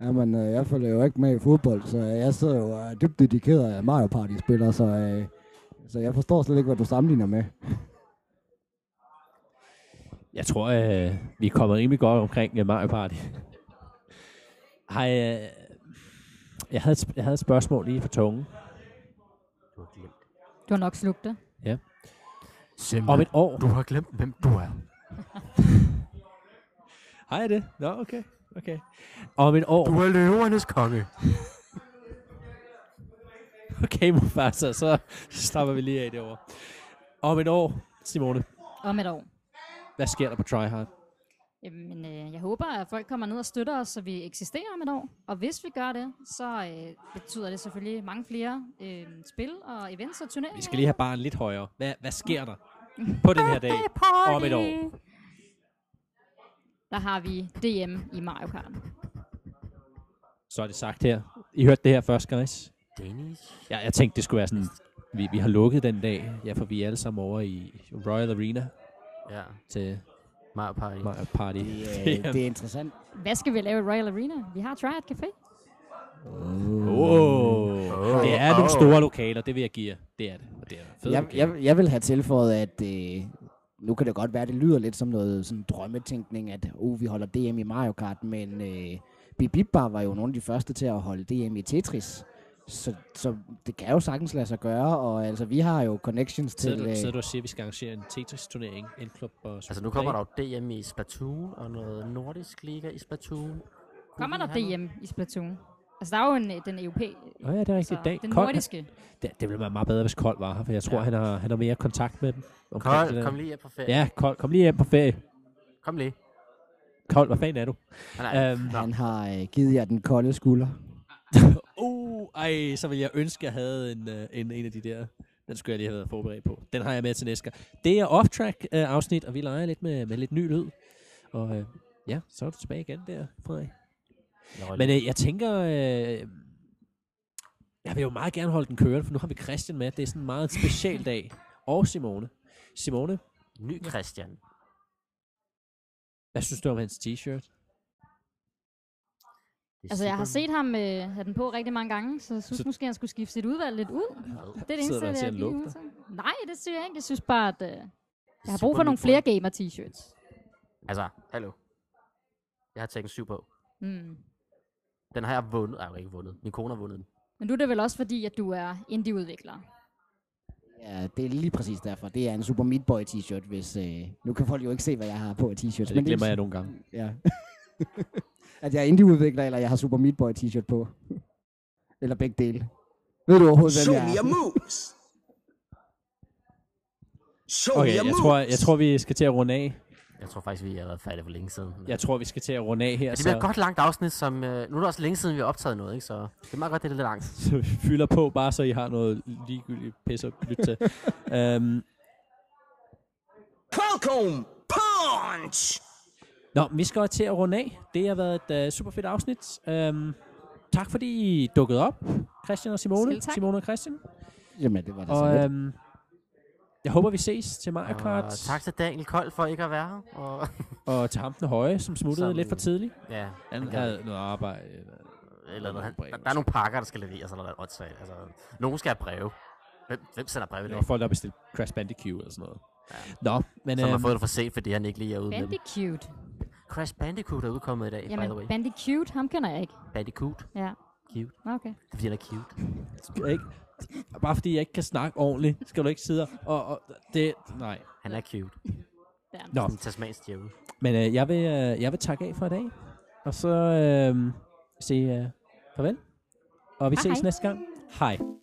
Jamen, øh, jeg følger jo ikke med i fodbold, så øh, jeg sidder jo øh, dybt dedikeret af Mario Party-spiller, så, øh, så jeg forstår slet ikke, hvad du sammenligner med.
Jeg tror, øh, vi er kommet rimelig godt omkring øh, Mario Party. Hej, øh, jeg, havde, et sp- jeg havde et spørgsmål lige for tungen.
Du har glemt.
Du har nok slugt det.
Om et år,
Du har glemt, hvem du er.
Har jeg det? Nå, okay. okay. Om et år...
er løvernes konge.
Okay, Mufasa, så slapper vi lige af derovre. Om et år, Simone,
om et år.
hvad sker der på Try Hard?
Jamen, øh, jeg håber, at folk kommer ned og støtter os, så vi eksisterer om et år. Og hvis vi gør det, så øh, betyder det selvfølgelig mange flere øh, spil og events og turneringer.
Vi skal lige have barn lidt højere. Hvad, hvad sker der på den her dag om et år?
Der har vi DM i Mario Kart.
Så er det sagt her. I hørte det her først, guys.
Danish?
Ja, jeg tænkte, det skulle være sådan, vi, vi har lukket den dag. Ja, for vi er alle sammen over i Royal Arena
Ja,
til
Mario Party.
Mario Party. [laughs]
Øh, det er interessant.
Hvad skal vi lave i Royal Arena? Vi har Triad Café.
Oh. Det er nogle store lokaler, det vil jeg give jer. Det er det. Og det er fedt.
Jeg, jeg, jeg vil have tilføjet, at øh, nu kan det godt være, at det lyder lidt som noget sådan drømmetænkning, at uh, vi holder DM i Mario Kart, men øh, Bip Bip Bar var jo nogle af de første til at holde DM i Tetris. Så, så det kan jo sagtens lade sig gøre, og altså, vi har jo connections til...
Sidder du, sidder
Øh,
du og siger, at vi skal arrangere en Tetris-turnering, en klub og
Altså nu kommer der jo DM i Splatoon, og noget nordisk liga i Splatoon.
Kommer der
Kunne vi have
DM i Splatoon? Altså, der er jo en, øh, den europæiske,
Nå ja, det er rigtigt. dag.
den
Kold-
nordiske.
Det, det ville være meget bedre, hvis Kold var her, for jeg tror,
Ja.
han, har, han har mere kontakt med dem. omkring
noget?
det der.
Kold, kom lige her på ferie.
Ja, Kold, kom lige hjem på ferie.
Kom lige.
Kold, hvad fanden er du?
Ah, nej.
Øhm,
han har øh, givet jer den kolde skulder.
uh, ej, så ville jeg ønske, jeg havde en, øh, en, en af de der. Den skulle jeg lige have været forberedt på. Den har jeg med til næste gang. Det er off-track-afsnit, og vi leger lidt med, med lidt ny lyd. Og øh, ja, så er du tilbage igen der, Frederik.
Nå,
Men øh, jeg tænker, øh, jeg vil jo meget gerne holde den kørende, for nu har vi Christian med. Det er sådan en meget speciel dag. Og Simone. Simone,
Ny Christian.
hvad synes du om hans t-shirt?
Det er
Altså, jeg har
super-
set ham øh, have den på rigtig mange gange, så jeg synes
Så-
så... måske, han skulle skifte sit udvalg lidt ud. Det er det
Sidder
eneste,
du og
jeg
ser
er
en
lige
lugt
ude til. Nej, det synes jeg ikke. Jeg synes bare, at øh, jeg har brug
super
for nogle
nyt
flere gamer-t-shirts.
Altså, hallo. Jeg har taget en syv på.
Mm.
Den har jeg vundet. Ej, jeg har ikke vundet. Min kone har vundet den.
Men nu er det vel også fordi, at du er indie-udvikler.
Ja, det er lige præcis derfor. Det er en Super Meat Boy t-shirt, hvis... Øh, nu kan folk jo ikke se, hvad jeg har på af t-shirts.
Ja, det glemmer jeg nogle gange.
Ja. [laughs] at jeg er indieudvikler, eller jeg har Super Meat Boy t-shirt på. eller begge dele. Ved du overhovedet, hvem jeg er?
moves. Show
Okay, jeg tror, jeg tror, vi skal til at runde af.
Jeg tror faktisk, vi har været færdige for længe siden. Men...
Jeg tror, vi skal til at runde af her,
det bliver et
så,
godt langt afsnit, som... Øh, nu er det også længe siden, vi har optaget noget, ikke? Så det er meget godt, det er lidt
[laughs]
langt.
så vi fylder på, bare så I har noget ligegyldigt pisse at lytte
[laughs]
til. um,
Falcon Punch!
Nå, vi skal til at runde af. Det har været et uh, super fedt afsnit. Um, tak fordi I dukkede op, Christian og Simone.
Selv tak.
Simone og Christian.
Jamen, det var da så
Og
lidt.
um, jeg håber, vi ses til Mario Kart.
Og tak til Daniel Kold for ikke at være her.
[laughs]
Og...
Og til ham den høje, som smuttede
Som-
lidt for tidligt.
ja,
Han
gad
havde noget arbejde.
eller noget.
Nogle
Han,
breve,
der, der, er nogle pakker, der skal leveres, eller noget åndssvagt. Altså, nogen skal have breve. Hvem, hvem sender breve i
Der
dag?
var folk, der bestilte Crash Bandicoot eller sådan noget. Nå, men...
Som har
øhm,
fået det for sent, fordi han ikke lige er ude med dem.
Bandicoot.
Crash Bandicoot er udkommet i dag, by the way.
Jamen, Bandicoot, ham kender jeg ikke.
Bandicoot.
Ja.
Cute.
Nå, Okay.
Det er, fordi han er cute.
skal jeg ikke, bare fordi jeg ikke kan snakke ordentligt, skal du ikke sidde og... og det, nej.
Han er cute.
Der. er han.
Nå,
En tasmansk djævel.
men øh, jeg, vil, øh, jeg vil takke af for i dag. Og så øh, sige øh, farvel. Og vi
Hej,
ses
hej.
næste gang. Hej.